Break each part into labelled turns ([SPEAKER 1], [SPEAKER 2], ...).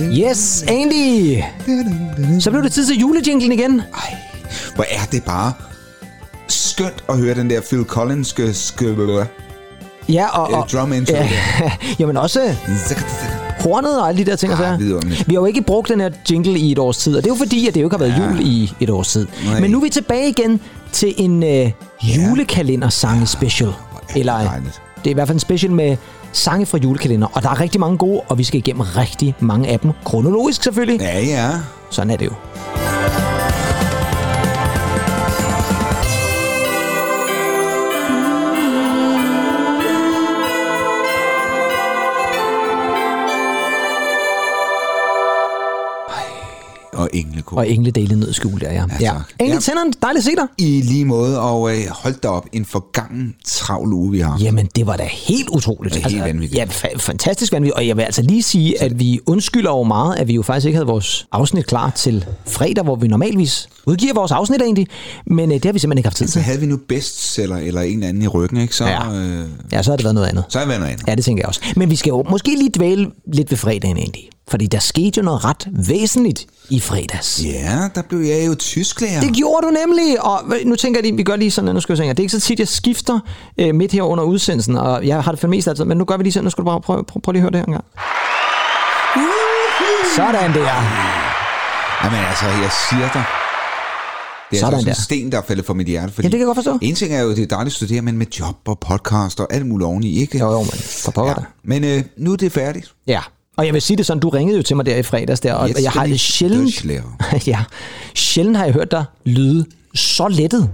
[SPEAKER 1] Yes, Andy! Så blev det tid til julejinglen igen.
[SPEAKER 2] Ej, hvor er det bare skønt at høre den der Phil Collins skø, skø,
[SPEAKER 1] Ja, og...
[SPEAKER 2] øh,
[SPEAKER 1] og
[SPEAKER 2] drum intro.
[SPEAKER 1] ja, jamen også hornet og alle de der ting. og
[SPEAKER 2] Ah,
[SPEAKER 1] sager.
[SPEAKER 2] vidunderligt.
[SPEAKER 1] vi har jo ikke brugt den her jingle i et års tid, og det er jo fordi, at det jo ikke har været jul i et års tid.
[SPEAKER 2] Nej.
[SPEAKER 1] Men nu er vi tilbage igen til en øh, julekalendersange special.
[SPEAKER 2] det
[SPEAKER 1] Eller øh,
[SPEAKER 2] dejligt.
[SPEAKER 1] det er i hvert fald en special med sange fra julekalender, og der er rigtig mange gode, og vi skal igennem rigtig mange af dem. Kronologisk selvfølgelig.
[SPEAKER 2] Ja, ja.
[SPEAKER 1] Sådan er det jo.
[SPEAKER 2] Og englekor.
[SPEAKER 1] Og engledele ned i skjul, der, ja. ja.
[SPEAKER 2] tak.
[SPEAKER 1] Engle
[SPEAKER 2] Ja.
[SPEAKER 1] tænderen, dejligt at se dig.
[SPEAKER 2] I lige måde, og øh, hold da op, en forgangen travl uge, vi har.
[SPEAKER 1] Jamen, det var da helt utroligt. Altså,
[SPEAKER 2] Det er helt vanvittigt.
[SPEAKER 1] Ja, fa- fantastisk vanvittigt. Og jeg vil altså lige sige, at vi undskylder jo meget, at vi jo faktisk ikke havde vores afsnit klar til fredag, hvor vi normalvis udgiver vores afsnit egentlig. Men øh, det har vi simpelthen ikke haft tid
[SPEAKER 2] Så
[SPEAKER 1] til.
[SPEAKER 2] havde vi nu bestseller eller en eller anden i ryggen, ikke? Så,
[SPEAKER 1] Ja.
[SPEAKER 2] øh,
[SPEAKER 1] Ja, så har det været noget andet.
[SPEAKER 2] så er det været noget andet.
[SPEAKER 1] Ja, det tænker jeg også. Men vi skal jo måske lige dvæle lidt ved fredagen egentlig. Fordi der skete jo noget ret væsentligt i fredags.
[SPEAKER 2] Ja, der blev jeg jo tysklærer.
[SPEAKER 1] Det gjorde du nemlig, og hvad- nu tænker jeg lige, vi gør lige sådan, nu skal jeg tænke, det er ikke så tit, jeg skifter øh, midt her under udsendelsen, og jeg har det for det meste altid, men nu gør vi lige sådan, nu skal du bare prøve, prøve, prøve lige at høre det her en gang. Sådan der.
[SPEAKER 2] Jamen altså, jeg siger dig. Det er
[SPEAKER 1] Sådan
[SPEAKER 2] sådan altså
[SPEAKER 1] der.
[SPEAKER 2] en sten, der er faldet fra mit hjerte. Fordi
[SPEAKER 1] Ja, det kan jeg godt forstå.
[SPEAKER 2] En ting er jo, det er dejligt at studere, men med job og podcast og alt muligt oveni, ikke?
[SPEAKER 1] Jo, jo, men for pokker da.
[SPEAKER 2] Men øh, nu er det færdigt.
[SPEAKER 1] Ja. Og jeg vil sige det sådan, du ringede jo til mig der i fredags der, og
[SPEAKER 2] Jetzt
[SPEAKER 1] jeg har
[SPEAKER 2] bin ich
[SPEAKER 1] sjældent,
[SPEAKER 2] Deutschlærer.
[SPEAKER 1] ja, sjældent har jeg hørt dig lyde så lettet.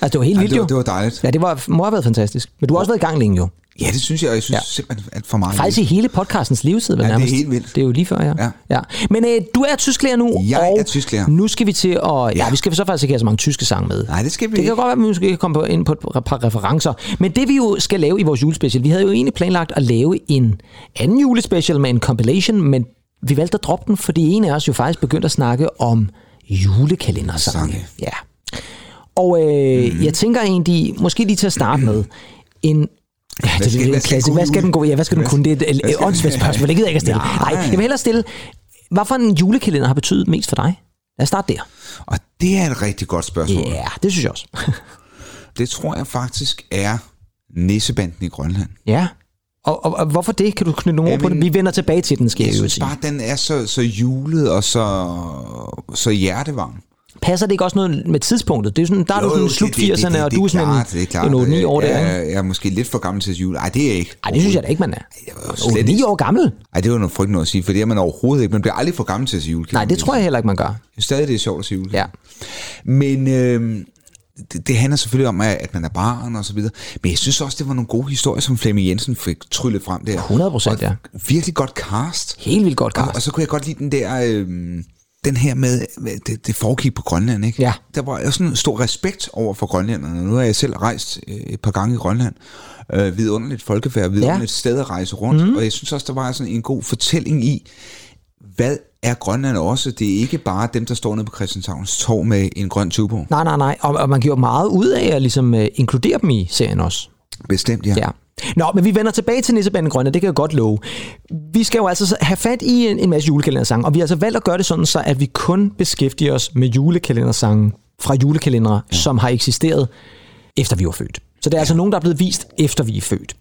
[SPEAKER 1] Altså, det var helt vildt
[SPEAKER 2] det,
[SPEAKER 1] jo.
[SPEAKER 2] var, det var dejligt.
[SPEAKER 1] Ja, det var, må have været fantastisk. Men du har også været i gang længe jo.
[SPEAKER 2] Ja, det synes jeg, og jeg synes
[SPEAKER 1] Ja.
[SPEAKER 2] ja. simpelthen, at for meget.
[SPEAKER 1] Faktisk i hele podcastens levetid, vel
[SPEAKER 2] Ja, det er
[SPEAKER 1] nærmest.
[SPEAKER 2] helt vildt.
[SPEAKER 1] Det er jo lige før, ja.
[SPEAKER 2] Ja.
[SPEAKER 1] ja. Men øh, du er tysklærer nu,
[SPEAKER 2] Jeg er
[SPEAKER 1] og
[SPEAKER 2] tysklærer.
[SPEAKER 1] nu skal vi til at... Ja, ja,
[SPEAKER 2] Ja.
[SPEAKER 1] vi skal så faktisk ikke have så mange tyske sange med.
[SPEAKER 2] Nej, det skal vi
[SPEAKER 1] Det kan
[SPEAKER 2] ikke.
[SPEAKER 1] godt være, at vi måske kan komme på, ind på et par- par referencer. Men det vi jo skal lave i vores julespecial, vi havde jo egentlig planlagt at lave en anden julespecial med en compilation, men vi valgte at droppe den, fordi en af os jo faktisk begyndte at snakke om julekalendersange.
[SPEAKER 2] Sange.
[SPEAKER 1] Ja. Og øh, mm. jeg tænker egentlig, måske lige til at starte med, en Ja, det,
[SPEAKER 2] skal-
[SPEAKER 1] det,
[SPEAKER 2] hvad
[SPEAKER 1] det,
[SPEAKER 2] skal
[SPEAKER 1] klasse.
[SPEAKER 2] god
[SPEAKER 1] Hvad skal
[SPEAKER 2] jul?
[SPEAKER 1] den gå? Ja, hvad skal den kunne? Det er et- et åndssvagt spørgsmål. Det gider jeg ikke at stille. Nej, jeg vil hellere stille. Hvad for en julekalender har betydet mest for dig? Lad os starte der.
[SPEAKER 2] Og det er et rigtig godt spørgsmål.
[SPEAKER 1] Ja, yeah, det synes jeg også.
[SPEAKER 2] Det tror jeg faktisk er nissebanden i Grønland.
[SPEAKER 1] ja. Og, og, og, hvorfor det? Kan du knytte nogle ord på det? Vi vender tilbage til den, skal jeg,
[SPEAKER 2] Jeg
[SPEAKER 1] jeg jo
[SPEAKER 2] synes
[SPEAKER 1] sige.
[SPEAKER 2] bare, den er så, så julet og så, så hjertevarm.
[SPEAKER 1] Passer det ikke også noget med tidspunktet? Det er sådan, der er du sådan en slut 80'erne, og du er sådan
[SPEAKER 2] klart, det er klart.
[SPEAKER 1] en, en 8-9 år
[SPEAKER 2] jeg,
[SPEAKER 1] der. ikke?
[SPEAKER 2] Jeg, jeg er måske lidt for gammel til jul. Nej, det er jeg ikke.
[SPEAKER 1] Ej, det synes jeg da ikke, man er.
[SPEAKER 2] var jo slet
[SPEAKER 1] 8-9
[SPEAKER 2] ikke-
[SPEAKER 1] år gammel?
[SPEAKER 2] Ej, det var noget frygteligt noget at sige, for det er man overhovedet ikke. Man bliver aldrig for gammel til at se julekalender.
[SPEAKER 1] Nej, det tror jeg heller ikke, man gør.
[SPEAKER 2] Jeg synes stadig, det er sjovt at se julekalender.
[SPEAKER 1] Ja.
[SPEAKER 2] Men øh, det, det handler selvfølgelig om, at at man er barn og så videre. Men jeg synes også, det var nogle gode historier, som Flemming Jensen fik tryllet frem der.
[SPEAKER 1] 100 procent, ja.
[SPEAKER 2] Virkelig godt cast.
[SPEAKER 1] Helt vildt godt, Carsten.
[SPEAKER 2] Og, og så kunne jeg godt lide den der... Øh, den her med, hvad- det, det foregik på Grønland, ikke?
[SPEAKER 1] Ja.
[SPEAKER 2] Der var også en stor respekt over for grønlænderne. Nu har jeg selv rejst øh, et par gange i Grønland. Øh, vidunderligt folkefærd, vidunderligt ja. sted at rejse rundt. Mm. Og jeg synes også, der var sådan en god fortælling i, hvad er Grønland også? Det er ikke bare dem, der står nede på Christianshavns Torv med en grøn tubo.
[SPEAKER 1] Nej, nej, nej. Og, og man gjorde meget ud af at ligesom, øh, inkludere dem i serien også.
[SPEAKER 2] Bestemt, ja.
[SPEAKER 1] Ja. Nå, men vi vender tilbage til Nissebanden Grønne, det kan jeg godt love. Vi skal jo altså så have fat i en, en masse julekalendersange, og vi har altså valgt at gøre det sådan, så at vi kun beskæftiger os med julekalendersange fra julekalendere, ja. som har eksisteret efter vi var født. Så det er ja. altså nogen, der er blevet vist efter vi er født.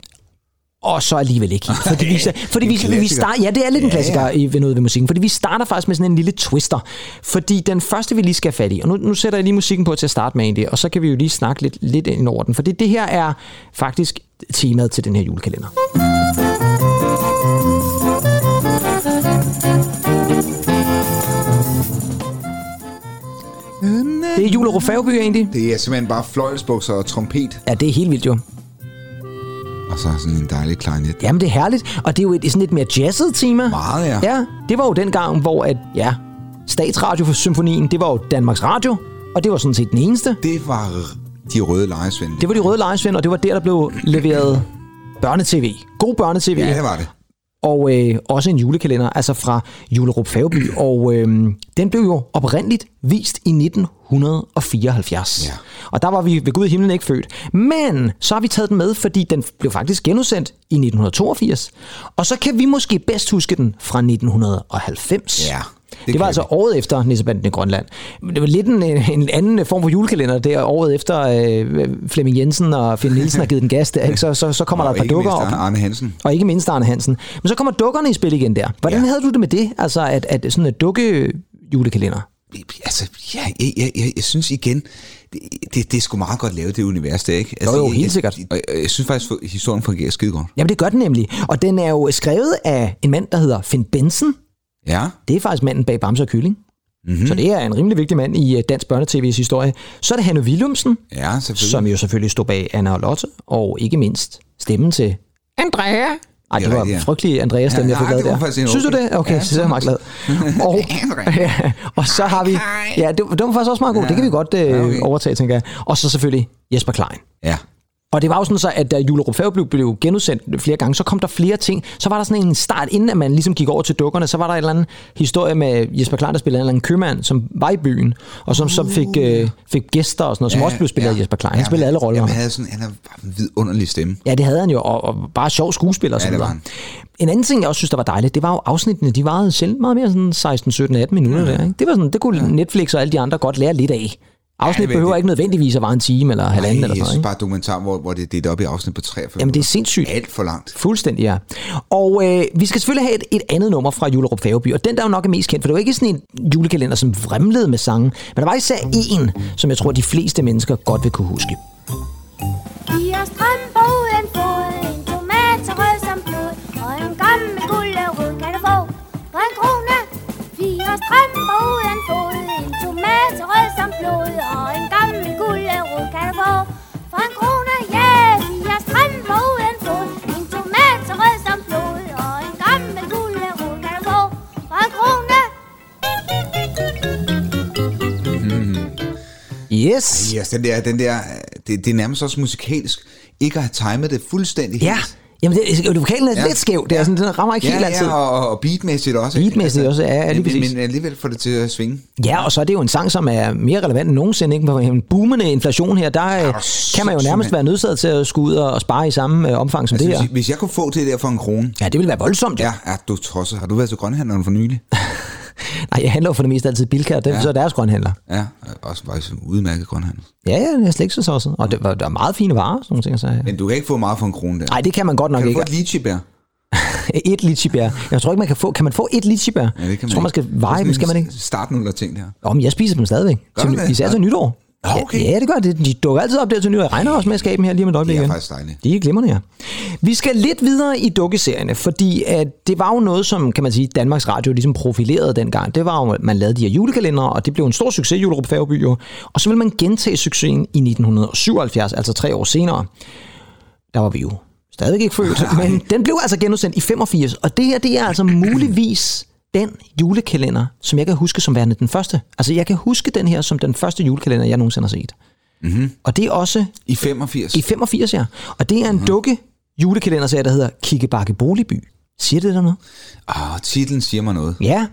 [SPEAKER 1] Og så alligevel ikke. helt, Fordi vi, fordi vi, vi
[SPEAKER 2] klassiker.
[SPEAKER 1] starter, ja, det er lidt en
[SPEAKER 2] Ja, ja.
[SPEAKER 1] klassiker ja, ja. ved noget ved musikken, fordi vi starter faktisk med sådan en lille twister. Fordi den første, vi lige skal have fat i, og nu, nu sætter jeg lige musikken på til at starte med egentlig, og så kan vi jo lige snakke lidt, lidt ind over den, fordi det her er faktisk temaet til den her julekalender. Det er jul og Rofavby egentlig.
[SPEAKER 2] Det er simpelthen bare fløjlsbukser og trompet,
[SPEAKER 1] Ja, det er helt vildt jo.
[SPEAKER 2] og så sådan en dejlig klarinet.
[SPEAKER 1] Jamen, det er herligt. Og det er jo et, sådan et mere jazzet tema.
[SPEAKER 2] Meget, ja.
[SPEAKER 1] Ja, det var jo den gang, hvor at, ja, Statsradio for Symfonien, det var jo Danmarks Radio, og det var sådan set den eneste.
[SPEAKER 2] Det var r- de røde lejesvende.
[SPEAKER 1] Det var de røde lejesvend, og det var der, der blev leveret børnetv. God børnetv.
[SPEAKER 2] Ja, det var det.
[SPEAKER 1] og øh, også en julekalender, altså fra Julerup Fagby, og øh, den blev jo oprindeligt vist i 1974.
[SPEAKER 2] Ja.
[SPEAKER 1] Og der var vi ved Gud i himlen ikke født. Men så har vi taget den med, fordi den blev faktisk genudsendt i 1982, og så kan vi måske bedst huske den fra 1990.
[SPEAKER 2] Ja, det
[SPEAKER 1] Det, det
[SPEAKER 2] kan
[SPEAKER 1] var altså året efter Nissebanden i Grønland. Men Det var lidt en, en anden form for julekalender, der året efter øh, Flemming Jensen og Finn Nielsen har givet den gas der, ikke? Så, så, så kommer der
[SPEAKER 2] Og
[SPEAKER 1] et par
[SPEAKER 2] ikke
[SPEAKER 1] dukker
[SPEAKER 2] mindst
[SPEAKER 1] op.
[SPEAKER 2] Arne, Arne Hansen.
[SPEAKER 1] Og ikke mindst Arne Hansen. Men så kommer dukkerne i spil igen der. Hvordan
[SPEAKER 2] Ja.
[SPEAKER 1] havde du det med det? Altså, at, at sådan et dukke julekalender?
[SPEAKER 2] altså, ja, jeg, jeg, jeg, jeg synes igen, det, det, det er sgu meget godt lavet, det univers der, ikke? Altså,
[SPEAKER 1] Jo, jo,
[SPEAKER 2] jeg,
[SPEAKER 1] helt
[SPEAKER 2] jeg-
[SPEAKER 1] sikkert.
[SPEAKER 2] Og jeg, jeg synes faktisk, at historien fungerer skide godt.
[SPEAKER 1] Jamen, det gør den nemlig. Og den er jo skrevet af en mand, der hedder Finn Benson.
[SPEAKER 2] Ja,
[SPEAKER 1] Det er faktisk manden bag Bamse og Kylling. Mm-hmm. Så det er en rimelig vigtig mand i øh, dansk børnetv's historie. Så er det Hanne Willumsen,
[SPEAKER 2] ja, selvfølgelig.
[SPEAKER 1] som jo selvfølgelig stod bag Anna og Lotte, og ikke mindst stemmen til Andrea. Ej, det
[SPEAKER 2] Ja,
[SPEAKER 1] var
[SPEAKER 2] rigtigt,
[SPEAKER 1] en
[SPEAKER 2] ja.
[SPEAKER 1] frygtelig Andreas stemme,
[SPEAKER 2] Ja,
[SPEAKER 1] jeg fik
[SPEAKER 2] nej,
[SPEAKER 1] lavet
[SPEAKER 2] det var
[SPEAKER 1] der.
[SPEAKER 2] faktisk en
[SPEAKER 1] Synes du
[SPEAKER 2] okay.
[SPEAKER 1] det? Okay,
[SPEAKER 2] Ja.
[SPEAKER 1] så er jeg meget glad. Og,
[SPEAKER 2] Andrea.
[SPEAKER 1] ja, og så har vi... Ja, det, den var faktisk også meget god. Det kan vi godt øh,
[SPEAKER 2] okay.
[SPEAKER 1] overtage, tænker jeg. Og så selvfølgelig Jesper Klein.
[SPEAKER 2] Ja,
[SPEAKER 1] Og det var jo sådan så, at da Julerup Færge blev, blev genudsendt flere gange, så kom der flere ting. Så var der sådan en start, inden at man ligesom gik over til dukkerne, så var der en eller anden historie med Jesper Klein, der spillede en eller anden købmand, som var i byen, og som så fik,
[SPEAKER 2] Uh.
[SPEAKER 1] øh, fik gæster og sådan noget, som også blev spillet af Jesper Klein. Han spillede alle roller.
[SPEAKER 2] Han havde sådan, han havde bare en vidunderlig stemme.
[SPEAKER 1] Ja, det havde han jo, og, og bare sjov skuespiller. og sådan
[SPEAKER 2] det var
[SPEAKER 1] noget. En anden ting, jeg også synes, der var dejligt, det var jo afsnittene, de varede sjældent meget mere sådan 16, 17, 18 minutter. Ja. Der, ikke? Det, var sådan, det kunne ja. Netflix og alle de andre godt lære lidt af. Afsnit
[SPEAKER 2] det er
[SPEAKER 1] ja, behøver
[SPEAKER 2] vigtigt.
[SPEAKER 1] ikke nødvendigvis at vare en time eller
[SPEAKER 2] Ej,
[SPEAKER 1] halvanden
[SPEAKER 2] jeg
[SPEAKER 1] eller sådan noget.
[SPEAKER 2] synes
[SPEAKER 1] Ikke?
[SPEAKER 2] bare, dokumentar, hvor, hvor det er delt op i afsnit på 43
[SPEAKER 1] Jamen, det er sindssygt.
[SPEAKER 2] alt for langt.
[SPEAKER 1] Fuldstændig, ja. Og øh, vi skal selvfølgelig have et, et andet nummer fra Julerup Færgeby, og den der jo nok er mest kendt, for det var ikke sådan en julekalender, som vrimlede med sange, men der var især en, som jeg tror, de fleste mennesker godt vil kunne huske.
[SPEAKER 3] Fire strømper uden fod, en tomat så rød som blod, og en gammel gullerod kan du få for en krone. Fire strømper uden fod, en tomat så rød som blod, og en gammel gullerod kan du få for en krone. Ja, yeah! fire strømper uden fod, en tomat så rød som blod, og en gammel gullerod kan du få for en krone.
[SPEAKER 1] Yes!
[SPEAKER 2] Yes, den der, den der, det, det er nærmest også musikalsk, ikke at have timet det fuldstændig
[SPEAKER 1] Ja,
[SPEAKER 2] helt.
[SPEAKER 1] jamen det, det vokalen er ja. lidt skæv, det er sådan, den rammer ikke
[SPEAKER 2] Ja,
[SPEAKER 1] helt altid.
[SPEAKER 2] ja, og, og beatmæssigt også. ikke? Altså,
[SPEAKER 1] Beatmæssigt også, ja, ja, lige
[SPEAKER 2] men,
[SPEAKER 1] præcis.
[SPEAKER 2] men alligevel får det til at svinge.
[SPEAKER 1] Ja, og så er det jo en sang, som er mere relevant end nogensinde. Ikke? Med en boomende inflation her, der ja, kan man jo
[SPEAKER 2] sindssygt,
[SPEAKER 1] nærmest
[SPEAKER 2] mand.
[SPEAKER 1] være nødsaget til at skulle ud og og spare i samme øh, omfang som
[SPEAKER 2] Altså,
[SPEAKER 1] det
[SPEAKER 2] hvis,
[SPEAKER 1] her.
[SPEAKER 2] jeg- hvis jeg kunne få det der for en krone,
[SPEAKER 1] Ja, det ville være voldsomt. Ja.
[SPEAKER 2] Ja, ja, du tosser. Har du været til grønhandleren for nylig?
[SPEAKER 1] Nej, jeg handler jo for det meste altid i Bilka, og det ja. så er deres grønhandler.
[SPEAKER 2] Ja, også faktisk en udmærket grønhandel.
[SPEAKER 1] Ja, ja, det er slet ikke så tosset. Og det, var- der er meget fine varer, sådan nogle ting. Så.
[SPEAKER 2] Men du kan ikke få meget for en krone der.
[SPEAKER 1] Nej, det kan man godt nok
[SPEAKER 2] kan du
[SPEAKER 1] ikke.
[SPEAKER 2] få et litchibær?
[SPEAKER 1] Et litchibær. Jeg tror ikke, man kan få... Kan man få et litchibær? Ja,
[SPEAKER 2] Ja, det kan man
[SPEAKER 1] jeg tror, man skal veje, men skal man ikke?
[SPEAKER 2] Start nu, der ting der.
[SPEAKER 1] Om jeg spiser dem stadigvæk.
[SPEAKER 2] Gør
[SPEAKER 1] Til,
[SPEAKER 2] du det?
[SPEAKER 1] især til
[SPEAKER 2] Ja.
[SPEAKER 1] nytår.
[SPEAKER 2] Nå, okay.
[SPEAKER 1] Ja, det gør det. De dukker altid op der til nytår. Jeg regner også med at skabe dem her lige om et øjeblik.
[SPEAKER 2] Det er
[SPEAKER 1] igen.
[SPEAKER 2] faktisk dejligt.
[SPEAKER 1] Det er glimrende, ja. Vi skal lidt videre i dukkeserierne, fordi at det var jo noget, som kan man sige, Danmarks Radio ligesom profilerede dengang. Det var jo, at man lavede de her julekalendere, og det blev en stor succes i Julerup Færgeby, jo. Og så ville man gentage succesen i 1977, altså tre år senere. Der var vi jo stadigvæk ikke født, men den blev altså genudsendt i 85, og det her, det er altså muligvis den julekalender, som jeg kan huske som værende den første. Altså, jeg kan huske den her som den første julekalender, jeg nogensinde har set. Mm-hmm. Og det er også
[SPEAKER 2] I 85?
[SPEAKER 1] i 85, ja. Og det er en mm-hmm. dukke julekalenderserie, der hedder Kikkebakke Boligby. Siger det der noget?
[SPEAKER 2] Ah, titlen siger mig noget.
[SPEAKER 1] Ja.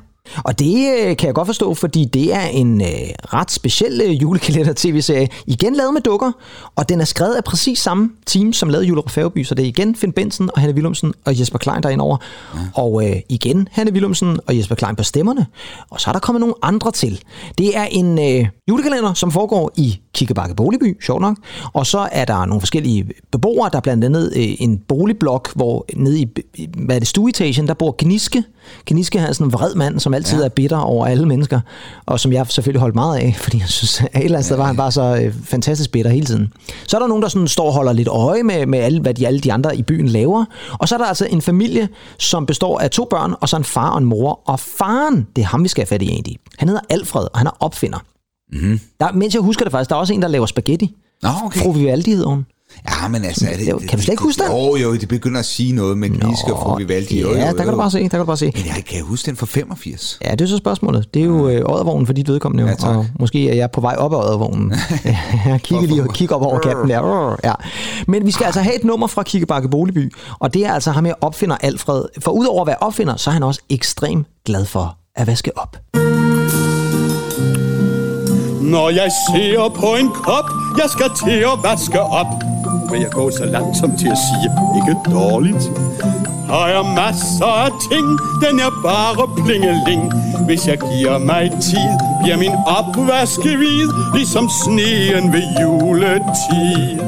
[SPEAKER 1] Og det øh, kan jeg godt forstå, fordi det er en øh, ret speciel øh, julekalender-tv-serie. Igen lavet med dukker, og den er skrevet af præcis samme team, som lavede Julerup Færgeby. Så det er igen Finn Benson og Hanne Willumsen og Jesper Klein der er over. Ja. Og øh, igen Hanne Willumsen og Jesper Klein på stemmerne. Og så er der kommet nogle andre til. Det er en øh, julekalender, som foregår i Kikkebakke Boligby, sjovt nok. Og så er der nogle forskellige beboere, der er blandt andet øh, en boligblok, hvor nede i, i- hvad er det, stueetagen, der bor Gniske. Gniske er sådan en vred mand, som altid ja. er bitter over alle mennesker, og som jeg selvfølgelig holdt meget af, fordi jeg synes, at et eller andet sted var han bare så øh, fantastisk bitter hele tiden. Så er der nogen, der sådan står og holder lidt øje med, med alle, hvad de, alle de andre i byen laver. Og så er der altså en familie, som består af to børn, og så en far og en mor. Og faren, det er ham, vi skal have fat i egentlig. Han hedder Alfred, og han er opfinder. Mm-hmm. Der, mens jeg husker det faktisk, der er også en, der laver spaghetti.
[SPEAKER 2] Nå, Mhm. okay.
[SPEAKER 1] Fru Vivaldi hedder hun.
[SPEAKER 2] Ja, men altså... Er det,
[SPEAKER 1] Jo, kan du slet ikke huske den?
[SPEAKER 2] Jo, jo, det begynder at sige noget med Gniske og fru Vivaldi. Jo, jo,
[SPEAKER 1] ja, der kan
[SPEAKER 2] jo.
[SPEAKER 1] du bare se, der kan du bare se.
[SPEAKER 2] Men jeg kan jeg huske den fra 85.
[SPEAKER 1] Ja, det er så spørgsmålet. Det er jo øh, oddervognen for dit vedkommende, jo.
[SPEAKER 2] Mm. Ja, tak.
[SPEAKER 1] og måske er jeg på vej op ad oddervognen. jeg kigger lige og kigger op over katten der. Rrr, Ja. Men vi skal altså have et nummer fra Kikkebakke Boligby, og det er altså ham, jeg opfinder Alfred. For udover at være opfinder, så er han også ekstremt glad for at vaske op.
[SPEAKER 4] Når jeg ser på en kop, jeg skal til at vaske op. Men jeg går så langsomt til at sige, ikke dårligt. Har jeg masser af ting, den er bare plingeling. Hvis jeg giver mig tid, bliver min opvaske hvid, ligesom sneen ved juletid.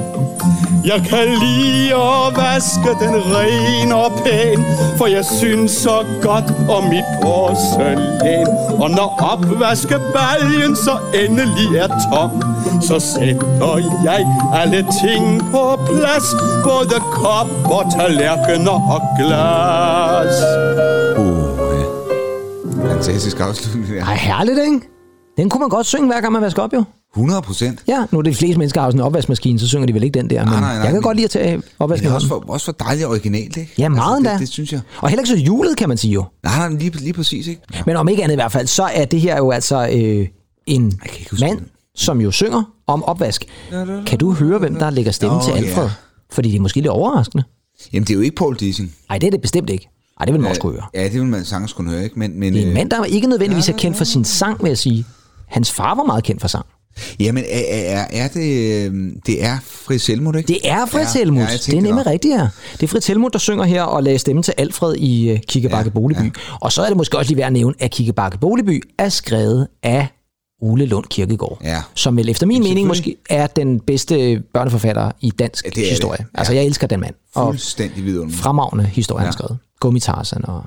[SPEAKER 4] Jeg kan lide at vaske den ren og pæn, for jeg synes så godt om mit porcelæn. Og når opvaskebaljen så endelig er tom, så sætter jeg alle ting på plads, både kop og tallerkener og glas.
[SPEAKER 2] Uh, ja. Fantastisk afslutning. der.
[SPEAKER 1] Ej, herligt, ikke? Den kunne man godt synge, hver gang man vasker op, jo.
[SPEAKER 2] 100 procent.
[SPEAKER 1] Ja, nu er det de fleste mennesker, der har sådan en opvaskemaskine, så synger de vel ikke den der. Men
[SPEAKER 2] Nej, nej, nej,
[SPEAKER 1] jeg kan
[SPEAKER 2] men-
[SPEAKER 1] godt lide at tage
[SPEAKER 2] Men det er
[SPEAKER 1] opvaskemaskinen.
[SPEAKER 2] også for, også for dejligt originalt, ikke?
[SPEAKER 1] Ja, meget
[SPEAKER 2] altså,
[SPEAKER 1] endda.
[SPEAKER 2] det, det, synes jeg.
[SPEAKER 1] Og heller ikke så julet, kan man sige jo.
[SPEAKER 2] Nej, nej, men lige, lige præcis, ikke?
[SPEAKER 1] Men om ikke andet i hvert fald, så er det her jo altså øh, en
[SPEAKER 2] kan ikke huske
[SPEAKER 1] mand,
[SPEAKER 2] det.
[SPEAKER 1] som jo synger om opvask. Kan du høre, hvem der lægger stemme
[SPEAKER 2] Nå,
[SPEAKER 1] til Alfred?
[SPEAKER 2] ja.
[SPEAKER 1] Fordi det er måske lidt overraskende.
[SPEAKER 2] Jamen, det er jo ikke Paul Dissing.
[SPEAKER 1] Nej, det er det bestemt ikke. Nej, det
[SPEAKER 2] Øh,
[SPEAKER 1] vil man også kunne høre.
[SPEAKER 2] Ja, det vil man sagtens kunne høre, ikke? Men, men,
[SPEAKER 1] Det er en
[SPEAKER 2] øh,
[SPEAKER 1] mand, der ikke nødvendigvis er kendt for sin sang, vil jeg sige. Hans far var meget kendt for sang.
[SPEAKER 2] jamen, er, er, er- er det... øhm, Det er Fritz Helmut, ikke?
[SPEAKER 1] Det er Fritz
[SPEAKER 2] Ja,
[SPEAKER 1] Helmut.
[SPEAKER 2] ja, jeg
[SPEAKER 1] det
[SPEAKER 2] tænkte
[SPEAKER 1] er nemlig
[SPEAKER 2] nok.
[SPEAKER 1] rigtigt, ja. Det er Fritz Helmut, der synger her og lagde stemme til Alfred i øh, Kikkebakke ja, Boligby. Ja. Og så er det måske også lige værd at nævne, at Kikkebakke Boligby er skrevet af Ole Lund Kirkegaard,
[SPEAKER 2] Ja.
[SPEAKER 1] som vel efter min mening måske er den bedste børneforfatter i dansk ja,
[SPEAKER 2] det er det.
[SPEAKER 1] historie. Altså, jeg elsker den mand. Og
[SPEAKER 2] Fuldstændig vidunderligt.
[SPEAKER 1] fremragende historie, han har
[SPEAKER 2] Ja.
[SPEAKER 1] skrevet. Gummitarsen og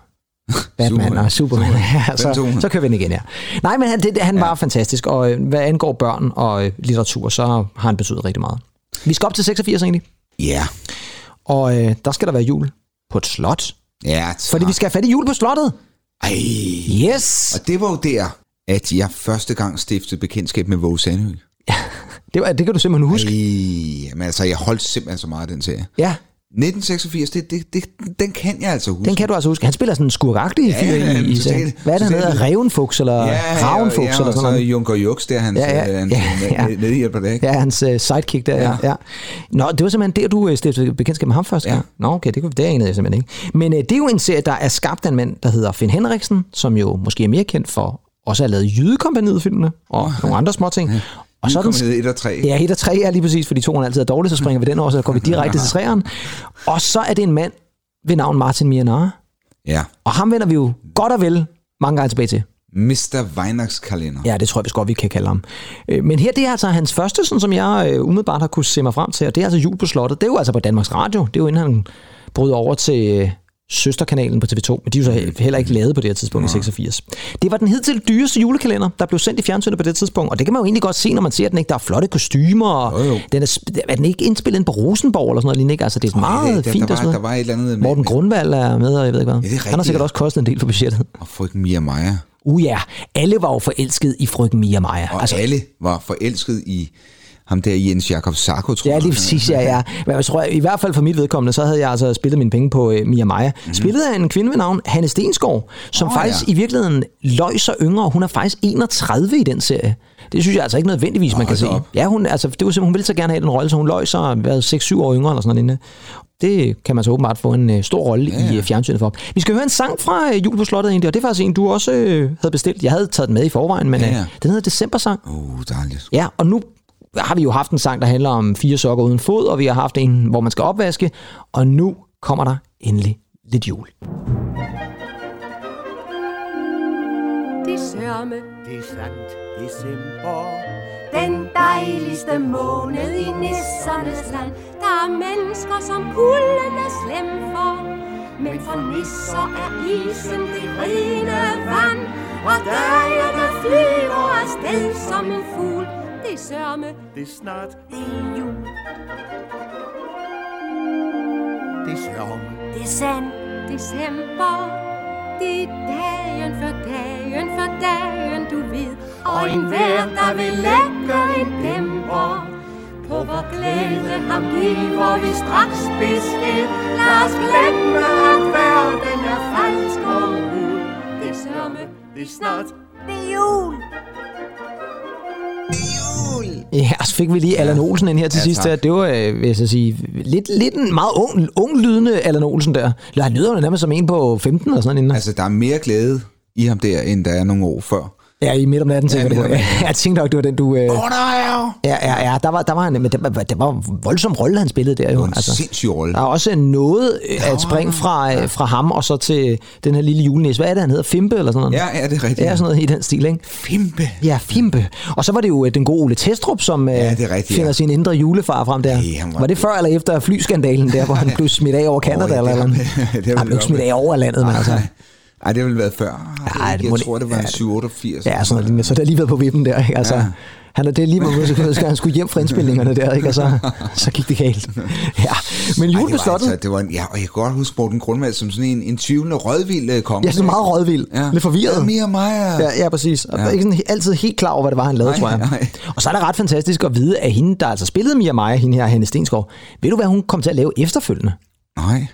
[SPEAKER 1] Batman
[SPEAKER 2] Superman.
[SPEAKER 1] og Superman. Ja, så,
[SPEAKER 2] Fantomen.
[SPEAKER 1] så kører vi den igen, ja. Nej, men han, det, han ja. var fantastisk, og øh, hvad angår børn og øh, litteratur, så har han betydet rigtig meget. Vi skal op til 86 egentlig,
[SPEAKER 2] Ja.
[SPEAKER 1] og øh, der skal der være jul på et slot.
[SPEAKER 2] Ja,
[SPEAKER 1] Fordi vi skal have fat i jul på slottet.
[SPEAKER 2] Ej.
[SPEAKER 1] Yes!
[SPEAKER 2] Og det var jo der, at jeg første gang stiftede bekendtskab med Våge Sandø.
[SPEAKER 1] Det, var, det kan du simpelthen huske.
[SPEAKER 2] Ej, men altså, jeg holdt simpelthen så meget af den serie.
[SPEAKER 1] Ja,
[SPEAKER 2] 1986, det, det, det, den kan jeg altså huske.
[SPEAKER 1] den kan du altså huske. Han spiller sådan en skurkagtig
[SPEAKER 2] Ja,
[SPEAKER 1] fyr
[SPEAKER 2] ja,
[SPEAKER 1] i, i
[SPEAKER 2] totalt-
[SPEAKER 1] serien. Hvad er det, han
[SPEAKER 2] totalt.
[SPEAKER 1] hedder? Revenfugs eller Ravenfugs eller
[SPEAKER 2] og
[SPEAKER 1] sådan
[SPEAKER 2] så
[SPEAKER 1] noget?
[SPEAKER 2] Junker Jux, der øh, han
[SPEAKER 1] Ja,
[SPEAKER 2] ja,
[SPEAKER 1] ja,
[SPEAKER 2] ja,
[SPEAKER 1] ja, ja.
[SPEAKER 2] ja. medhjælper det, ikke?
[SPEAKER 1] Ja, hans øh, sidekick der, ja. ja. Nå, det var simpelthen der, du øh, stiftede bekendtskab med ham først. Ja. Nå, okay, det, kunne, det anede jeg simpelthen ikke. Men øh, det er jo en serie, der er skabt af en mand, der hedder Finn Henriksen, som jo måske er mere kendt for også at have lavet Jydekompaniet-filmene og oh, nogle andre små ting. Og så er den
[SPEAKER 2] Nykommet 1 og 3. Ja.
[SPEAKER 1] Ja, et og tre er lige præcis, fordi toeren altid er dårlig, så springer vi den over, så går vi direkte til treeren. Og så er det en mand ved navn Martin Mianar,
[SPEAKER 2] ja.
[SPEAKER 1] og ham vender vi jo godt og vel mange gange tilbage til.
[SPEAKER 2] Mr. Weinachs kalender. Ja.
[SPEAKER 1] Ja, det tror jeg vist godt, vi kan kalde ham. Øh, Men her, det er altså hans første, sådan som jeg øh, umiddelbart har kunne se mig frem til, og det er altså Jul på Slottet. Det er jo altså på Danmarks Radio. Det er jo inden han bryder over til øh, søsterkanalen på TV2, men de er jo så he- heller ikke lavet på det her tidspunkt i 86. Det var den hidtil dyreste julekalender, der blev sendt i fjernsynet på det tidspunkt, og det kan man jo egentlig godt se, når man ser den ikke. Der er flotte kostymer, og
[SPEAKER 2] Jo, jo.
[SPEAKER 1] Den er, sp- er den ikke indspillet inde på Rosenborg eller sådan noget lignende, ikke? Altså, det er meget
[SPEAKER 2] der,
[SPEAKER 1] fint
[SPEAKER 2] der,
[SPEAKER 1] og
[SPEAKER 2] var,
[SPEAKER 1] sådan
[SPEAKER 2] der
[SPEAKER 1] noget.
[SPEAKER 2] var et eller andet
[SPEAKER 1] Morten
[SPEAKER 2] med,
[SPEAKER 1] Grundvald er med, og jeg ved ikke hvad.
[SPEAKER 2] det er
[SPEAKER 1] han har
[SPEAKER 2] rigtigt,
[SPEAKER 1] sikkert
[SPEAKER 2] ja.
[SPEAKER 1] også kostet en del for budgettet.
[SPEAKER 2] og frygten Mia Maja.
[SPEAKER 1] Uh ja, alle var jo forelsket i frygten Mia Maja.
[SPEAKER 2] Og altså, alle var forelsket i ham der Jens Jakob Sarko, tror
[SPEAKER 1] Ja,
[SPEAKER 2] jeg.
[SPEAKER 1] lige præcis, ja, ja. Men jeg tror, i hvert fald for mit vedkommende, så havde jeg altså spillet mine penge på øh, Mia Maja. Mm. Spillet af en kvinde ved navn Hanne Stensgaard, som oh,
[SPEAKER 2] Mhm. Åh,
[SPEAKER 1] faktisk
[SPEAKER 2] ja.
[SPEAKER 1] ja. i virkeligheden løj sig yngre. Hun er faktisk 31 i den serie. Det synes jeg altså ikke nødvendigvis, man kan
[SPEAKER 2] Hold
[SPEAKER 1] se.
[SPEAKER 2] da op.
[SPEAKER 1] Ja, hun, altså, det var simpelthen, hun ville så gerne have den rolle, så hun løj sig og været 6-7 år yngre eller sådan noget. lignende. Det kan man så åbenbart få en øh, stor rolle ja, ja. i øh, fjernsynet for. Vi skal høre en sang fra øh, Jul på Slottet egentlig, og det er faktisk en, du også øh, havde bestilt. Jeg havde taget den med i forvejen, men ja,
[SPEAKER 2] Ja,
[SPEAKER 1] ja.
[SPEAKER 2] ja.
[SPEAKER 1] Øh, den hedder Decembersang.
[SPEAKER 2] Uh, dejligt.
[SPEAKER 1] Ja, og nu har vi jo haft en sang, der handler om fire sokker uden fod, og vi har haft en, hvor man skal opvaske, og nu kommer der endelig lidt jul.
[SPEAKER 5] de sørme
[SPEAKER 6] Det er sandt, december.
[SPEAKER 5] Den dejligste måned i nissernes land Der er mennesker, som kulden er slem for Men for nisser er isen det rene vand Og dagene flyver afsted som en fugl Det er sørme,
[SPEAKER 6] Det er snart,
[SPEAKER 5] det er jul
[SPEAKER 6] det er sørme.
[SPEAKER 5] Det er sandt, december. Det er dagen for dagen for dagen, du ved. Og en hver, der vil lægge en dæmper, på hvor glæde ham giver vi straks besked. Lad os glemme, at verden er falsk og ud. Det er sørme, det er snart, det er jul.
[SPEAKER 1] Ja, og så fik vi lige Allan Olsen ind her til
[SPEAKER 2] Ja,
[SPEAKER 1] ja, sidst.
[SPEAKER 2] tak.
[SPEAKER 1] Der. Det var, øh, vil jeg så sige, lidt, lidt en meget ung, ung lydende Allan Olsen der. Eller han lyder jo nærmest som en på 15 og sådan en. Altså,
[SPEAKER 2] Altså, der er mere glæde i ham der, end der er nogle år før.
[SPEAKER 1] Altså, ja, i midt om natten,
[SPEAKER 2] Ja,
[SPEAKER 1] tænker ja,
[SPEAKER 2] midt
[SPEAKER 1] du.
[SPEAKER 2] om
[SPEAKER 1] Ja,
[SPEAKER 2] natten.
[SPEAKER 1] jeg tænkte nok, det var den, du... Øh,
[SPEAKER 2] Åh, der er jo!
[SPEAKER 1] ja, ja, ja, der var, der var, en, men det, var, det var en voldsom rolle, han spillede der jo. altså.
[SPEAKER 2] En sindssyg rolle.
[SPEAKER 1] Der er også noget øh, at springe fra, øh, fra ham og så til den her lille julenæs. Hvad er det, han hedder? Fimpe eller sådan noget?
[SPEAKER 2] Ja, ja, det er rigtigt.
[SPEAKER 1] Ja, sådan noget i den stil, ikke?
[SPEAKER 2] Fimpe.
[SPEAKER 1] Ja, Fimpe. Og så var det jo øh, den gode Ole Testrup, som ja,
[SPEAKER 2] det er rigtigt,
[SPEAKER 1] finder
[SPEAKER 2] ja.
[SPEAKER 1] sin indre julefar frem der.
[SPEAKER 2] Ja, han
[SPEAKER 1] var,
[SPEAKER 2] var-
[SPEAKER 1] det før eller efter flyskandalen der, hvor han blev smidt af over Kanada?
[SPEAKER 2] Åh,
[SPEAKER 1] Oh,
[SPEAKER 2] ja,
[SPEAKER 1] ja,
[SPEAKER 2] det
[SPEAKER 1] eller
[SPEAKER 2] har- det
[SPEAKER 1] noget?
[SPEAKER 2] har vel
[SPEAKER 1] Han blev ikke
[SPEAKER 2] nok
[SPEAKER 1] smidt
[SPEAKER 2] været.
[SPEAKER 1] af over landet, men altså...
[SPEAKER 2] Ej, det har vel været før.
[SPEAKER 1] Ej, det
[SPEAKER 2] jeg
[SPEAKER 1] må det-
[SPEAKER 2] tror, det var
[SPEAKER 1] ja,
[SPEAKER 2] en
[SPEAKER 1] det-
[SPEAKER 2] 87.
[SPEAKER 1] Ja, sådan noget lignende. Så der lige været på vippen der, ikke? Altså,
[SPEAKER 2] Ja.
[SPEAKER 1] Han er det er lige hvor så skal han skulle hjem fra indspillingerne der, ikke? Og så, så gik det galt. Ja. Men
[SPEAKER 2] Ej,
[SPEAKER 1] jul
[SPEAKER 2] det
[SPEAKER 1] på
[SPEAKER 2] var
[SPEAKER 1] slottet,
[SPEAKER 2] Altså, det var en, ja, og jeg kan godt huske Morten Grundvald som sådan en, en tvivlende, rødvild øh, konge.
[SPEAKER 1] Ja, sådan meget rådvild. Lidt forvirret.
[SPEAKER 2] Ja, mere mig. Ja.
[SPEAKER 1] Ja, ja præcis. Og ja. ikke sådan he- altid helt klar over, hvad det var, han lavede,
[SPEAKER 2] Nej,
[SPEAKER 1] tror jeg.
[SPEAKER 2] nej.
[SPEAKER 1] Og så er det ret fantastisk at vide, at hende, der altså spillede Mia Maja, hende her, Hanne Stenskov, ved du, hvad hun kom til at lave efterfølgende?
[SPEAKER 2] Nej.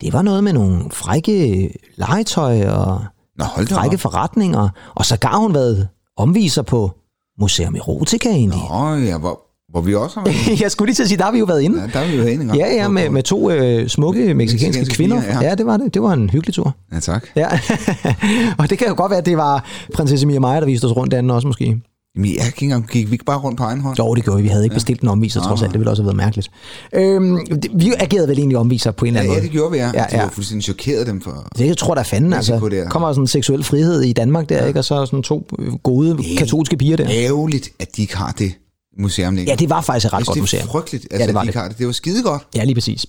[SPEAKER 1] Det var noget med nogle frække legetøj og
[SPEAKER 2] Nå, hold da
[SPEAKER 1] frække
[SPEAKER 2] op.
[SPEAKER 1] forretninger, og så har hun været omviser på Museum Erotica egentlig.
[SPEAKER 2] Åh, ja, hvor, hvor vi også har været.
[SPEAKER 1] Jeg skulle lige til at sige, der har vi jo været inde.
[SPEAKER 2] Ja, der er vi jo inde en gang.
[SPEAKER 1] Ja, ja, med, med to øh, smukke meksikanske
[SPEAKER 2] Mexikanske
[SPEAKER 1] kvinder.
[SPEAKER 2] piger, ja.
[SPEAKER 1] Ja, det var det. Det var en hyggelig tur.
[SPEAKER 2] Ja, tak.
[SPEAKER 1] Ja. og det kan jo godt være, at det var prinsesse Mia Maja, der viste os rundt derinde også måske.
[SPEAKER 2] Jamen, jeg gik, ikke engang, gik vi ikke bare rundt på egen hånd?
[SPEAKER 1] Jo, det gjorde vi. Vi havde ikke bestilt en omviser, trods alt. Det ville også have været mærkeligt. Øhm, det- vi agerede vel egentlig omviser på en eller
[SPEAKER 2] Ja,
[SPEAKER 1] anden
[SPEAKER 2] ja,
[SPEAKER 1] måde.
[SPEAKER 2] det gjorde vi, ja.
[SPEAKER 1] Ja,
[SPEAKER 2] ja, ja.
[SPEAKER 1] ja.
[SPEAKER 2] var fuldstændig chokeret dem for...
[SPEAKER 1] Det jeg tror der fanden, altså.
[SPEAKER 2] Risiko der.
[SPEAKER 1] kommer sådan en seksuel frihed i Danmark der, ikke? Og så sådan to øh, gode katolske piger der.
[SPEAKER 2] Ærgerligt, at de ikke har det museum længere.
[SPEAKER 1] Ja, det var faktisk et ret
[SPEAKER 2] altså,
[SPEAKER 1] godt
[SPEAKER 2] det
[SPEAKER 1] museum.
[SPEAKER 2] er frygteligt, altså,
[SPEAKER 1] Ja, det var
[SPEAKER 2] at de
[SPEAKER 1] det.
[SPEAKER 2] ikke har det. Det var skide godt.
[SPEAKER 1] Ja, lige præcis.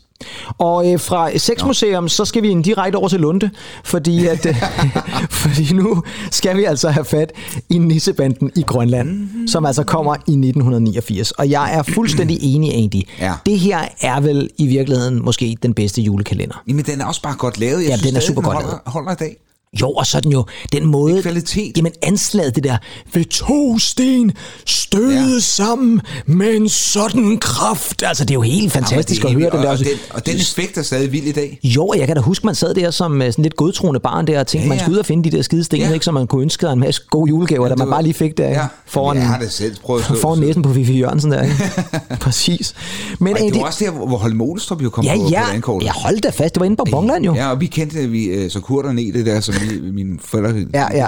[SPEAKER 1] Og øh, fra Sexmuseum, så skal vi en direkte over til Lunde, fordi, at, øh, fordi nu skal vi altså have fat i nissebanden i Grønland,
[SPEAKER 2] Mhm.
[SPEAKER 1] som altså kommer i 1989. Og jeg er fuldstændig enig, Andy.
[SPEAKER 2] Ja.
[SPEAKER 1] Det her er vel i virkeligheden måske den bedste julekalender.
[SPEAKER 2] Jamen, den er også bare godt lavet. Jeg
[SPEAKER 1] Ja,
[SPEAKER 2] synes
[SPEAKER 1] den er
[SPEAKER 2] stadig,
[SPEAKER 1] super godt
[SPEAKER 2] holder, holder i dag.
[SPEAKER 1] Jo, og sådan jo, den måde...
[SPEAKER 2] Kvalitet.
[SPEAKER 1] Jamen anslaget det der, ved to sten støde ja.
[SPEAKER 2] Ja.
[SPEAKER 1] sammen med en sådan kraft. Altså det er jo helt fantastisk
[SPEAKER 2] Jamen,
[SPEAKER 1] at
[SPEAKER 2] det er
[SPEAKER 1] høre den
[SPEAKER 2] helt-
[SPEAKER 1] der.
[SPEAKER 2] og,
[SPEAKER 1] også.
[SPEAKER 2] og, den, og den effekt er stadig vild i dag.
[SPEAKER 1] Jo, og jeg kan da huske, man sad der som øh, sådan lidt godtroende barn der og tænkte, ja,
[SPEAKER 2] Ja,
[SPEAKER 1] man
[SPEAKER 2] ja.
[SPEAKER 1] skulle ud og finde de der skidesten, ja.
[SPEAKER 2] Ja.
[SPEAKER 1] ikke, så man kunne ønske sig en masse gode julegaver, ja, der
[SPEAKER 2] det
[SPEAKER 1] man
[SPEAKER 2] var-
[SPEAKER 1] bare lige fik der ja. foran,
[SPEAKER 2] jeg har det selv prøvet at stå.
[SPEAKER 1] foran næsen på Fifi Jørgensen der. Ikke? Præcis. Men
[SPEAKER 2] Ej, det
[SPEAKER 1] Andy,
[SPEAKER 2] var også der, hvor hvor Holm Olstrup jo kom
[SPEAKER 1] ja,
[SPEAKER 2] på,
[SPEAKER 1] ja,
[SPEAKER 2] på landkortet.
[SPEAKER 1] ja, hold da fast, det var inde på Bongland jo. Ja.
[SPEAKER 2] Ja, og vi kendte vi, øh, så kurderne i det der, som vi, mine forældre...
[SPEAKER 1] Ja, ja.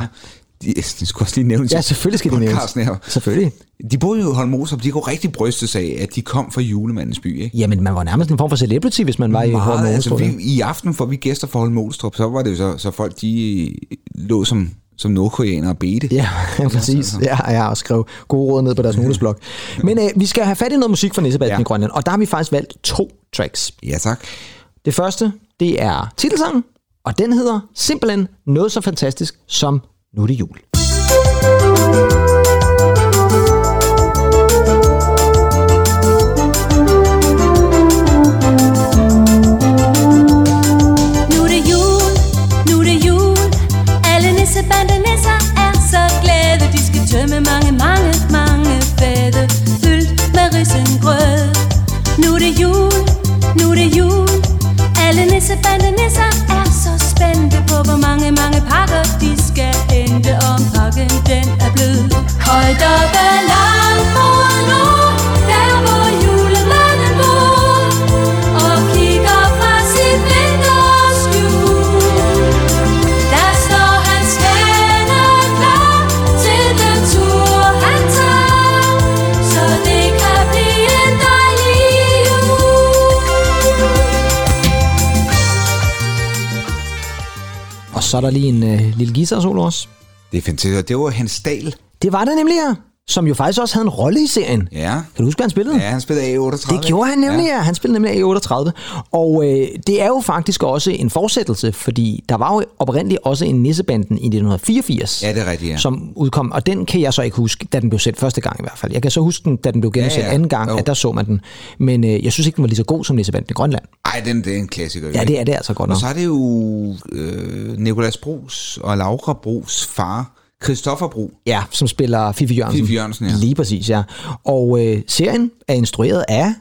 [SPEAKER 2] De, de skulle også lige nævne
[SPEAKER 1] Ja, selvfølgelig skal det nævnes.
[SPEAKER 2] Her.
[SPEAKER 1] Selvfølgelig.
[SPEAKER 2] De boede jo i Holm Olstrup, de kunne rigtig bryste sig af, at de kom fra julemandens by, ikke?
[SPEAKER 1] Jamen, man var nærmest en form for celebrity, hvis man var i Holm
[SPEAKER 2] Meget, altså,
[SPEAKER 1] altså,
[SPEAKER 2] vi, I aften får vi gæster fra Holm Olstrup, så var det jo så, så folk, de øh, lå som, som nordkoreanere og bedte.
[SPEAKER 1] Ja,
[SPEAKER 2] Altså,
[SPEAKER 1] præcis. Ja, ja, og skrive gode råd ned på deres notesblok. Men øh, vi skal have fat i noget musik fra Nissebatten ja.
[SPEAKER 2] Ja.
[SPEAKER 1] i Grønland, og der har vi faktisk valgt to tracks.
[SPEAKER 2] ja tak.
[SPEAKER 1] Det første, det er titelsangen, og den hedder simpelthen noget så fantastisk som Nu er det jul.
[SPEAKER 7] Nu er det jul, nu er det jul Alle nissebandenisser er så glade De skal tømme mange, mange, mange fade Fyldt med risengrød Nu er det jul, nu er det jul Alle nissebandenisser er så spændte på Hvor mange, mange pakker de skal hente Om pakken den er blød Højt oppe langt mod nord Der hvor julemanden bor Og kigger fra sit vinterskjul der står hans hænder klar til den tur, han tager, så det kan blive en dejlig jul.
[SPEAKER 1] Og så er der lige en øh, lille guitar-solo også.
[SPEAKER 2] Det er fantastisk. Og Det var Hans Dahl.
[SPEAKER 1] Det var det nemlig her, som jo faktisk også havde en rolle i serien.
[SPEAKER 2] Ja.
[SPEAKER 1] Kan du huske, hvad han spillede?
[SPEAKER 2] Ja, han spillede A38.
[SPEAKER 1] Det gjorde han nemlig, ja. Han spillede nemlig A38. Og øh, det er jo faktisk også en fortsættelse, fordi der var jo oprindeligt også en nissebanden i 1984.
[SPEAKER 2] Ja, det er rigtigt, ja.
[SPEAKER 1] Som udkom, og den kan jeg så ikke huske, da den blev sendt første gang i hvert fald. Jeg kan så huske den, da den blev genudsendt ja,
[SPEAKER 2] Ja,
[SPEAKER 1] ja.
[SPEAKER 2] ja.
[SPEAKER 1] anden gang,
[SPEAKER 2] Jo.
[SPEAKER 1] at der så man den. Men øh, jeg synes ikke, den var lige så god som nissebanden i Grønland.
[SPEAKER 2] Ej, den, det er en klassiker. jo,
[SPEAKER 1] Ja,
[SPEAKER 2] ikke?
[SPEAKER 1] det er det altså godt
[SPEAKER 2] Og
[SPEAKER 1] nok.
[SPEAKER 2] så er det jo øh, Nikolas Brugs og Laura Brugs far, Christoffer Bro.
[SPEAKER 1] Ja, som spiller Fifi Jørgensen.
[SPEAKER 2] Fifi Jørgensen, ja.
[SPEAKER 1] Lige præcis, ja. Og øh, serien er instrueret af...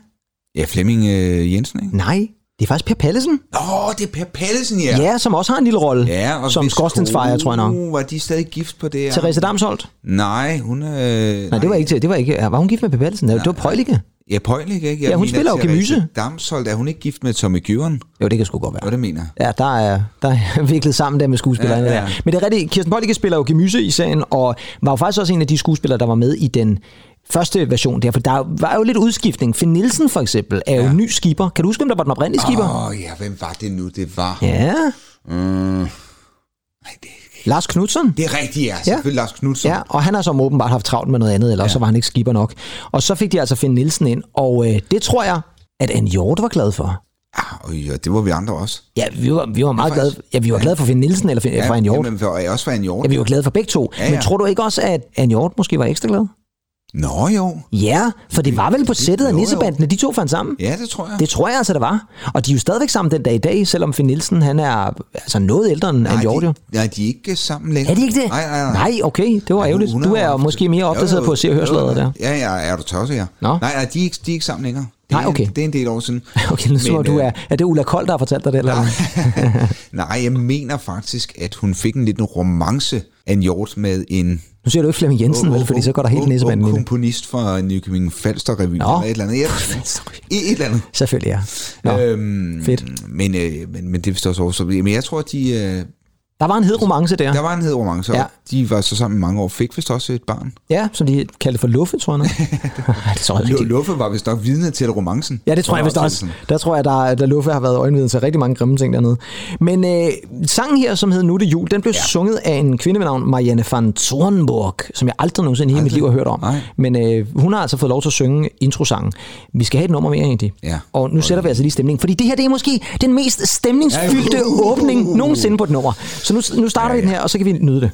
[SPEAKER 2] Ja, Flemming øh, Jensen, ikke?
[SPEAKER 1] Nej, det er faktisk Per Pallesen.
[SPEAKER 2] Åh, oh, det er Per Pallesen, ja.
[SPEAKER 1] Ja, ja som også har en lille rolle. som
[SPEAKER 2] hvis
[SPEAKER 1] skorstensfejer, tror jeg nok.
[SPEAKER 2] kone, Var de stadig gift på det her?
[SPEAKER 1] Therese Damsholdt? Nej,
[SPEAKER 2] Nej, hun er...
[SPEAKER 1] Nej, det var ikke... Det var, ikke ja, var hun gift med Per Pallesen? Nej. Det var Prøjlige.
[SPEAKER 2] Ja, Pøjlik, ikke? Jeg
[SPEAKER 1] Ja, hun
[SPEAKER 2] mener,
[SPEAKER 1] spiller jo
[SPEAKER 2] Therese
[SPEAKER 1] Gemyse.
[SPEAKER 2] Damsholdt, er hun ikke gift med Tommy Gyren?
[SPEAKER 1] Jo, det kan sgu godt være.
[SPEAKER 2] Hvad det mener jeg.
[SPEAKER 1] Ja, der er, der er virkelig sammen der med skuespillerne ja,
[SPEAKER 2] Ja,
[SPEAKER 1] ja.
[SPEAKER 2] ja.
[SPEAKER 1] der. Men det er rigtigt, Kirsten Pollicke spiller jo Gemyse i serien, og var jo faktisk også en af de skuespillere, der var med i den første version der, for der var jo lidt udskiftning. Finn Nielsen for eksempel er jo ja. ny skipper. Kan du huske, hvem der var den oprindelige skipper?
[SPEAKER 2] Åh, oh, ja, hvem var det nu, det var?
[SPEAKER 1] Ja,
[SPEAKER 2] Mm. Nej, det,
[SPEAKER 1] Lars Knudsen.
[SPEAKER 2] det er rigtigt, ja. Selvfølgelig Lars Knudsen.
[SPEAKER 1] Ja, og han har så åbenbart haft travlt med noget andet, eller ja. så var han ikke skipper nok. Og så fik de altså Finn Nielsen ind, og øh, det tror jeg, at Anne Hjort var glad for.
[SPEAKER 2] Ah, og ja, det var vi andre også.
[SPEAKER 1] Ja, vi var, vi var meget glade,
[SPEAKER 2] faktisk-
[SPEAKER 1] ja, vi var glade for Finn Nielsen eller Finn, ja, for Anne Hjort.
[SPEAKER 2] Jamen, for, jeg også var en jord.
[SPEAKER 1] Ja, vi var glade for begge to. Ja,
[SPEAKER 2] Ja,
[SPEAKER 1] ja.
[SPEAKER 2] ja.
[SPEAKER 1] Men tror du ikke også, at Anne Hjort måske var ekstra glad?
[SPEAKER 2] Nå jo.
[SPEAKER 1] Ja, for det var vel på sættet af
[SPEAKER 2] Jo, jo.
[SPEAKER 1] nissebanden, at de to fandt sammen.
[SPEAKER 2] Ja, det tror jeg.
[SPEAKER 1] Det tror jeg altså, det var. Og de er jo stadigvæk sammen den dag i dag, selvom Finn Nielsen han er altså noget ældre end
[SPEAKER 2] nej,
[SPEAKER 1] Jordi.
[SPEAKER 2] de, nej, de er ikke sammen længere.
[SPEAKER 1] Er de ikke det?
[SPEAKER 2] Nej, nej, nej.
[SPEAKER 1] nej okay, det var ærgerligt.
[SPEAKER 2] hun
[SPEAKER 1] Du er jo
[SPEAKER 2] haft-
[SPEAKER 1] måske mere
[SPEAKER 2] Jo,
[SPEAKER 1] opdateret
[SPEAKER 2] jo,
[SPEAKER 1] på at se og høre
[SPEAKER 2] jo,
[SPEAKER 1] slaget
[SPEAKER 2] jo.
[SPEAKER 1] der.
[SPEAKER 2] Ja, ja, er du tosset, ja.
[SPEAKER 1] Nå.
[SPEAKER 2] Nej, nej, de er, ikke, de er ikke sammen længere. Det
[SPEAKER 1] Nej,
[SPEAKER 2] er en-
[SPEAKER 1] okay.
[SPEAKER 2] Det er en del år siden.
[SPEAKER 1] Okay, nu tror jeg,
[SPEAKER 2] Men,
[SPEAKER 1] du
[SPEAKER 2] øh,
[SPEAKER 1] er... Er det Ulla Kold, der har fortalt dig det? Eller? hvad?
[SPEAKER 2] Nej, jeg mener faktisk, at hun fik en liten romance af en hjort med en
[SPEAKER 1] Nu siger du ikke Flemming Jensen, vel, fordi så går der helt
[SPEAKER 2] ung-
[SPEAKER 1] nissebanden i
[SPEAKER 2] ung
[SPEAKER 1] det.
[SPEAKER 2] komponist fra Nykøbing Falster Revy.
[SPEAKER 1] Nå.
[SPEAKER 2] Eller et eller andet. Ja, et eller andet.
[SPEAKER 1] Selvfølgelig, ja. Nå,
[SPEAKER 2] Øhm,
[SPEAKER 1] fedt.
[SPEAKER 2] Men, øh, men, men det er vist også også. Men jeg tror, at de, øh,
[SPEAKER 1] Der var en hed romance der,
[SPEAKER 2] der var en hed romance,
[SPEAKER 1] Ja.
[SPEAKER 2] ja. de var så sammen i mange år. Fik vist også et barn.
[SPEAKER 1] ja, som de kaldte for Luffe, tror jeg. nok. Ej, det tror jeg
[SPEAKER 2] L-
[SPEAKER 1] rigtigt.
[SPEAKER 2] Luffe var vist nok vidne til romancen.
[SPEAKER 1] Ja, det tror jeg vist også. Der tror jeg, der, der Luffe har været øjenviden til rigtig mange grimme ting dernede. Men øh, sangen her, som hedder Nu er det jul, den blev ja. sunget af en kvinde ved navn Marianne van Thornburg, som jeg aldrig nogensinde i hele mit liv har hørt om.
[SPEAKER 2] Nej.
[SPEAKER 1] Men øh, hun har altså fået lov til at synge introsangen. Vi skal have et nummer mere egentlig.
[SPEAKER 2] Ja.
[SPEAKER 1] Og nu sætter vi altså lige stemningen, fordi det her det er måske den mest stemningsfyldte
[SPEAKER 2] Ja, jo.
[SPEAKER 1] åbning nogensinde på et nummer. Så nu, nu starter ja, ja. vi den her, og så kan vi nyde det.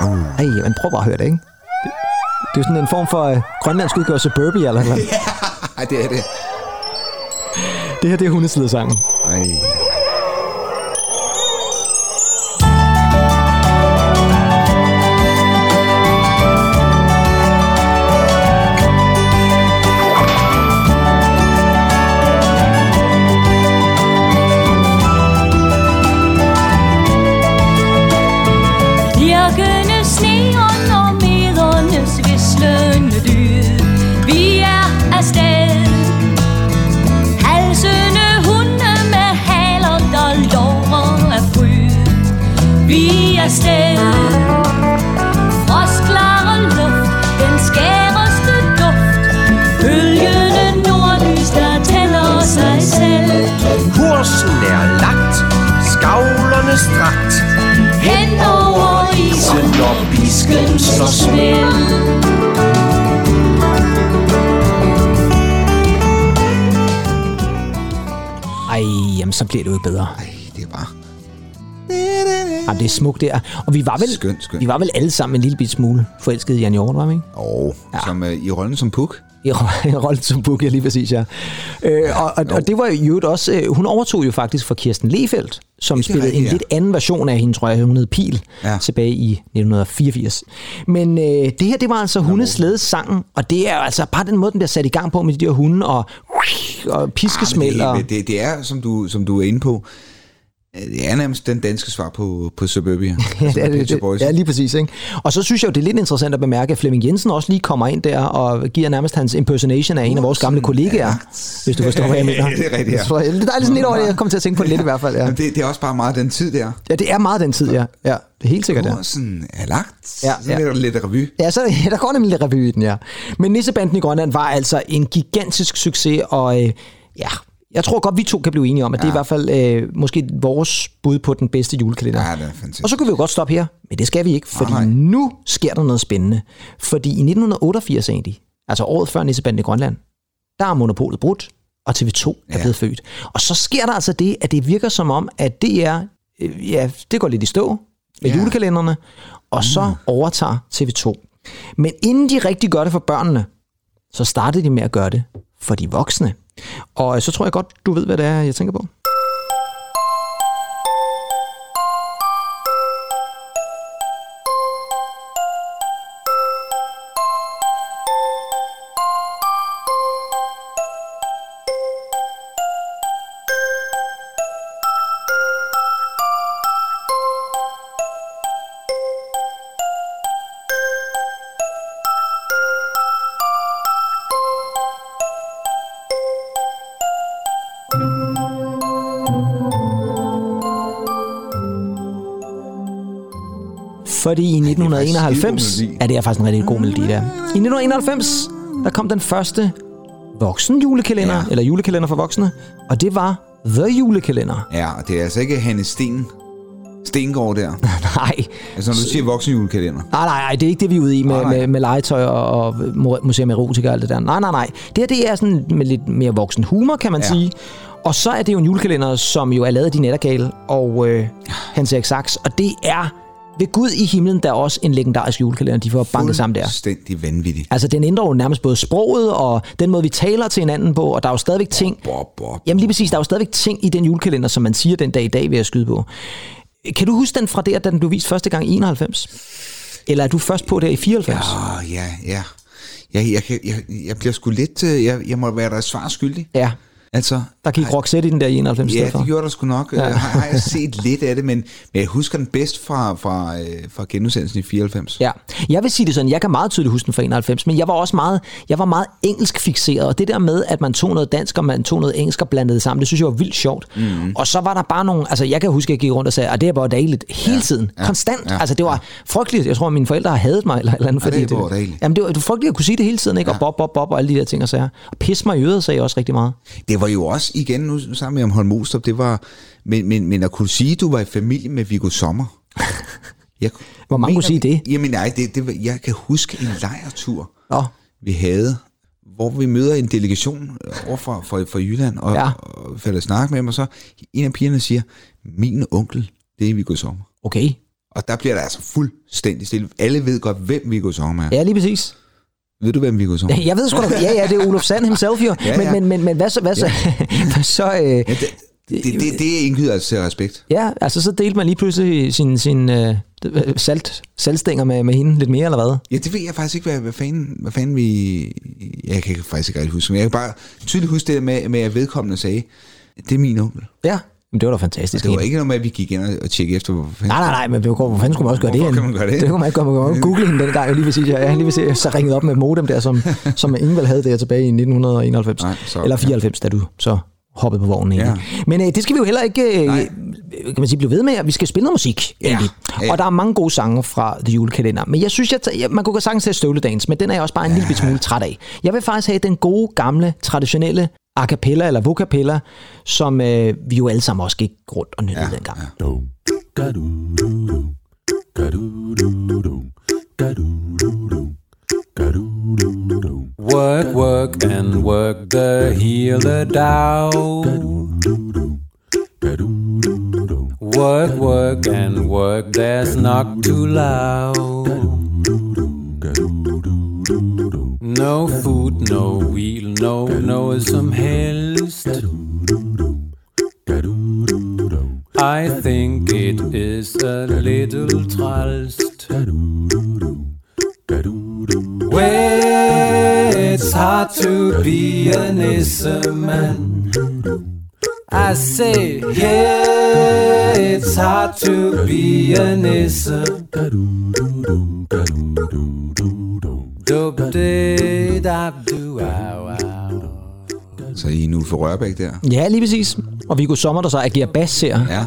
[SPEAKER 1] Uh. Ej, man prøver bare at høre det, ikke? Det, det er jo sådan en form for øh, grønlandsk udgørelse Burby eller noget.
[SPEAKER 2] Ej, det er det.
[SPEAKER 1] Det her det er hundeslidesangen.
[SPEAKER 2] Ej.
[SPEAKER 7] Bjørkene sneer, når mederne svislende dyd. Vi er afsted. Halsende hunde med haler, der lover af fryd. Vi er afsted. Frostklare luft, den skæreste duft. Bølgende nordlys, der tænder sig selv.
[SPEAKER 8] Kursen er lagt, skavlerne strakt.
[SPEAKER 7] Hen over isen, når pisken så snel.
[SPEAKER 1] Ej, jamen så bliver det jo bedre.
[SPEAKER 2] Ej, det er bare...
[SPEAKER 1] Jamen, det er smukt der. Og vi var vel,
[SPEAKER 2] Skønt, skønt.
[SPEAKER 1] Vi var vel alle sammen en lille bit smule forelskede i Jan Hjort, var vi ikke?
[SPEAKER 2] Og ja. som øh, i rollen som Puk.
[SPEAKER 1] I ro- i rollen som Bukke, lige præcis, ja. Øh, og, og, og, det var jo også, øh, hun overtog jo faktisk fra Kirsten Lefelt, som
[SPEAKER 2] det
[SPEAKER 1] spillede
[SPEAKER 2] rigtigt,
[SPEAKER 1] en
[SPEAKER 2] ja.
[SPEAKER 1] lidt anden version af hende, tror jeg, hun hed Pil, ja.
[SPEAKER 2] Ja.
[SPEAKER 1] tilbage i 1984. Men øh, det her, det var altså hundeslædes sangen, og det er jo altså bare den måde, den bliver sat i gang på med de der hunde, og,
[SPEAKER 2] Ah,
[SPEAKER 1] og piskesmæld, og...
[SPEAKER 2] Det, det, det er, som du, som du er inde på, øh, det er nærmest den danske svar på, på Suburbia.
[SPEAKER 1] Ja,
[SPEAKER 2] Altså,
[SPEAKER 1] det er
[SPEAKER 2] Pet
[SPEAKER 1] det,
[SPEAKER 2] Shop
[SPEAKER 1] det,
[SPEAKER 2] Boys.
[SPEAKER 1] ja, lige præcis. Ikke? Og så synes jeg jo, det er lidt interessant at bemærke, at Flemming Jensen også lige kommer ind der og giver nærmest hans impersonation af en af vores gamle kollegaer, hvis du forstår, hvad jeg mener.
[SPEAKER 2] Ja, det er rigtigt, ja.
[SPEAKER 1] Jeg tror, Det er dejligt sådan lidt over det, jeg kom til at tænke på det lidt i hvert fald. Ja,
[SPEAKER 2] Jamen, det, det er også bare meget den tid, der.
[SPEAKER 1] ja det er meget den tid, ja. ja det er helt sikkert, ja.
[SPEAKER 2] Kursen er lagt.
[SPEAKER 1] Ja,
[SPEAKER 2] Ja, Sådan
[SPEAKER 1] ja.
[SPEAKER 2] ja. lidt, lidt revy.
[SPEAKER 1] Ja, så ja, der går nemlig lidt revy i den, ja. Men Nissebanden i Grønland var altså en gigantisk succes, og øh, ja, jeg tror godt, vi to kan blive enige om, at ja. det er i hvert fald øh, måske vores bud på den bedste julekalender.
[SPEAKER 2] Ja, det er fantastisk.
[SPEAKER 1] Og så kunne vi jo godt stoppe her, men det skal vi ikke, fordi
[SPEAKER 2] Nej, nej.
[SPEAKER 1] nu sker der noget spændende. Fordi i 1988 egentlig, altså året før Nissebanden i Grønland, der er monopolet brudt, og TV2 er
[SPEAKER 2] Ja.
[SPEAKER 1] blevet født. Og så sker der altså det, at det virker som om, at DR, øh, ja, det går lidt i stå med
[SPEAKER 2] Ja. Mm.
[SPEAKER 1] julekalenderne, og så overtager TV2. Men inden de rigtig gør det for børnene, så startede de med at gøre det for de voksne. Og øh, så tror jeg godt, du ved, hvad det er, jeg tænker på. Fordi i 1991...
[SPEAKER 2] faktisk en skidegod melodi.
[SPEAKER 1] Ja, det er faktisk en rigtig god melodi, der. I 1991, der kom den første voksen julekalender, ja.
[SPEAKER 2] Ja.
[SPEAKER 1] eller julekalender for voksne, og det var The Julekalender.
[SPEAKER 2] Ja, og det er altså ikke Hanne Sten. Stengård der.
[SPEAKER 1] Nej,
[SPEAKER 2] Altså, når du siger voksenjulekalender.
[SPEAKER 1] Nej, Ah, nej, nej, det er ikke det, vi er ude i med,
[SPEAKER 2] Nej,
[SPEAKER 1] med,
[SPEAKER 2] nej.
[SPEAKER 1] med legetøj og, og mo- museum erotika og alt det der. Nej, nej, nej. Det her det er sådan med lidt mere voksen humor, kan man ja.
[SPEAKER 2] Ja.
[SPEAKER 1] sige. Og så er det jo en julekalender, som jo er lavet af Din Ettergale og øh, Hans Erik Sachs. Og det er ved Gud i himlen, der er også en legendarisk julekalender, de får banket sammen der.
[SPEAKER 2] Fuldstændig vanvittigt.
[SPEAKER 1] Altså, den ændrer jo nærmest både sproget og den måde, vi taler til hinanden på, og der er jo stadigvæk ting...
[SPEAKER 2] Bob, bob.
[SPEAKER 1] Jamen lige præcis, der er jo stadigvæk ting i den julekalender, som man siger den dag i dag, vil jeg skyde på. Kan du huske den fra der, da den blev vist første gang i 91? Eller er du først på der i 94?
[SPEAKER 2] Åh, Ah, ja, ja. Ja, jeg, kan- jeg, jeg bliver sgu lidt... øh, Jeg, jeg må være dig svar skyldig.
[SPEAKER 1] Ja,
[SPEAKER 2] Altså,
[SPEAKER 1] der gik Roxette i den der i 91
[SPEAKER 2] ja,
[SPEAKER 1] stedet for.
[SPEAKER 2] det gjorde der sgu nok. Ja. Har, har jeg set lidt af det, men, men jeg husker den bedst fra, fra, øh, fra genudsendelsen i 94.
[SPEAKER 1] Ja. Jeg vil sige det sådan, jeg kan meget tydeligt huske den fra 91, men jeg var også meget, jeg var meget engelsk fixeret, og det der med, at man tog noget dansk, og man tog noget engelsk og blandede det sammen, det synes jeg var vildt sjovt.
[SPEAKER 2] Mhm.
[SPEAKER 1] Mm. Og så var der bare nogle, altså jeg kan huske, at jeg gik rundt og sagde, at det er bare dagligt, hele ja. tiden, ja. konstant. Ja. Altså det var frygteligt, jeg tror, at mine forældre har hadet mig, eller et eller andet,
[SPEAKER 2] Ja, det
[SPEAKER 1] fordi
[SPEAKER 2] er bare dejligt.
[SPEAKER 1] Jamen det var, det var frygteligt at kunne sige det hele tiden, ikke? Ja. Og bob, bob, bob, og alle de der ting og sager. Og pis mig i øret, sagde jeg også rigtig meget.
[SPEAKER 2] Det var jo også, igen nu sammen med om Holm Ostrup, det var, men, men, men at kunne sige, at du var i familie med Viggo Sommer. Jeg,
[SPEAKER 1] Hvor mange
[SPEAKER 2] mener-
[SPEAKER 1] kunne sige det?
[SPEAKER 2] Jamen nej, det, det, var- jeg kan huske en lejertur,
[SPEAKER 1] Nå,
[SPEAKER 2] vi havde, hvor vi møder en delegation øh, over fra, fra, fra Jylland, og,
[SPEAKER 1] Ja.
[SPEAKER 2] ja. og falder snak med dem, og så en af pigerne siger, min onkel, det er Viggo Sommer.
[SPEAKER 1] okay.
[SPEAKER 2] Og der bliver der altså fuldstændig stille. Alle ved godt, hvem Viggo Sommer er. Ja.
[SPEAKER 1] Ja, lige præcis.
[SPEAKER 2] Ved du, hvem Viggo Sommer er?
[SPEAKER 1] Jeg ved sgu da, ja, ja, det er Olof Sand himself jo.
[SPEAKER 2] Ja,
[SPEAKER 1] Men,
[SPEAKER 2] ja.
[SPEAKER 1] men, men, men hvad så? Hvad så? Ja. så øh,
[SPEAKER 2] Ja, det, det, det, det, det indgyder altså til respekt.
[SPEAKER 1] ja, altså så delte man lige pludselig sin, sin øh, salt, saltstænger med, med hende lidt mere, eller hvad?
[SPEAKER 2] Ja, det ved jeg faktisk ikke, hvad, hvad, fanden, hvad fanden vi... Jeg kan faktisk ikke rigtig huske, men jeg kan bare tydeligt huske det der med, med at vedkommende sagde, det er min onkel.
[SPEAKER 1] Ja. Men det var da fantastisk.
[SPEAKER 2] Det var
[SPEAKER 1] egentlig.
[SPEAKER 2] ikke noget med, at vi gik ind og- og tjekkede efter, hvor fanden...
[SPEAKER 1] Nej, nej, nej, men hvor hvor fanden skulle man også gøre det?
[SPEAKER 2] Hvorfor kan
[SPEAKER 1] henne?
[SPEAKER 2] man gøre det?
[SPEAKER 1] Det kunne man ikke gøre. Man kunne godt google hende dengang, jo lige præcis. Jeg, jeg lige præcis, jeg så ringede op med et modem der, som, som Ingvald havde der tilbage i 1991.
[SPEAKER 2] Nej, så-
[SPEAKER 1] eller 94, da du så hoppede på vognen egentlig. Ja. Men øh, det skal vi jo heller ikke øh,
[SPEAKER 2] Nej.
[SPEAKER 1] kan man sige, blive ved med. Vi skal spille noget musik,
[SPEAKER 2] Ja,
[SPEAKER 1] egentlig.
[SPEAKER 2] ja.
[SPEAKER 1] Og der er mange gode sange fra The Julekalender. Men jeg synes, jeg tager, ja, man kunne godt sagtens tage Støvledans, men den er jeg også bare en lille bit smule træt af. Jeg vil faktisk have den gode, gamle, traditionelle a cappella eller vocapella, som øh, vi jo alle sammen også gik rundt og nyttede ja, dengang. Ja.
[SPEAKER 9] Work, work, and work the healer down. Work, work, and work, that's not too loud. No food, no wheel, no, no, some helst. I think it is a little trust. Well, it's hard to be an Issa man. I say, yeah, it's hard to be an Issa. Dub-de-dab-du-ow-ow.
[SPEAKER 2] Så I nu for Rørbæk der.
[SPEAKER 1] Ja, lige præcis. Og Viggo Sommer, der så agerer bass her. Ja.
[SPEAKER 2] Ja,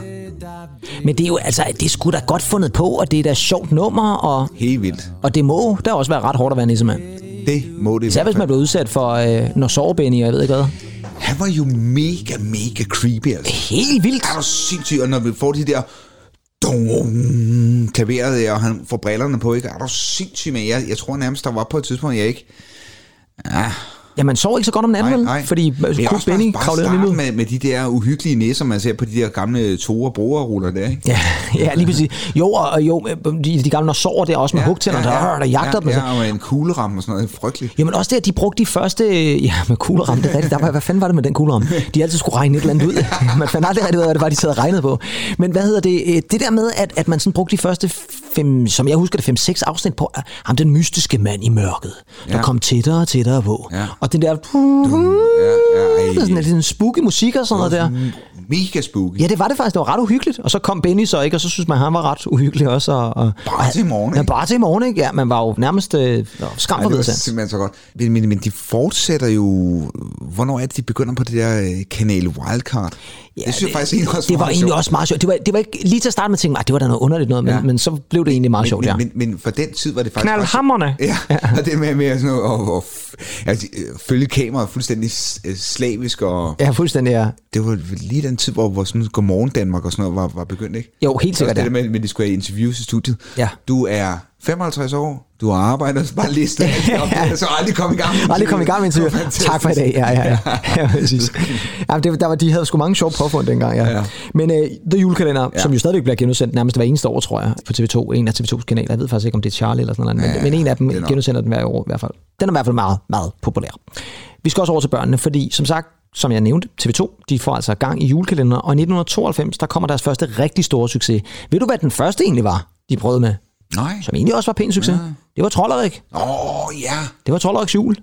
[SPEAKER 1] Men det er jo altså, det er sgu da godt fundet på, og det er da et sjovt nummer, og,
[SPEAKER 2] helt vildt. og
[SPEAKER 1] og det må da også være ret hårdt at være nissemand.
[SPEAKER 2] det må det i
[SPEAKER 1] Især
[SPEAKER 2] hvert
[SPEAKER 1] hvis man
[SPEAKER 2] fald.
[SPEAKER 1] bliver udsat for øh, når sovebenny, og jeg ved ikke hvad.
[SPEAKER 2] Han var jo mega, mega creepy, altså.
[SPEAKER 1] Helt vildt.
[SPEAKER 2] Er du sindssyg? Og når vi får de der dum, klaveret der, og han får brillerne på, ikke? Er du sindssyg? Men jeg, jeg tror nærmest, der var på et tidspunkt, jeg ikke...
[SPEAKER 1] Ja, man sover ikke så godt om natten, vel? Fordi altså,
[SPEAKER 2] Men jeg er
[SPEAKER 1] Kurt
[SPEAKER 2] også bare-
[SPEAKER 1] Benny
[SPEAKER 2] bare
[SPEAKER 1] kravlede
[SPEAKER 2] starte
[SPEAKER 1] lige ud.
[SPEAKER 2] Med, med de der uhyggelige næser, man ser på de der gamle tore brugerruller der, ikke?
[SPEAKER 1] Ja, ja, lige præcis. Jo, og og jo, øh, de, de gamle, når sover der også med ja, hugtænder, der, ja, der jagter dem. altså. og så-
[SPEAKER 2] Ja, og en kugleramme og sådan noget. Frygteligt.
[SPEAKER 1] Jamen også det, at de brugte de første... øh, Ja, med kugleramme, det er rigtigt. Der var, hvad fanden var det med den kugleramme? De altid skulle regne et eller andet ud. Man fandt aldrig rigtig ud af, hvad det var, de sad og regnede på. Men hvad hedder det? øh, Det der med, at, at man sådan brugte de første fem, som jeg husker det, fem-seks afsnit på, ah, ham den mystiske mand i mørket, der
[SPEAKER 2] Ja.
[SPEAKER 1] kom tættere og tættere på.
[SPEAKER 2] Ja.
[SPEAKER 1] Og den der...
[SPEAKER 2] Ja, ja, ej. mm,
[SPEAKER 1] Sådan lidt sådan spooky musik og sådan noget der.
[SPEAKER 2] Mega spooky.
[SPEAKER 1] Ja, det var det faktisk. Det var ret uhyggeligt. Og så kom Benny så, ikke? Og så synes man, han var ret uhyggelig også. Og, og,
[SPEAKER 2] Bare til i morgen,
[SPEAKER 1] Ja,
[SPEAKER 2] ikke?
[SPEAKER 1] bare til i morgen, ikke? Ja, man var jo nærmest øh, skam
[SPEAKER 2] Ej,
[SPEAKER 1] for
[SPEAKER 2] det var
[SPEAKER 1] vedtagelse.
[SPEAKER 2] simpelthen så godt. Men, men, men de fortsætter jo... Hvornår er det, de begynder på det der øh, kanal Wildcard?
[SPEAKER 1] Ja,
[SPEAKER 2] det synes jeg faktisk egentlig også
[SPEAKER 1] Det var
[SPEAKER 2] meget
[SPEAKER 1] egentlig
[SPEAKER 2] sjovt.
[SPEAKER 1] også meget sjovt. Det var, det var ikke, lige til at starte med tænkte jeg, "Ah, det var da noget underligt noget, men,
[SPEAKER 2] Ja.
[SPEAKER 1] men så blev det egentlig meget sjovt, ja.
[SPEAKER 2] men, men, men for den tid var det faktisk...
[SPEAKER 1] Knald
[SPEAKER 2] ret-
[SPEAKER 1] hammerne.
[SPEAKER 2] Ja, og det med, med sådan noget, og, og, altså, øh, følge kameraet fuldstændig s- øh, slavisk, og
[SPEAKER 1] Ja, fuldstændig, ja.
[SPEAKER 2] det var lige den tid, hvor, hvor sådan Godmorgen Danmark og sådan noget var, var begyndt, ikke?
[SPEAKER 1] Jo, helt sikkert,
[SPEAKER 2] Det,
[SPEAKER 1] ja.
[SPEAKER 2] det med, med, de skulle have interviews i studiet.
[SPEAKER 1] Ja.
[SPEAKER 2] Du er 55 år, du har arbejdet, så bare lige stadig op, ja. så aldrig kom i gang. med
[SPEAKER 1] Aldrig kom i gang med
[SPEAKER 2] interviewet.
[SPEAKER 1] interviewet. Tak for i dag. Ja, ja, ja. ja præcis. Ja, det, der var, de havde sgu mange sjove påfund dengang, ja.
[SPEAKER 2] Ja.
[SPEAKER 1] ja. Men uh, The Julekalender, ja. som jo stadigvæk bliver genudsendt nærmest hver eneste år, tror jeg, på TV2. En af TV2's kanaler. Jeg ved faktisk ikke, om det er Charlie eller sådan noget, men,
[SPEAKER 2] Ja,
[SPEAKER 1] ja, men en af dem
[SPEAKER 2] det er nok.
[SPEAKER 1] genudsender den hver år i hvert fald. Den er i hvert fald meget, meget populær. Vi skal også over til børnene, fordi som sagt, som jeg nævnte, TV2, de får altså gang i julekalender, og i 1992, der kommer deres første rigtig store succes. Ved du, hvad den første egentlig var, de prøvede med?
[SPEAKER 2] Nej.
[SPEAKER 1] Som egentlig også var pæn succes. Ja. Det var Trollerik.
[SPEAKER 2] Åh, oh, ja.
[SPEAKER 1] Det var Trollerik's jul.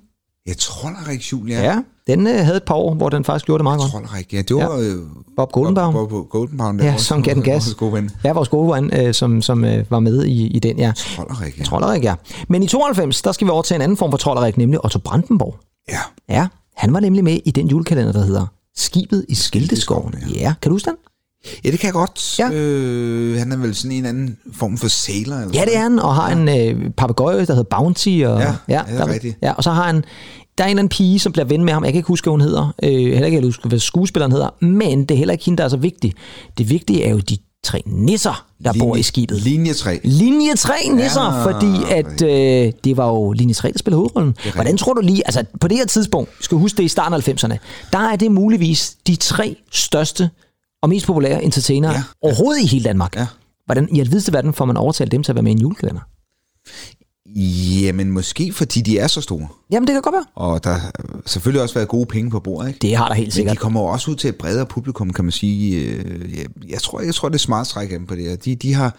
[SPEAKER 2] Jeg tror, der er Rik Juhl, ja.
[SPEAKER 1] Ja, den øh, havde et par år, hvor den faktisk gjorde det meget godt.
[SPEAKER 2] Jeg tror, der er Rik. Ja, det var... øh, Ja.
[SPEAKER 1] Bob Goldenbaum.
[SPEAKER 2] Bob, Bob Goldenbaum. der
[SPEAKER 1] Ja,
[SPEAKER 2] var
[SPEAKER 1] som
[SPEAKER 2] også-
[SPEAKER 1] gav den
[SPEAKER 2] Vores
[SPEAKER 1] gas.
[SPEAKER 2] gode ven.
[SPEAKER 1] Ja, vores gode ven, øh, som, som øh, var med i, i den, ja.
[SPEAKER 2] Trollerik, ja.
[SPEAKER 1] Trollerik, ja. Men i 92, der skal vi over til en anden form for trollerik, nemlig Otto Brandenborg.
[SPEAKER 2] Ja.
[SPEAKER 1] Ja, han var nemlig med i den julekalender, der hedder Skibet i Skilteskoven.
[SPEAKER 2] Skilteskovene,
[SPEAKER 1] Ja, kan du huske den?
[SPEAKER 2] ja, det kan jeg godt.
[SPEAKER 1] Ja.
[SPEAKER 2] Øh, han er vel sådan en anden form for sailor. Eller
[SPEAKER 1] Ja, det er han, og har en øh, papegøje, der hedder Bounty. Og, ja,
[SPEAKER 2] ja, det er
[SPEAKER 1] der,
[SPEAKER 2] rigtigt.
[SPEAKER 1] Ja, og så har han, der er en eller anden pige, som bliver ven med ham. Jeg kan ikke huske, hvad hun hedder. Øh, heller ikke, jeg huske, hvad skuespilleren hedder. Men det er heller ikke hende, der er så vigtig. Det vigtige er jo de tre nisser, der linje, bor i skibet.
[SPEAKER 2] Linje 3.
[SPEAKER 1] Linje 3 nisser,
[SPEAKER 2] Ja,
[SPEAKER 1] ja, fordi at øh, det var jo linje 3, der spillede hovedrollen. Hvordan tror du lige, altså på det her tidspunkt, skal du huske det i starten af 90'erne, der er det muligvis de tre største og mest populære entertainere
[SPEAKER 2] Ja.
[SPEAKER 1] ja. overhovedet i hele Danmark.
[SPEAKER 2] Ja.
[SPEAKER 1] Hvordan i alvideste verden får man overtalt dem til at være med i en julekalender?
[SPEAKER 2] Jamen, måske fordi de er så store.
[SPEAKER 1] Jamen det kan godt være.
[SPEAKER 2] Og der har selvfølgelig også været gode penge på bordet, ikke?
[SPEAKER 1] Det har der helt
[SPEAKER 2] Men de
[SPEAKER 1] sikkert.
[SPEAKER 2] kommer jo også ud til et bredere publikum, kan man sige. Øh, Jeg, jeg, tror, jeg tror, det er smart træk af dem på det her. De, de har...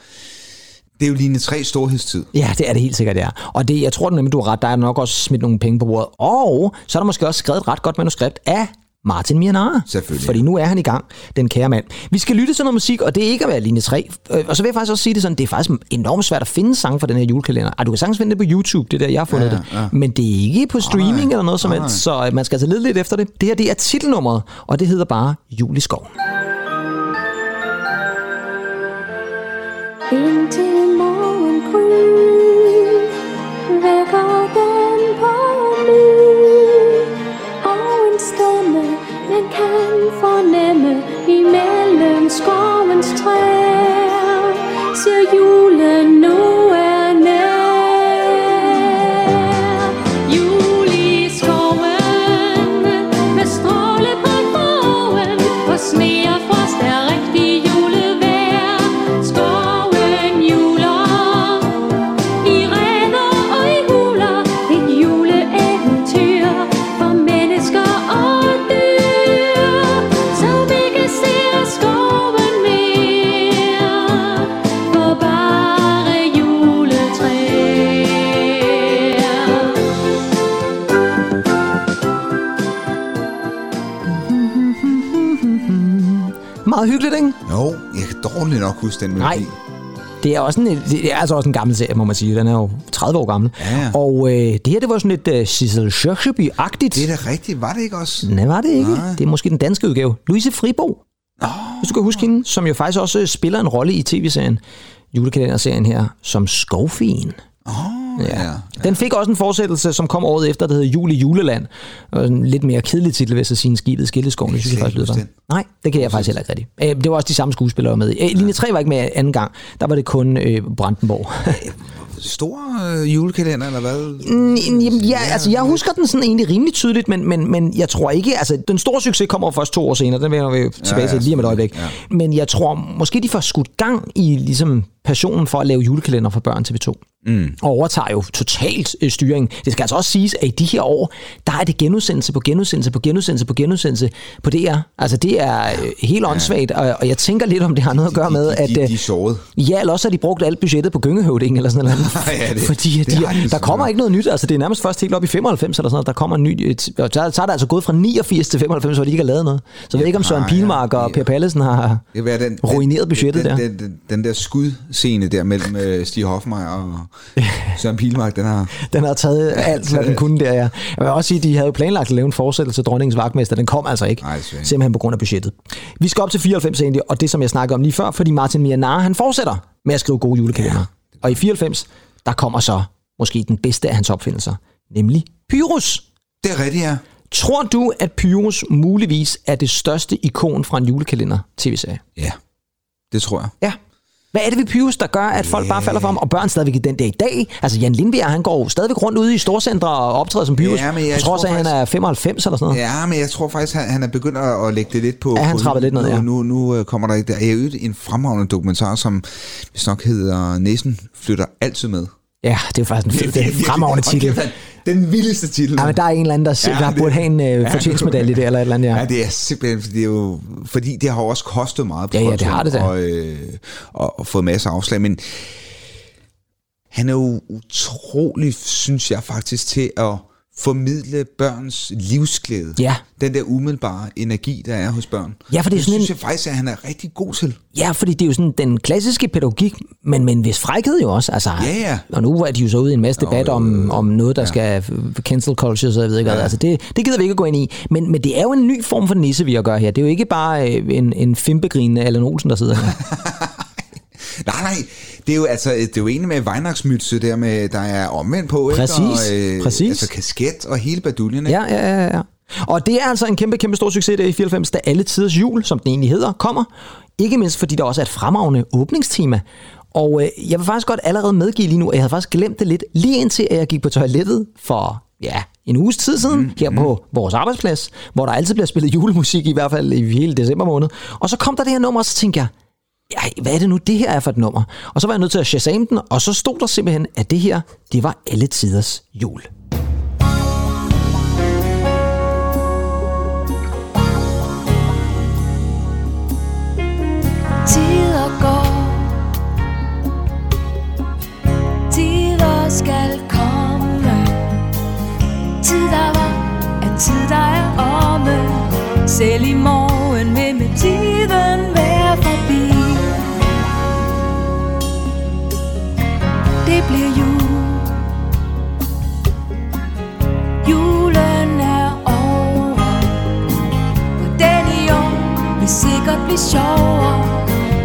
[SPEAKER 2] Det er jo linje 3 storhedstid.
[SPEAKER 1] Ja, det er det helt sikkert, det er. Og det, jeg tror nemlig, du har ret. Der er nok også smidt nogle penge på bordet. Og så er der måske også skrevet et ret godt manuskript af Martin Mianara.
[SPEAKER 2] Selvfølgelig.
[SPEAKER 1] Fordi nu er han i gang, den kære mand. Vi skal lytte til noget musik, og det er ikke at være linje 3. Øh, Og så vil jeg faktisk også sige det sådan, det er faktisk enormt svært at finde sang fra den her julekalender. Ej, du kan sagtens finde det på YouTube, det er der, jeg har fundet
[SPEAKER 2] Ja,
[SPEAKER 1] ja,
[SPEAKER 2] ja.
[SPEAKER 1] ja. det. Men det er ikke på streaming
[SPEAKER 2] Nej,
[SPEAKER 1] nej, eller noget som
[SPEAKER 2] nej.
[SPEAKER 1] helst, så øh, man skal altså lede lidt efter det. Det her, det er titelnummeret, og det hedder bare Jul i skoven.
[SPEAKER 3] Indtil morgen gry Vækker den på ny Og en stemme Man kan fornemme Imellem skovens træer Siger julen nu er nær Jul i skoven Med stråle på krogen Og sne og frost er rigtig julevejr Skoven juler i reder og i huler Et juleeventyr for mennesker og dyr Som ikke ser skoven mere For bare juletræer
[SPEAKER 1] Meget hyggeligt, ikke?
[SPEAKER 2] Jo, jeg kan dårligt nok huske den
[SPEAKER 1] Nej.
[SPEAKER 2] melodi.
[SPEAKER 1] Det er, også en, det er altså også en gammel serie, må man sige. Den er jo 30 år gammel.
[SPEAKER 2] Ja.
[SPEAKER 1] Og øh, det her, det var sådan lidt øh, Sissel Sjørsjøby-agtigt.
[SPEAKER 2] Det er da rigtigt, var det ikke også?
[SPEAKER 1] Nej, var det ikke.
[SPEAKER 2] Nej.
[SPEAKER 1] Nej. Det er måske den danske udgave. Louise Fribo. Oh. Hvis du kan huske hende, som jo faktisk også øh, spiller en rolle i tv-serien, julekalenderserien her, som skovfien.
[SPEAKER 2] Åh, ja. ja.
[SPEAKER 1] Den fik også en fortsættelse, som kom året efter, der hedder Jul i Juleland. Og en lidt mere kedelig titel, hvis jeg sige, en skibet i skilleskoven. Det synes jeg
[SPEAKER 2] Jeg kan
[SPEAKER 1] faktisk
[SPEAKER 2] slet
[SPEAKER 1] lyder
[SPEAKER 2] ikke huske
[SPEAKER 1] Nej, det kan jeg faktisk heller ikke rigtigt. Øh, Det var også de samme skuespillere der var med. i. Øh, Linje 3 var ikke med anden gang. Der var det kun øh, Brandenborg.
[SPEAKER 2] Stor øh, julekalender, eller hvad?
[SPEAKER 1] Mm, Jamen, ja, altså, jeg husker den sådan egentlig rimelig tydeligt, men, men, men jeg tror ikke, altså den store succes kommer først to år senere, den vender vi jo tilbage
[SPEAKER 2] Ja,
[SPEAKER 1] ja,
[SPEAKER 2] ja,
[SPEAKER 1] til lige om et øjeblik.
[SPEAKER 2] selvfølgelig,
[SPEAKER 1] Ja. Men jeg tror måske, de får skudt gang i ligesom passionen for at lave julekalender for børn TV2. Mm. Og overtager jo totalt øh, styringen. Det skal altså også siges, at i de her år, der er det genudsendelse på genudsendelse på genudsendelse på genudsendelse på DR. Altså det er øh, helt åndssvagt, og, og jeg tænker lidt om det har noget at gøre med,
[SPEAKER 2] de, de,
[SPEAKER 1] at...
[SPEAKER 2] de,
[SPEAKER 1] øh,
[SPEAKER 2] de er såret.
[SPEAKER 1] Ja, eller også har de brugt alt budgettet på gyngehøvding eller sådan noget.
[SPEAKER 2] Ja, det-
[SPEAKER 1] Fordi at
[SPEAKER 2] det
[SPEAKER 1] de,
[SPEAKER 2] har de
[SPEAKER 1] der
[SPEAKER 2] sådan
[SPEAKER 1] kommer
[SPEAKER 2] noget.
[SPEAKER 1] ikke noget nyt. Altså, det er nærmest først helt op i 95 eller sådan noget, der kommer en ny... et- Og så, så er der altså gået fra 89 til 95, hvor de ikke har lavet noget. Så jeg ved ikke, om Søren
[SPEAKER 2] nej,
[SPEAKER 1] Pilmark
[SPEAKER 2] ja,
[SPEAKER 1] og
[SPEAKER 2] ja.
[SPEAKER 1] Per Pallesen har...
[SPEAKER 2] Det kan være den,
[SPEAKER 1] Ruineret
[SPEAKER 2] den-
[SPEAKER 1] budgettet
[SPEAKER 2] den,
[SPEAKER 1] der.
[SPEAKER 2] Den, den, den der skudscene der mellem øh, Stig Hoffmeier og Søren Pilmark, den har...
[SPEAKER 1] Den har taget alt, hvad den kunne der, ja. Jeg vil også sige, at de havde jo planlagt at lave en fortsættelse af Dronningens Vagtmester. Den kom altså ikke,
[SPEAKER 2] Nej, desværre.
[SPEAKER 1] simpelthen på grund af budgettet. Vi skal op til 94 egentlig, og det som jeg snakkede om lige før, fordi Martin Mianar, han fortsætter med at skrive gode julekalender. Ja. Og i 94, der kommer så måske den bedste af hans opfindelser, nemlig Pyrus.
[SPEAKER 2] Det er rigtigt, ja.
[SPEAKER 1] Tror du, at Pyrus muligvis er det største ikon fra en julekalender-tv-serie?
[SPEAKER 2] Ja, det tror jeg.
[SPEAKER 1] Ja. Hvad er det ved Pyrus, der gør, at folk bare falder for ham, og børn stadigvæk i den dag i dag? Altså, Jan Lindbjerg, han går jo stadigvæk rundt ude i storcentre og optræder som Pyrus.
[SPEAKER 2] Ja, men jeg
[SPEAKER 1] jeg tror også,
[SPEAKER 2] tror
[SPEAKER 1] at han
[SPEAKER 2] faktisk-
[SPEAKER 1] er 95 eller sådan noget.
[SPEAKER 2] Ja, men jeg tror faktisk, han, han er begyndt at, at lægge det lidt på...
[SPEAKER 1] Ja, han
[SPEAKER 2] på
[SPEAKER 1] trapper lidt ned,
[SPEAKER 2] nu,
[SPEAKER 1] ja.
[SPEAKER 2] Nu, nu, øh, kommer der ikke der. Jeg er en fremragende dokumentar, som hvis nok hedder Næsen flytter altid med.
[SPEAKER 1] Ja, det er jo faktisk en fed, det er en fremragende
[SPEAKER 2] Hold kæft,
[SPEAKER 1] titel.
[SPEAKER 2] mand. Den vildeste titel.
[SPEAKER 1] Ja, men der er en eller anden, der, ja,
[SPEAKER 2] Ja,
[SPEAKER 1] der
[SPEAKER 2] det-
[SPEAKER 1] burde have en øh,
[SPEAKER 2] Ja,
[SPEAKER 1] fortjensmedalje der, eller et eller andet, ja.
[SPEAKER 2] Ja, det er simpelthen, fordi det, er jo, fordi det har jo også kostet meget på
[SPEAKER 1] Ja, ja,
[SPEAKER 2] kontoen,
[SPEAKER 1] det har det da.
[SPEAKER 2] Og, øh, og, og fået masser af afslag, men han er jo utrolig, synes jeg faktisk, til at formidle børns livsglæde.
[SPEAKER 1] Ja.
[SPEAKER 2] Den der umiddelbare energi, der er hos børn.
[SPEAKER 1] Ja, for det er sådan en-
[SPEAKER 2] synes jeg faktisk, at han er rigtig god til.
[SPEAKER 1] Ja, fordi det er jo sådan den klassiske pædagogik, men, men hvis frækhed jo også. Altså,
[SPEAKER 2] Ja, ja.
[SPEAKER 1] Og nu er de jo så ude i en masse debat om, om noget, der ja. skal f- cancel culture, så jeg ved ikke hvad. Altså, det, det gider vi ikke at gå ind i. Men, men det er jo en ny form for nisse, vi har at gøre her. Det er jo ikke bare øh, en, en fimpegrinende Allan Olsen, der sidder her.
[SPEAKER 2] Nej, nej, det er jo, altså, det er jo egentlig med Weihnachtsmytse, der, med, der er omvendt på.
[SPEAKER 1] Præcis,
[SPEAKER 2] Ikke? Og,
[SPEAKER 1] præcis.
[SPEAKER 2] Altså kasket og hele baduljen. ikke?
[SPEAKER 1] ja, ja, ja, ja. Og det er altså en kæmpe, kæmpe stor succes der i 94, da alle tiders jul, som den egentlig hedder, kommer. Ikke mindst fordi der også er et fremragende åbningstema. Og øh, jeg vil faktisk godt allerede medgive lige nu, at jeg havde faktisk glemt det lidt, lige indtil at jeg gik på toilettet for ja, en uges tid siden, mm, her på vores arbejdsplads, hvor der altid bliver spillet julemusik, i hvert fald i hele december måned. Og så kom der det her nummer, og så tænkte jeg, ej, hvad er det nu, det her er for et nummer? Og så var jeg nødt til at shazam den, og så stod der simpelthen, at det her, det var alle tiders jul.
[SPEAKER 7] Tider går Tider skal komme Tid der var Er tid der er omme Selv i morgen vil med tiden være forbi Det bliver jul Julen er over på den i år vil sikkert blive sjovere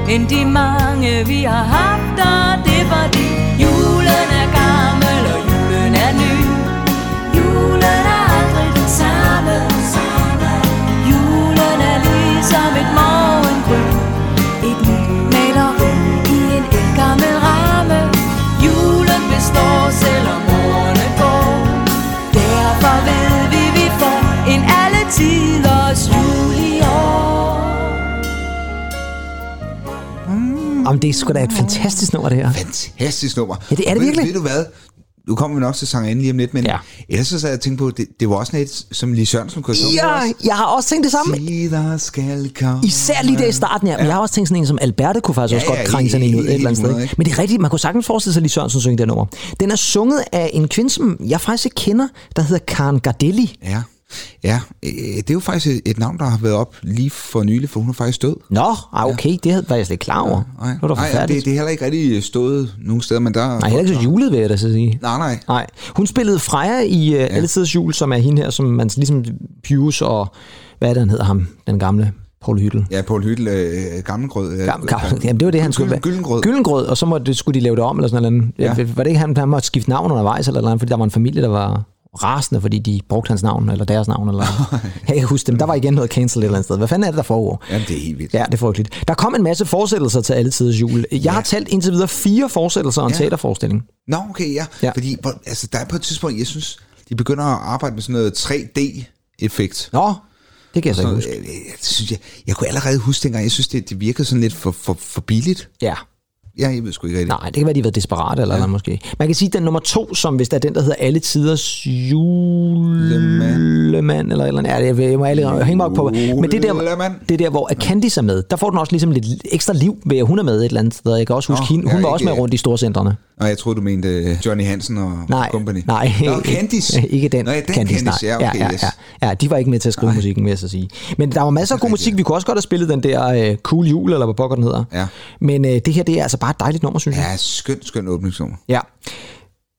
[SPEAKER 7] End de mange vi har haft Og det er fordi julen er gammel og julen er ny Julen er aldrig den samme Julen er ligesom et morgengryn Et nyt maleri i en gammel ramme Julen består selvom årene går Derfor ved vi, vi får en alle tiders jul i år.
[SPEAKER 1] Jamen, det er sgu da et fantastisk nummer, det her.
[SPEAKER 2] Fantastisk nummer.
[SPEAKER 1] Ja, det er det
[SPEAKER 2] Og ved-
[SPEAKER 1] virkelig.
[SPEAKER 2] Ved du hvad? Nu kommer vi nok til sangerinden lige om lidt, men
[SPEAKER 1] Ja.
[SPEAKER 2] ja. ellers så sad jeg og tænkte på, det, det var også sådan et, som Lee Sørensen kunne synge
[SPEAKER 1] Ja,
[SPEAKER 2] også.
[SPEAKER 1] jeg har også tænkt det samme.
[SPEAKER 2] Tider skal komme.
[SPEAKER 1] Især lige der i starten, ja. Men jeg har også tænkt sådan en som Alberte kunne faktisk
[SPEAKER 2] Ja,
[SPEAKER 1] også
[SPEAKER 2] ja,
[SPEAKER 1] godt krænge sådan en
[SPEAKER 2] helt-
[SPEAKER 1] ud et eller andet
[SPEAKER 2] helt
[SPEAKER 1] sted.
[SPEAKER 2] hundrede,
[SPEAKER 1] ikke?
[SPEAKER 2] ikke?
[SPEAKER 1] Men det er rigtigt, man kunne sagtens forestille sig lige Sørensen synge det nummer. Den er sunget af en kvinde, som jeg faktisk ikke kender, der hedder Karen Gardelli.
[SPEAKER 2] Ja. Ja, øh, det er jo faktisk et, et navn, der har været op lige for nylig, for hun er faktisk død.
[SPEAKER 1] Nå, ah, okay, det havde- var jeg slet ikke klar over.
[SPEAKER 2] Nej,
[SPEAKER 1] Det var da
[SPEAKER 2] nej og det,
[SPEAKER 1] forfærdeligt.
[SPEAKER 2] det er heller ikke rigtig stået nogen steder, men der...
[SPEAKER 1] Nej, heller ikke så julet, vil jeg da så sige.
[SPEAKER 2] Nej, nej.
[SPEAKER 1] Nej, hun spillede Freja i uh, Alletiders Jul, som er hende her, som man ligesom Pius og, hvad er det, han hedder ham, den gamle Paul Hyttel.
[SPEAKER 2] Ja, Poul Hyttel, øh, gammelgrød. Øh,
[SPEAKER 1] Gam, gam, jamen, det var det, han skulle være.
[SPEAKER 2] Gyllengrød.
[SPEAKER 1] Gyllengrød, og så måtte, det- skulle de lave det om, eller sådan noget. Ja.
[SPEAKER 2] Ja.
[SPEAKER 1] Var det ikke, han, han måtte skifte navn undervejs, eller, et eller andet, fordi der var en familie, der var rasende, fordi de brugte hans navn, eller deres navn, eller jeg kan huske dem. Der var igen noget cancel et eller andet sted. Hvad fanden er det, der foregår?
[SPEAKER 2] Jamen, det er helt vildt.
[SPEAKER 1] Ja, det er frygteligt. Der kom en masse fortsættelser til alle tiders jul. Jeg har talt indtil videre fire fortsættelser og en
[SPEAKER 2] Ja.
[SPEAKER 1] teaterforestilling.
[SPEAKER 2] Nå, okay, ja.
[SPEAKER 1] Ja.
[SPEAKER 2] ja. Fordi hvor- altså, der er på et tidspunkt, jeg synes, de begynder at arbejde med sådan noget 3D-effekt.
[SPEAKER 1] Nå, det kan jeg så ikke
[SPEAKER 2] Sådan,
[SPEAKER 1] huske.
[SPEAKER 2] øh, øh, det synes jeg, jeg kunne allerede huske dengang, jeg synes, det, det virkede sådan lidt for, for, for billigt.
[SPEAKER 1] Ja.
[SPEAKER 2] Ja, jeg ved sgu ikke rigtigt.
[SPEAKER 1] Nej, det kan være, de har været desperate eller, ja. eller måske. Man kan sige, at den nummer to, som hvis der er den, der hedder Alle Tiders Julemand, eller et eller andet. Ja, det, jeg må alle hænge mig op på. Men det der,
[SPEAKER 2] Julemand.
[SPEAKER 1] det der, hvor Candice er med, der får den også ligesom lidt ekstra liv ved, at hun er med et eller andet sted. Jeg kan også huske,
[SPEAKER 2] Nå,
[SPEAKER 1] hende,
[SPEAKER 2] jeg
[SPEAKER 1] hun
[SPEAKER 2] er
[SPEAKER 1] var også med
[SPEAKER 2] ikke-
[SPEAKER 1] rundt i storcentrene.
[SPEAKER 2] Og jeg troede, du mente øh, Johnny Hansen og
[SPEAKER 1] Nej,
[SPEAKER 2] Company.
[SPEAKER 1] nej.
[SPEAKER 2] Nå, Candice.
[SPEAKER 1] ikke den.
[SPEAKER 2] Nå, ja, den Candice,
[SPEAKER 1] nej.
[SPEAKER 2] ja, okay,
[SPEAKER 1] ja,
[SPEAKER 2] yes.
[SPEAKER 1] ja, ja. ja, de var ikke med til at skrive nej. musikken, vil jeg så sige. Men der var masser af god musik. Vi kunne også godt have spillet den der øh, Cool Jul, eller hvad pokker den hedder.
[SPEAKER 2] Ja.
[SPEAKER 1] Men øh, det her, det er altså bare et dejligt nummer, synes jeg.
[SPEAKER 2] Ja, skøn, skøn åbningsnummer.
[SPEAKER 1] Ja.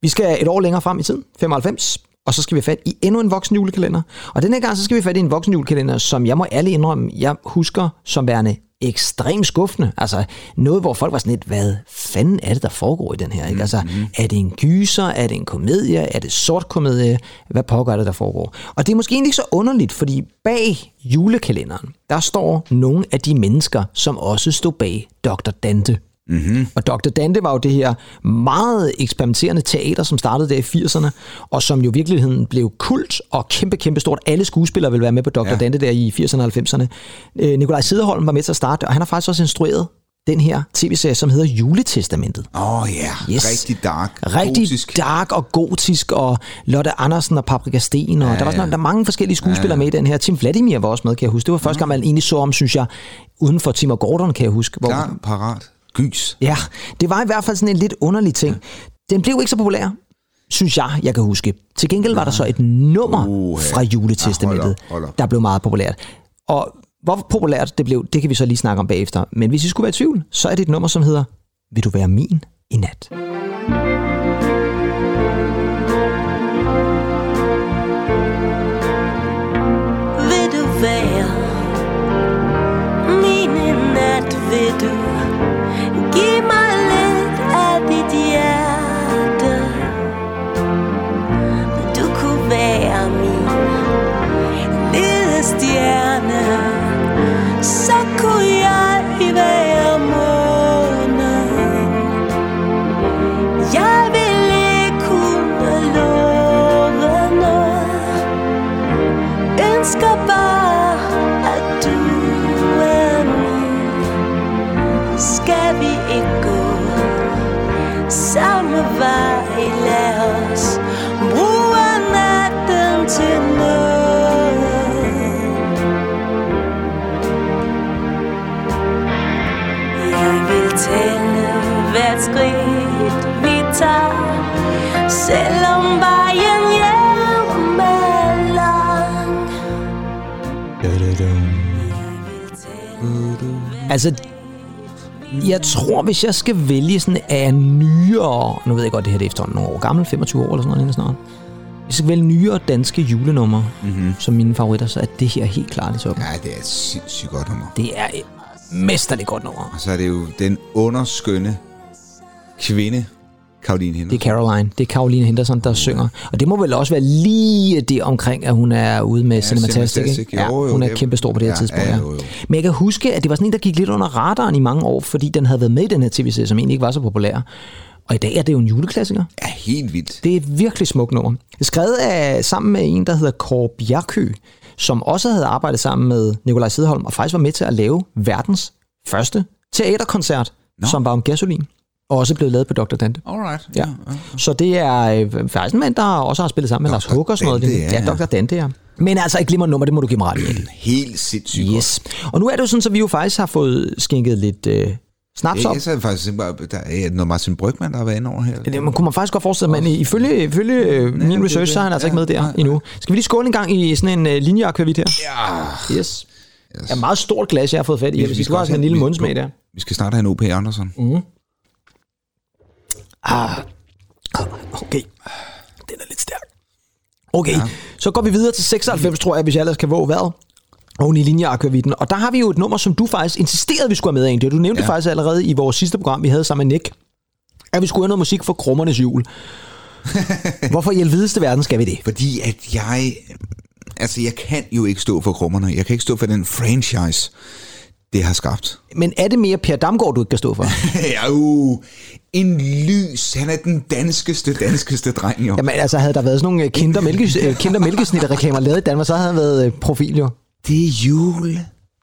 [SPEAKER 1] Vi skal et år længere frem i tiden, 95, og så skal vi have fat i endnu en voksen julekalender. Og den her gang, så skal vi have fat i en voksen julekalender, som jeg må alle indrømme, jeg husker som værende ekstremt skuffende. Altså noget, hvor folk var sådan lidt, hvad fanden er det, der foregår i den her? Ikke? Altså, er det en gyser? Er det en komedie? Er det sort komedie? Hvad pågår det, der foregår? Og det er måske egentlig ikke så underligt, fordi bag julekalenderen, der står nogle af de mennesker, som også stod bag Dr. Dante. Mm-hmm. Og Dr. Dante var jo det her meget eksperimenterende teater, som startede der i 80'erne, og som jo i virkeligheden blev kult og kæmpe, kæmpe stort. Alle skuespillere ville være med på Dr. Ja.
[SPEAKER 2] Ja.
[SPEAKER 1] Dante der i 80'erne og 90'erne. Øh, Nikolaj Sederholm var med til at starte, og han har faktisk også instrueret den her tv-serie, som hedder Juletestamentet.
[SPEAKER 2] Åh oh, ja, yeah.
[SPEAKER 1] Yes.
[SPEAKER 2] rigtig dark.
[SPEAKER 1] Rigtig
[SPEAKER 2] gotisk.
[SPEAKER 1] gotisk. dark og gotisk, og Lotte Andersen og Paprika Sten, og ja, der var sådan,
[SPEAKER 2] ja.
[SPEAKER 1] der er mange forskellige skuespillere ja, ja. med i den her. Tim Vladimir var også med, kan jeg huske. Det var første gang, man egentlig så om, synes jeg, uden for Tim og Gordon, kan jeg huske. Hvor,
[SPEAKER 2] Klar, parat, gys.
[SPEAKER 1] Ja, det var i hvert fald sådan en lidt underlig ting. Den blev ikke så populær, synes jeg, jeg kan huske. Til gengæld var der så et nummer
[SPEAKER 2] Uha.
[SPEAKER 1] fra juletestamentet,
[SPEAKER 2] Ja, hold op, hold op.
[SPEAKER 1] der blev meget populært. Og hvor populært det blev, det kan vi så lige snakke om bagefter. Men hvis I skulle være i tvivl, så er det et nummer, som hedder Vil du være min i nat?
[SPEAKER 7] Vil du være min i nat? Vil du give mig lidt af dit hjerte? Du kunne være min lille stjerne Så kunne jeg være månen Jeg vil ikke kunne love noget ønsker bare, at du er min. Skal vi ikke gå samme vej? Lad os bruge natten til noget. Jeg vil tælle hvert skridt, vi tager Selvom vejen hjem er lang
[SPEAKER 1] Altså, jeg tror, hvis jeg skal vælge sådan af nyere... Nu ved jeg godt, det her det er efterhånden nogle år gammel, 25 år eller sådan noget lignende snart. Hvis jeg skal vælge nyere danske julenummer mm-hmm. som mine favoritter, så er det her helt klart i toppen.
[SPEAKER 2] Ja, det er et sindssygt godt nummer.
[SPEAKER 1] Det er et mesterligt godt nummer.
[SPEAKER 2] Og så er det jo den underskønne kvinde, Karoline Henrik.
[SPEAKER 1] Det er Caroline. Det er Caroline Henderson, der synger. Og det må vel også være lige det omkring, at hun er ude med ja, Cinematastic.
[SPEAKER 2] Cinematastic.
[SPEAKER 1] ikke? Ja,
[SPEAKER 2] Jo, jo,
[SPEAKER 1] hun er
[SPEAKER 2] det-
[SPEAKER 1] kæmpestor på det her
[SPEAKER 2] ja,
[SPEAKER 1] tidspunkt.
[SPEAKER 2] ja,
[SPEAKER 1] Ja.
[SPEAKER 2] jo, jo.
[SPEAKER 1] Men jeg kan huske, at det var sådan en, der gik lidt under radaren i mange år, fordi den havde været med i den her tv-serie, som egentlig ikke var så populær. Og i dag er det jo en juleklassiker.
[SPEAKER 2] er helt vildt.
[SPEAKER 1] Det er et virkelig smukt nummer. Det er Skrevet af, sammen med en, der hedder Kåre Bjerkø, som også havde arbejdet sammen med Nikolaj Sidholm, og faktisk var med til at lave verdens første teaterkoncert, no. som var om gasolin, og også blev lavet på Dr. Dante.
[SPEAKER 2] Alright.
[SPEAKER 1] Ja. Så det er øh, faktisk en mand, der også har spillet sammen med Lars Hugger og sådan noget.
[SPEAKER 2] Dante,
[SPEAKER 1] lignende.
[SPEAKER 2] ja,
[SPEAKER 1] ja, Dr. Dante, ja. Men altså et glimrende nummer, det må du give mig ret i. Mikkel.
[SPEAKER 2] Helt sindssygt godt.
[SPEAKER 1] Yes. Og nu er det jo sådan, at vi jo faktisk har fået skænket lidt øh, snaps
[SPEAKER 2] Ja,
[SPEAKER 1] op.
[SPEAKER 2] Jeg sad faktisk tænkte bare, der er noget Martin Brygman, der har været inde over her.
[SPEAKER 1] Det, øh, man kunne man faktisk godt forestille, men ifølge, ifølge øh,
[SPEAKER 2] det er
[SPEAKER 1] min research,
[SPEAKER 2] det.
[SPEAKER 1] så er han altså
[SPEAKER 2] Ja,
[SPEAKER 1] ikke med der
[SPEAKER 2] nej, nej.
[SPEAKER 1] endnu. Skal vi lige skåle en gang i sådan en øh, linjeakvavit her? Ja. Yes. Det er et meget stort glas, jeg har fået fat i. Jeg vil sige, du har
[SPEAKER 2] også
[SPEAKER 1] også
[SPEAKER 2] have-
[SPEAKER 1] en lille
[SPEAKER 2] vi-
[SPEAKER 1] mundsmag der.
[SPEAKER 2] Vi skal snart have en O.P. Andersen.
[SPEAKER 1] Mm. Okay. Den er lidt stærk. Okay, ja. så går vi videre til 96, tror jeg, hvis jeg ellers kan våge vejret. Oven i linjeakvavitten. Og der har vi jo et nummer, som du faktisk insisterede, vi skulle have med, egentlig. Og Du nævnte ja. faktisk allerede i vores sidste program, vi havde sammen med Nick, at vi skulle have noget musik for krummernes jul. Hvorfor i alvideste verden skal vi det?
[SPEAKER 2] Fordi at jeg... Altså, jeg kan jo ikke stå for krummerne. Jeg kan ikke stå for den franchise, det har skabt.
[SPEAKER 1] Men er det mere Per Damgaard, du ikke kan stå for?
[SPEAKER 2] ja, uh, en lys. Han er den danskeste, danskeste dreng, jo. Jamen.
[SPEAKER 1] Jamen altså, havde der været sådan nogle øh, kinder, mælke, øh, kinder mælkesnitterreklamer lavet i Danmark, så havde han været øh, profil jo.
[SPEAKER 2] Det er jul.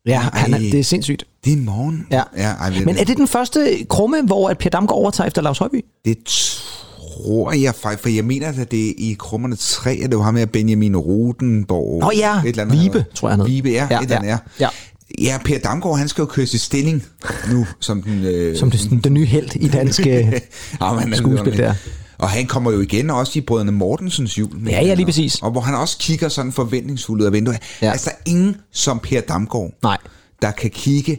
[SPEAKER 1] Ja, han er, det er sindssygt.
[SPEAKER 2] det er morgen.
[SPEAKER 1] Ja.
[SPEAKER 2] ja ej,
[SPEAKER 1] Men er det den første krumme, hvor at Per Damgaard overtager efter Lars Højby?
[SPEAKER 2] Det tror jeg faktisk, for jeg mener, at det er i krummerne 3, at det var ham her Benjamin Rodenborg.
[SPEAKER 1] Nå ja,
[SPEAKER 2] et eller andet,
[SPEAKER 1] Vibe, tror jeg, han hed.
[SPEAKER 2] Vibe, ja, ja
[SPEAKER 1] Ja,
[SPEAKER 2] et eller andet,
[SPEAKER 1] ja,
[SPEAKER 2] Ja, Per Damgaard, han skal jo køre sin stilling nu, som den... Øh,
[SPEAKER 1] Som det, den nye held i dansk øh,
[SPEAKER 2] ah, men,
[SPEAKER 1] skuespil der.
[SPEAKER 2] Og han kommer jo igen også i Brødrene Mortensens jul. mener
[SPEAKER 1] Ja, ja, lige
[SPEAKER 2] jeg.
[SPEAKER 1] præcis.
[SPEAKER 2] Og hvor han også kigger sådan forventningsfuldt ud af vinduet.
[SPEAKER 1] Ja.
[SPEAKER 2] Ja. Altså, der er ingen som Per Damgaard,
[SPEAKER 1] Nej.
[SPEAKER 2] der kan kigge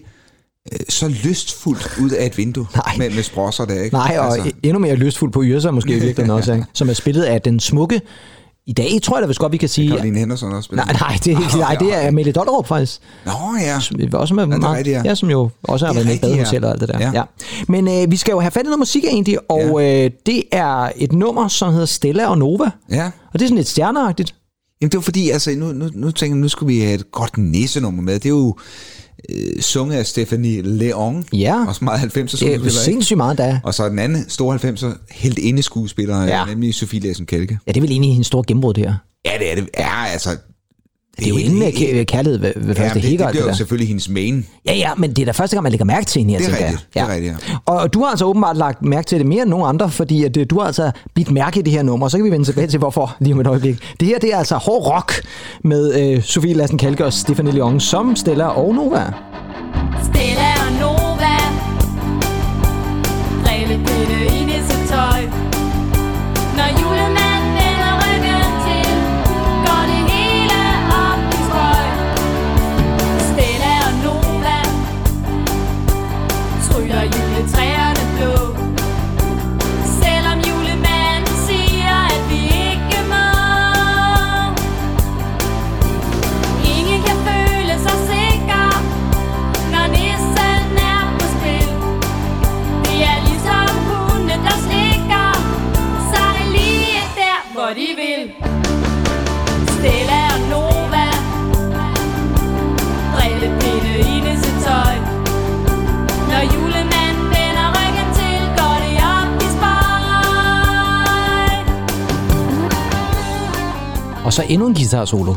[SPEAKER 2] øh, så lystfuldt ud af et vindue
[SPEAKER 1] Nej.
[SPEAKER 2] med, med sprosser der, ikke?
[SPEAKER 1] Nej, og altså. endnu mere lystfuld på Yrsa måske i virkeligheden også, ikke? som er spillet af den smukke... I dag tror jeg da vist godt, vi kan sige...
[SPEAKER 2] Caroline Henderson også spiller.
[SPEAKER 1] Nej, nej, det, er ikke, nej, det er Amelie Dollerup faktisk.
[SPEAKER 2] Nå ja.
[SPEAKER 1] Også med
[SPEAKER 2] det er
[SPEAKER 1] meget,
[SPEAKER 2] rigtigt, ja.
[SPEAKER 1] ja, som jo også har
[SPEAKER 2] Det er
[SPEAKER 1] været med i
[SPEAKER 2] rigtigt,
[SPEAKER 1] badehotel
[SPEAKER 2] ja.
[SPEAKER 1] og alt det der. Ja.
[SPEAKER 2] Ja.
[SPEAKER 1] Ja. Men øh, vi skal jo have fat i noget musik egentlig, og ja. øh, det er et nummer, som hedder Stella og Nova.
[SPEAKER 2] Ja.
[SPEAKER 1] Og det er sådan lidt stjerneagtigt.
[SPEAKER 2] Jamen, det var fordi, altså, nu, nu, nu tænker jeg, nu skulle vi have et godt næsenummer med. Det er jo øh, sunget af Stephanie Leon.
[SPEAKER 1] Ja.
[SPEAKER 2] Også meget 90'er
[SPEAKER 1] Det er jo
[SPEAKER 2] skuespiller, ikke?
[SPEAKER 1] sindssygt meget, der er.
[SPEAKER 2] Og så den anden store 90'er helt inde skuespiller,
[SPEAKER 1] Ja.
[SPEAKER 2] ja. nemlig Sofie Lassen Kalke.
[SPEAKER 1] Ja, det er vel egentlig hendes store gennembrud, det her.
[SPEAKER 2] Ja, det er det. Ja, altså...
[SPEAKER 1] Det er jo Altså, inden af kæ- kærlighed ved, ved
[SPEAKER 2] Ja,
[SPEAKER 1] første
[SPEAKER 2] det, det,
[SPEAKER 1] hækker.
[SPEAKER 2] det
[SPEAKER 1] og
[SPEAKER 2] bliver jo
[SPEAKER 1] der.
[SPEAKER 2] selvfølgelig hendes main.
[SPEAKER 1] Ja, ja, men det er da første gang, man lægger mærke til hende, jeg
[SPEAKER 2] Det er
[SPEAKER 1] tænker
[SPEAKER 2] rigtigt, det
[SPEAKER 1] jeg.
[SPEAKER 2] er rigtigt, ja.
[SPEAKER 1] Og du har altså åbenbart lagt mærke til det mere end nogen andre, fordi at, øh, du har altså bidt mærke i det her nummer, og så kan vi vende tilbage til, hvorfor lige om et øjeblik. Det her, det er altså hård rock med øh, Sofie Lassen Kalke og Stefanie Leon som Stella og Nova.
[SPEAKER 7] Stella og Nova Rille bitte i nissetøj Når julemanden vender ryggen til Går det hele op i trøj Stella og Nova Tryller juletræerne blå Selvom julemanden siger, at vi ikke må Ingen kan føle sig sikker når nissen er på spil. Det er ligesom hunde, der slikker, så er det lige der, hvor de vil. Stella og Nova, drillepinde i nissetøj. Når julemanden vender ryggen til, går det op i spøj.
[SPEAKER 1] Og så endnu en guitar solo.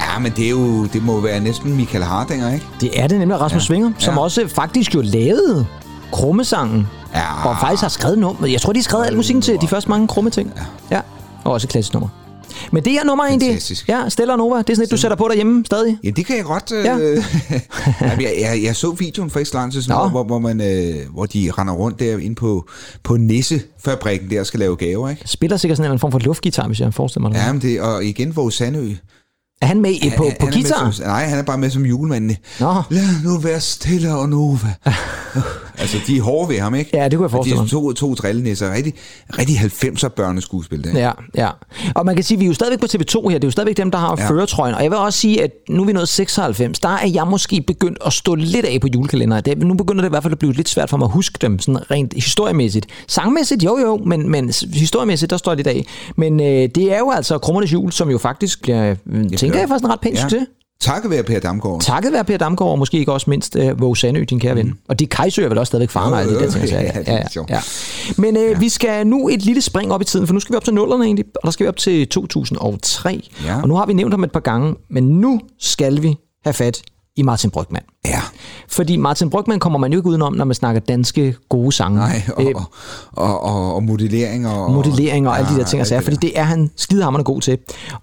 [SPEAKER 2] Ja, men det, er jo, det må være næsten Michael Hardinger, ikke?
[SPEAKER 1] Det er det nemlig Rasmus ja. Svinger, som ja.
[SPEAKER 2] ja.
[SPEAKER 1] også faktisk jo lavede krummesangen.
[SPEAKER 2] Ja.
[SPEAKER 1] Og faktisk har skrevet nummer. Jeg tror, de har skrevet al musikken til de første mange krumme ting. Ja. ja. Og også et klassisk nummer. Men det her nummer egentlig,
[SPEAKER 2] Fantastisk.
[SPEAKER 1] ja, Stella og Nova, det er sådan et, du sætter på derhjemme stadig.
[SPEAKER 2] Ja, det kan jeg godt. Øh,
[SPEAKER 1] Ja.
[SPEAKER 2] ja. jeg, jeg, jeg så videoen for ikke så lang tid
[SPEAKER 1] Nå.
[SPEAKER 2] siden, hvor, hvor, man, øh, hvor de render rundt der inde på, på Nissefabrikken der og skal lave gaver, ikke?
[SPEAKER 1] Spiller sikkert sådan en eller anden form for luftgitar, hvis jeg forestiller mig det.
[SPEAKER 2] Ja, men det, og igen Våge Sandø.
[SPEAKER 1] Er han med i, på,
[SPEAKER 2] Han- han er
[SPEAKER 1] på
[SPEAKER 2] med
[SPEAKER 1] guitar?
[SPEAKER 2] Som, nej, han er bare med som julemanden.
[SPEAKER 1] Nå.
[SPEAKER 2] Lad nu være stille og Nova. altså, de er hårde ved ham, ikke?
[SPEAKER 1] Ja, det kunne jeg forestille
[SPEAKER 2] mig. De er to, to drillenisser. Rigtig, rigtig 90'er børneskuespil, der.
[SPEAKER 1] Ja, ja. Og man kan sige, at vi er jo stadigvæk på TV2 her. Det er jo stadigvæk dem, der har ja.
[SPEAKER 2] Ja.
[SPEAKER 1] føretrøjen. Og jeg vil også sige, at nu er vi nået 96. Der er jeg måske begyndt at stå lidt af på julekalenderen. Det, nu begynder det i hvert fald at blive lidt svært for mig at huske dem, sådan rent historiemæssigt. Sangmæssigt, jo jo, men, men s- historiemæssigt, der står det i dag. Men øh, det er jo altså Krummernes Jul, som jo faktisk bliver, øh, tænker
[SPEAKER 2] ja.
[SPEAKER 1] jeg, faktisk en ret pæn ja. succes.
[SPEAKER 2] Takket være Per Damgaard.
[SPEAKER 1] Takket være Per Damgaard, og måske ikke også mindst øh, Våge Sandø, din kære ven. Mm. Og det kejsøger vel også stadigvæk far mig,
[SPEAKER 2] Jo,
[SPEAKER 1] det
[SPEAKER 2] jo,
[SPEAKER 1] der ting, jeg
[SPEAKER 2] Øh, ja,
[SPEAKER 1] sagde.
[SPEAKER 2] det er
[SPEAKER 1] Ja, ja,
[SPEAKER 2] sjovt.
[SPEAKER 1] ja. Men øh, ja. vi skal nu et lille spring op i tiden, for nu skal vi op til nullerne egentlig, og der skal vi op til 2003.
[SPEAKER 2] Ja.
[SPEAKER 1] Og nu har vi nævnt ham et par gange, men nu skal vi have fat i Martin Brygman.
[SPEAKER 2] Ja,
[SPEAKER 1] Fordi Martin Brygman kommer man jo ikke udenom, når man snakker danske gode sange.
[SPEAKER 2] nej, og,
[SPEAKER 1] Øh,
[SPEAKER 2] og, og, og, og modellering og...
[SPEAKER 1] modellering og alle de der ting, og sager, fordi det er han skidehammerende god til.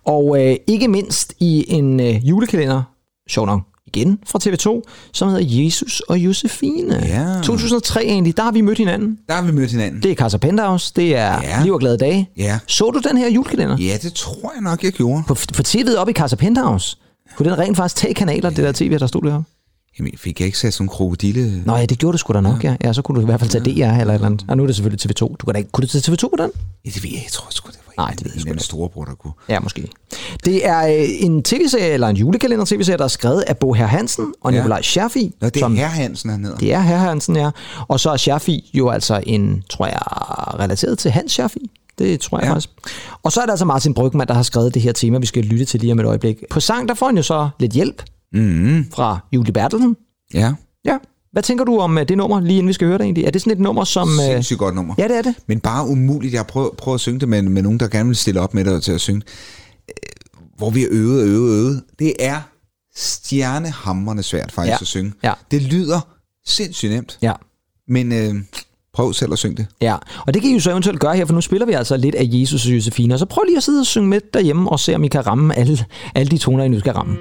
[SPEAKER 1] Og øh, ikke mindst i en øh, julekalender, sjov nok, igen fra TV2, som hedder Jesus og Josefine.
[SPEAKER 2] Ja.
[SPEAKER 1] 2003 egentlig, der har vi mødt hinanden.
[SPEAKER 2] Der har vi mødt hinanden. Det.
[SPEAKER 1] Det er Casa Penthouse, det er ja.
[SPEAKER 2] Ja.
[SPEAKER 1] Liv og Glade Dage.
[SPEAKER 2] Ja.
[SPEAKER 1] Så du den her julekalender?
[SPEAKER 2] Ja, det tror jeg nok, jeg gjorde.
[SPEAKER 1] På, på TV'et op i Casa Penthouse. Kunne den rent faktisk tage kanaler, det der tv, der stod deroppe?
[SPEAKER 2] Jamen, fik jeg ikke sat sådan en krokodille...
[SPEAKER 1] Nå ja, det gjorde du sgu da nok, ja. ja. så kunne du i hvert fald tage DR eller et eller andet. Og nu er det selvfølgelig TV2. Du kan da ikke, kunne du tage TV2 på den?
[SPEAKER 2] Ja, det ved jeg, jeg tror sgu, det var
[SPEAKER 1] Nej,
[SPEAKER 2] en,
[SPEAKER 1] det ved jeg
[SPEAKER 2] en
[SPEAKER 1] sgu
[SPEAKER 2] anden
[SPEAKER 1] ikke.
[SPEAKER 2] storebror, der kunne.
[SPEAKER 1] Ja, måske. Det er øh, en tv-serie, eller en julekalender-tv-serie, der er skrevet af Bo Herr Hansen og
[SPEAKER 2] Ja.
[SPEAKER 1] Nikolaj Scherfi.
[SPEAKER 2] Nå, det er
[SPEAKER 1] som-
[SPEAKER 2] Som... herre Hansen, han hedder.
[SPEAKER 1] Det er Herr Hansen, ja. Og så er Scherfi jo altså en, tror jeg, relateret til Hans Scherfi. Det tror jeg ja.
[SPEAKER 2] Ja.
[SPEAKER 1] faktisk. Og så er der altså Martin Brygman, der har skrevet det her tema, vi skal lytte til lige om et øjeblik. På sang, der får han jo så lidt hjælp
[SPEAKER 2] Mm,
[SPEAKER 1] fra Julie Bertelsen.
[SPEAKER 2] ja,
[SPEAKER 1] Ja. Hvad tænker du om øh, det nummer, lige inden vi skal høre det egentlig? Er det sådan et nummer, som... øh,
[SPEAKER 2] sindssygt godt nummer.
[SPEAKER 1] Ja, det er det.
[SPEAKER 2] Men bare umuligt. Jeg prøver, prøver at synge det med, med nogen, der gerne vil stille op med dig til at synge. Øh, Hvor vi har øvet og øvet og øvet. Det er stjernehammerne svært faktisk
[SPEAKER 1] Ja.
[SPEAKER 2] at synge.
[SPEAKER 1] Ja.
[SPEAKER 2] Det lyder sindssygt nemt,
[SPEAKER 1] Ja.
[SPEAKER 2] men øh, prøv selv at synge det.
[SPEAKER 1] Ja, og det kan I jo så eventuelt gøre her, for nu spiller vi altså lidt af Jesus og Josefine, og så prøv lige at sidde og synge med derhjemme og se, om I kan ramme alle, alle de toner, I nu skal ramme.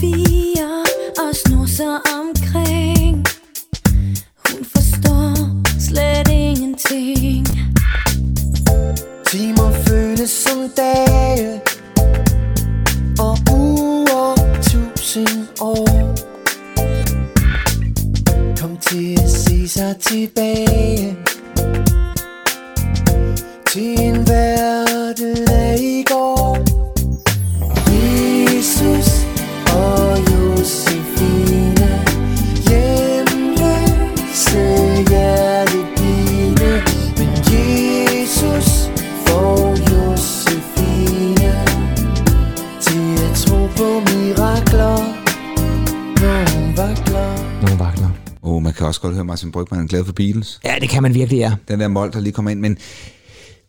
[SPEAKER 7] bier og snusser omkring. Hun forstår slet ingenting.
[SPEAKER 10] Timer føles som dage Og uger tusind år Kom til at se sig tilbage Til en verden af i går Jesus og Josefine Hjemløse hjertepine Men Jesus får Josefine Til at tro på mirakler Når hun vakler
[SPEAKER 1] Nogle vakler.
[SPEAKER 2] Åh, oh, man kan også godt høre Martin Brygman er glad for Beatles.
[SPEAKER 1] Ja, det kan man virkelig, ja.
[SPEAKER 2] Den der mål, der lige kommer ind, men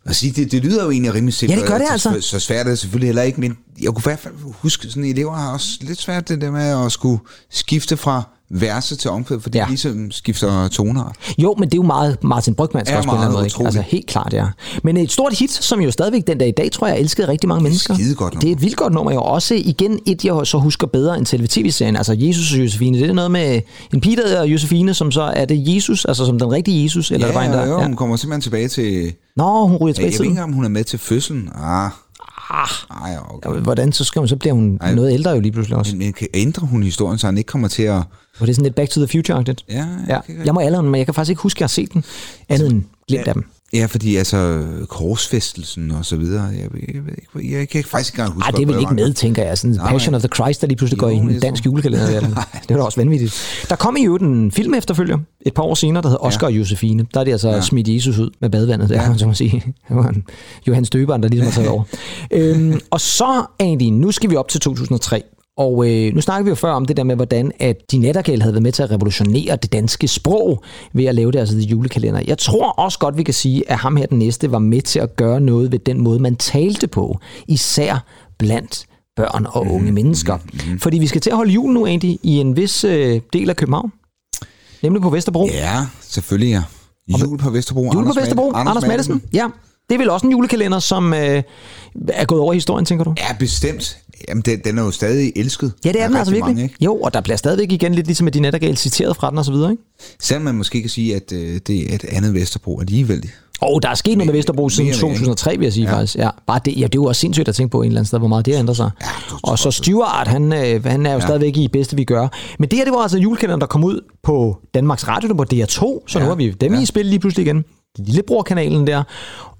[SPEAKER 2] at sige, det, det lyder jo egentlig rimelig simpelt.
[SPEAKER 1] Ja, det gør det altså.
[SPEAKER 2] Så, så svært er det selvfølgelig heller ikke, men jeg kunne i hvert fald huske, sådan elever har også lidt svært det der med at skulle skifte fra verse til omkvæd, fordi
[SPEAKER 1] Ja.
[SPEAKER 2] ja. de ligesom skifter toner.
[SPEAKER 1] Jo, men det er jo meget Martin Brygman
[SPEAKER 2] Er
[SPEAKER 1] også på en eller
[SPEAKER 2] meget
[SPEAKER 1] anden måde. Ikke?
[SPEAKER 2] utroligt.
[SPEAKER 1] Altså helt klart, ja. Men et stort hit, som jo stadigvæk den dag i dag, tror jeg, elskede rigtig mange mennesker.
[SPEAKER 2] skidegodt nummer.
[SPEAKER 1] Det er et vildt godt nummer jo. Også igen et, jeg så husker bedre end selve tv-serien. Altså Jesus og Josefine. Det er noget med en pige, der hedder Josefine, som så er det Jesus, altså som den rigtige Jesus. Eller der var en, der,
[SPEAKER 2] jo, hun kommer simpelthen tilbage til...
[SPEAKER 1] Nå, hun ryger
[SPEAKER 2] Ja, jeg ved
[SPEAKER 1] tilbage i
[SPEAKER 2] ikke
[SPEAKER 1] tiden.
[SPEAKER 2] engang, om hun er med til fødslen. Ah. Ah. Ej, okay.
[SPEAKER 1] Hvordan så skal hun, så bliver hun noget ældre jo lige pludselig også.
[SPEAKER 2] Men, men kan ændre hun historien, så han ikke kommer til at...
[SPEAKER 1] For det er sådan lidt Back to the Future-agtigt.
[SPEAKER 2] Ja,
[SPEAKER 1] ja.
[SPEAKER 2] okay.
[SPEAKER 1] Jeg må alderen, men jeg kan faktisk ikke huske, at jeg har set den. Andet end glemt af dem.
[SPEAKER 2] Ja, fordi altså korsfæstelsen og så videre, jeg, ved- jeg, ved ikke, jeg, kan faktisk ikke engang huske,
[SPEAKER 1] Ej, det er vel
[SPEAKER 2] hvor jeg
[SPEAKER 1] ikke
[SPEAKER 2] var.
[SPEAKER 1] med, tænker jeg. Sådan
[SPEAKER 2] Nej.
[SPEAKER 1] Passion of the Christ, der lige pludselig går
[SPEAKER 2] Jo,
[SPEAKER 1] i en
[SPEAKER 2] jeg tror-
[SPEAKER 1] dansk julekalender. Der. Det var da også vanvittigt. Der kom i øvrigt en film efterfølger et par år senere, der hedder Oscar og Josefine. Der er det altså ja. smidt Jesus ud med badevandet, der, ja. som man sige. Det var en Johannes Døberen, der ligesom har taget over. øhm, og så, Andy, nu skal vi op til 2003. Og øh, nu snakker vi jo før om det der med, hvordan at de Nattergale havde været med til at revolutionere det danske sprog ved at lave deres altså, julekalender. Jeg tror også godt, vi kan sige, at ham her den næste var med til at gøre noget ved den måde, man talte på. Især blandt børn og
[SPEAKER 2] Mhm,
[SPEAKER 1] unge mennesker. Fordi vi skal til at holde jul nu, Andy, i en vis øh, del af København. Nemlig på Vesterbro. Yeah.
[SPEAKER 2] Ja, selvfølgelig ja. Jul på Vesterbro.
[SPEAKER 1] Jul
[SPEAKER 2] Anders
[SPEAKER 1] på
[SPEAKER 2] Mad-
[SPEAKER 1] Vesterbro. Anders, Anders Madsen. Ja. Det er vel også en julekalender, som øh, er gået over i historien, tænker du?
[SPEAKER 2] Ja, bestemt. Jamen, den, den er jo stadig elsket.
[SPEAKER 1] Ja, det er
[SPEAKER 2] af
[SPEAKER 1] den
[SPEAKER 2] rigtig
[SPEAKER 1] altså virkelig.
[SPEAKER 2] mange, ikke?
[SPEAKER 1] Jo, og der bliver stadigvæk igen lidt ligesom, at de nattergal citeret fra den og så videre, ikke?
[SPEAKER 2] Selvom man måske kan sige, at øh, det er et andet Vesterbro alligevel.
[SPEAKER 1] Og der er sket noget med Vesterbro siden
[SPEAKER 2] mere, ikke?
[SPEAKER 1] 2003, vil jeg sige ja. faktisk. Ja, bare det, ja, det er jo også sindssygt at tænke på en eller anden sted, hvor meget det ændrer sig. Ja, og så Stuart, han, øh, han er jo ja. stadigvæk i bedste, vi gør. Men det her, det var altså julekalenderen, der kom ud på Danmarks Radio, det var DR2, så ja. nu har vi dem ja. i spil lige pludselig igen. Lillebror-kanalen der.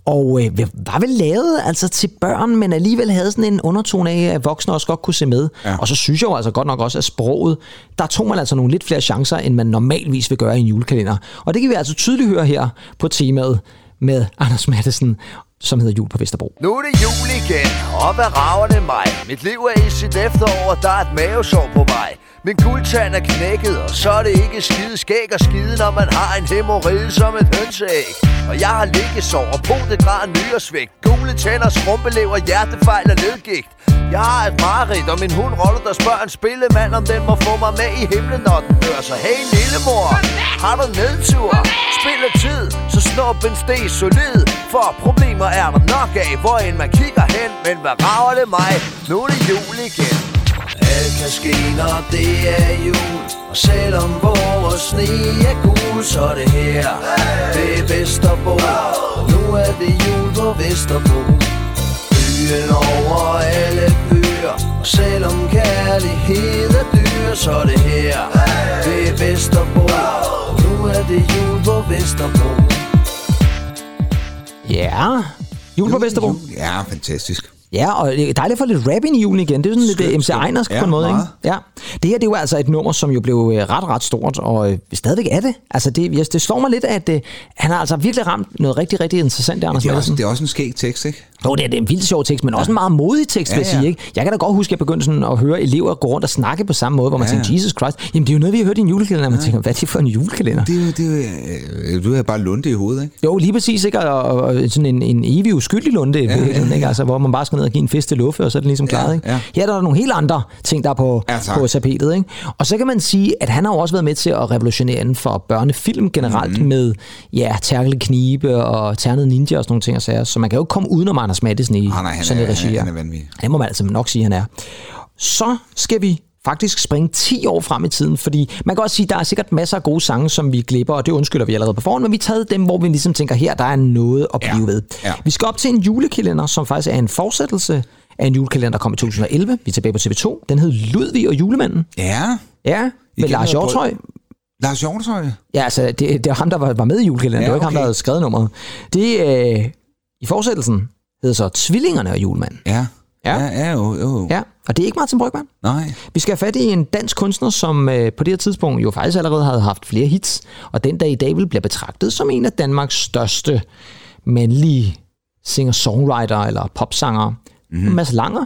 [SPEAKER 1] Og øh, var vel lavet altså til børn, men alligevel havde sådan en undertone af, at voksne også godt kunne se med. Ja. Og så synes jeg jo altså godt nok også, at sproget, der tog man altså nogle lidt flere chancer, end man normalvis vil gøre i en julekalender. Og det kan vi altså tydeligt høre her på temaet med Anders Mattesen, som hedder Jul på Vesterbro.
[SPEAKER 8] Nu er det jul igen, og hvad rager det mig? Mit liv er i sit efterår, og der er et mavesår på vej. Min guldtand er knækket, og så er det ikke skide skæg og skide, når man har en hemorrhide som et hønseæg. Og jeg har liggesår og potegran nyresvægt, gule tænder, skrumpelever, hjertefejl og ledgigt. Jeg har et mareridt, og min hund Rollo, der spørger en spillemand, om den må få mig med i himlen, når den dør. Så hey, lillemor, har du nedtur? Spil af tid, så snop en steg solid, for problemer er der nok af, hvor end man kigger hen. Men hvad rager det mig? Nu er det jul igen. Alt kan ske, når det er jul Og selvom vores sne er gul, så er det her Det er Vesterbro Nu er det jul på Vesterbro Byen over alle byer Og selvom kærlighed er dyr Så er det her Det er Vesterbro Nu er det jul på Vesterbro
[SPEAKER 1] Ja, Jul på Vesterbro.
[SPEAKER 2] Jul, Ja, fantastisk.
[SPEAKER 1] Ja, og det er dejligt at få lidt rap ind i julen igen. Det er jo sådan lidt øh, MC Ejnersk på
[SPEAKER 2] Ja,
[SPEAKER 1] en måde, ikke?
[SPEAKER 2] meget.
[SPEAKER 1] Ja. Det her, det er jo altså et nummer, som jo blev øh, ret, ret stort, og øh, stadigvæk er det. Altså, det, jeg- det slår mig lidt, at øh, han har altså virkelig ramt noget rigtig, rigtig interessant, der, Anders
[SPEAKER 2] Det er, også,
[SPEAKER 1] Madsen.
[SPEAKER 2] det er også en skæg tekst, ikke?
[SPEAKER 1] Jo, det er, det er en vildt sjov tekst, men også en meget modig tekst, ja,
[SPEAKER 2] Ja,
[SPEAKER 1] vil jeg
[SPEAKER 2] ja.
[SPEAKER 1] sige. Ikke? Jeg kan da godt huske, at jeg begyndte sådan at høre elever gå rundt og snakke på samme måde, hvor man ja,
[SPEAKER 2] Ja, ja.
[SPEAKER 1] tænker, Jesus Christ, jamen det er jo noget, vi har hørt i en julekalender, og man tænker, hvad er det for en julekalender?
[SPEAKER 2] Det er jo, det er jo, øh, du er bare lunde i hovedet, ikke?
[SPEAKER 1] Jo, lige præcis, ikke? Og, og, og sådan en, en evig uskyldig lunde, ja, ja, ikke? Altså, hvor man bare skal ned og give en fest til luffe, og så er den ligesom klaret. Ikke?
[SPEAKER 2] ja.
[SPEAKER 1] Her er der nogle helt andre ting, der er på,
[SPEAKER 2] Ja,
[SPEAKER 1] ja,
[SPEAKER 2] tak.
[SPEAKER 1] på tapetet. Ikke? Og så kan man sige, at han har jo også været med til at revolutionere inden for børnefilm generelt
[SPEAKER 2] Mhm.
[SPEAKER 1] mm. med ja, Terkel Knibe og Ternet Ninja og sådan nogle ting og sager. Så man kan jo ikke komme udenom Anders Madsen i
[SPEAKER 2] Ah, nej, han
[SPEAKER 1] sådan
[SPEAKER 2] er,
[SPEAKER 1] et regi.
[SPEAKER 2] han, er-
[SPEAKER 1] her.
[SPEAKER 2] han er vanvittig.
[SPEAKER 1] Det må man altså nok sige, han er. Så skal vi faktisk springe 10 år frem i tiden, fordi man kan også sige, at der er sikkert masser af gode sange, som vi glipper, og det undskylder vi allerede på forhånd, men vi har taget dem, hvor vi ligesom tænker, her der er noget at blive
[SPEAKER 2] Ja.
[SPEAKER 1] ved.
[SPEAKER 2] Ja.
[SPEAKER 1] Vi skal op til en julekalender, som faktisk er en fortsættelse af en julekalender, der kom i 2011. Vi er tilbage på TV2. Den hed Ludvig og julemanden.
[SPEAKER 2] Ja,
[SPEAKER 1] Ja, med
[SPEAKER 2] Igen
[SPEAKER 1] Lars
[SPEAKER 2] noget brød.
[SPEAKER 1] Hjortøj.
[SPEAKER 2] Lars Hjortøj.
[SPEAKER 1] Ja, altså, det, det var ham, der var, var med i julekalenderen. Ja,
[SPEAKER 2] Ja,
[SPEAKER 1] det var ikke okay. ham,
[SPEAKER 2] okay.
[SPEAKER 1] der havde skrevet nummeret. Det, øh, i fortsættelsen, hedder så Tvillingerne og julemanden.
[SPEAKER 2] Ja.
[SPEAKER 1] Ja.
[SPEAKER 2] Ja, ja jo, jo. jo.
[SPEAKER 1] Ja, og det er ikke Martin Brygman.
[SPEAKER 2] Nej.
[SPEAKER 1] Vi skal have fat i en dansk kunstner, som øh, på det her tidspunkt jo faktisk allerede havde haft flere hits, og den dag i dag vil blive betragtet som en af Danmarks største mandlige singer-songwriter eller popsanger. Mm-hmm. Mads Langer.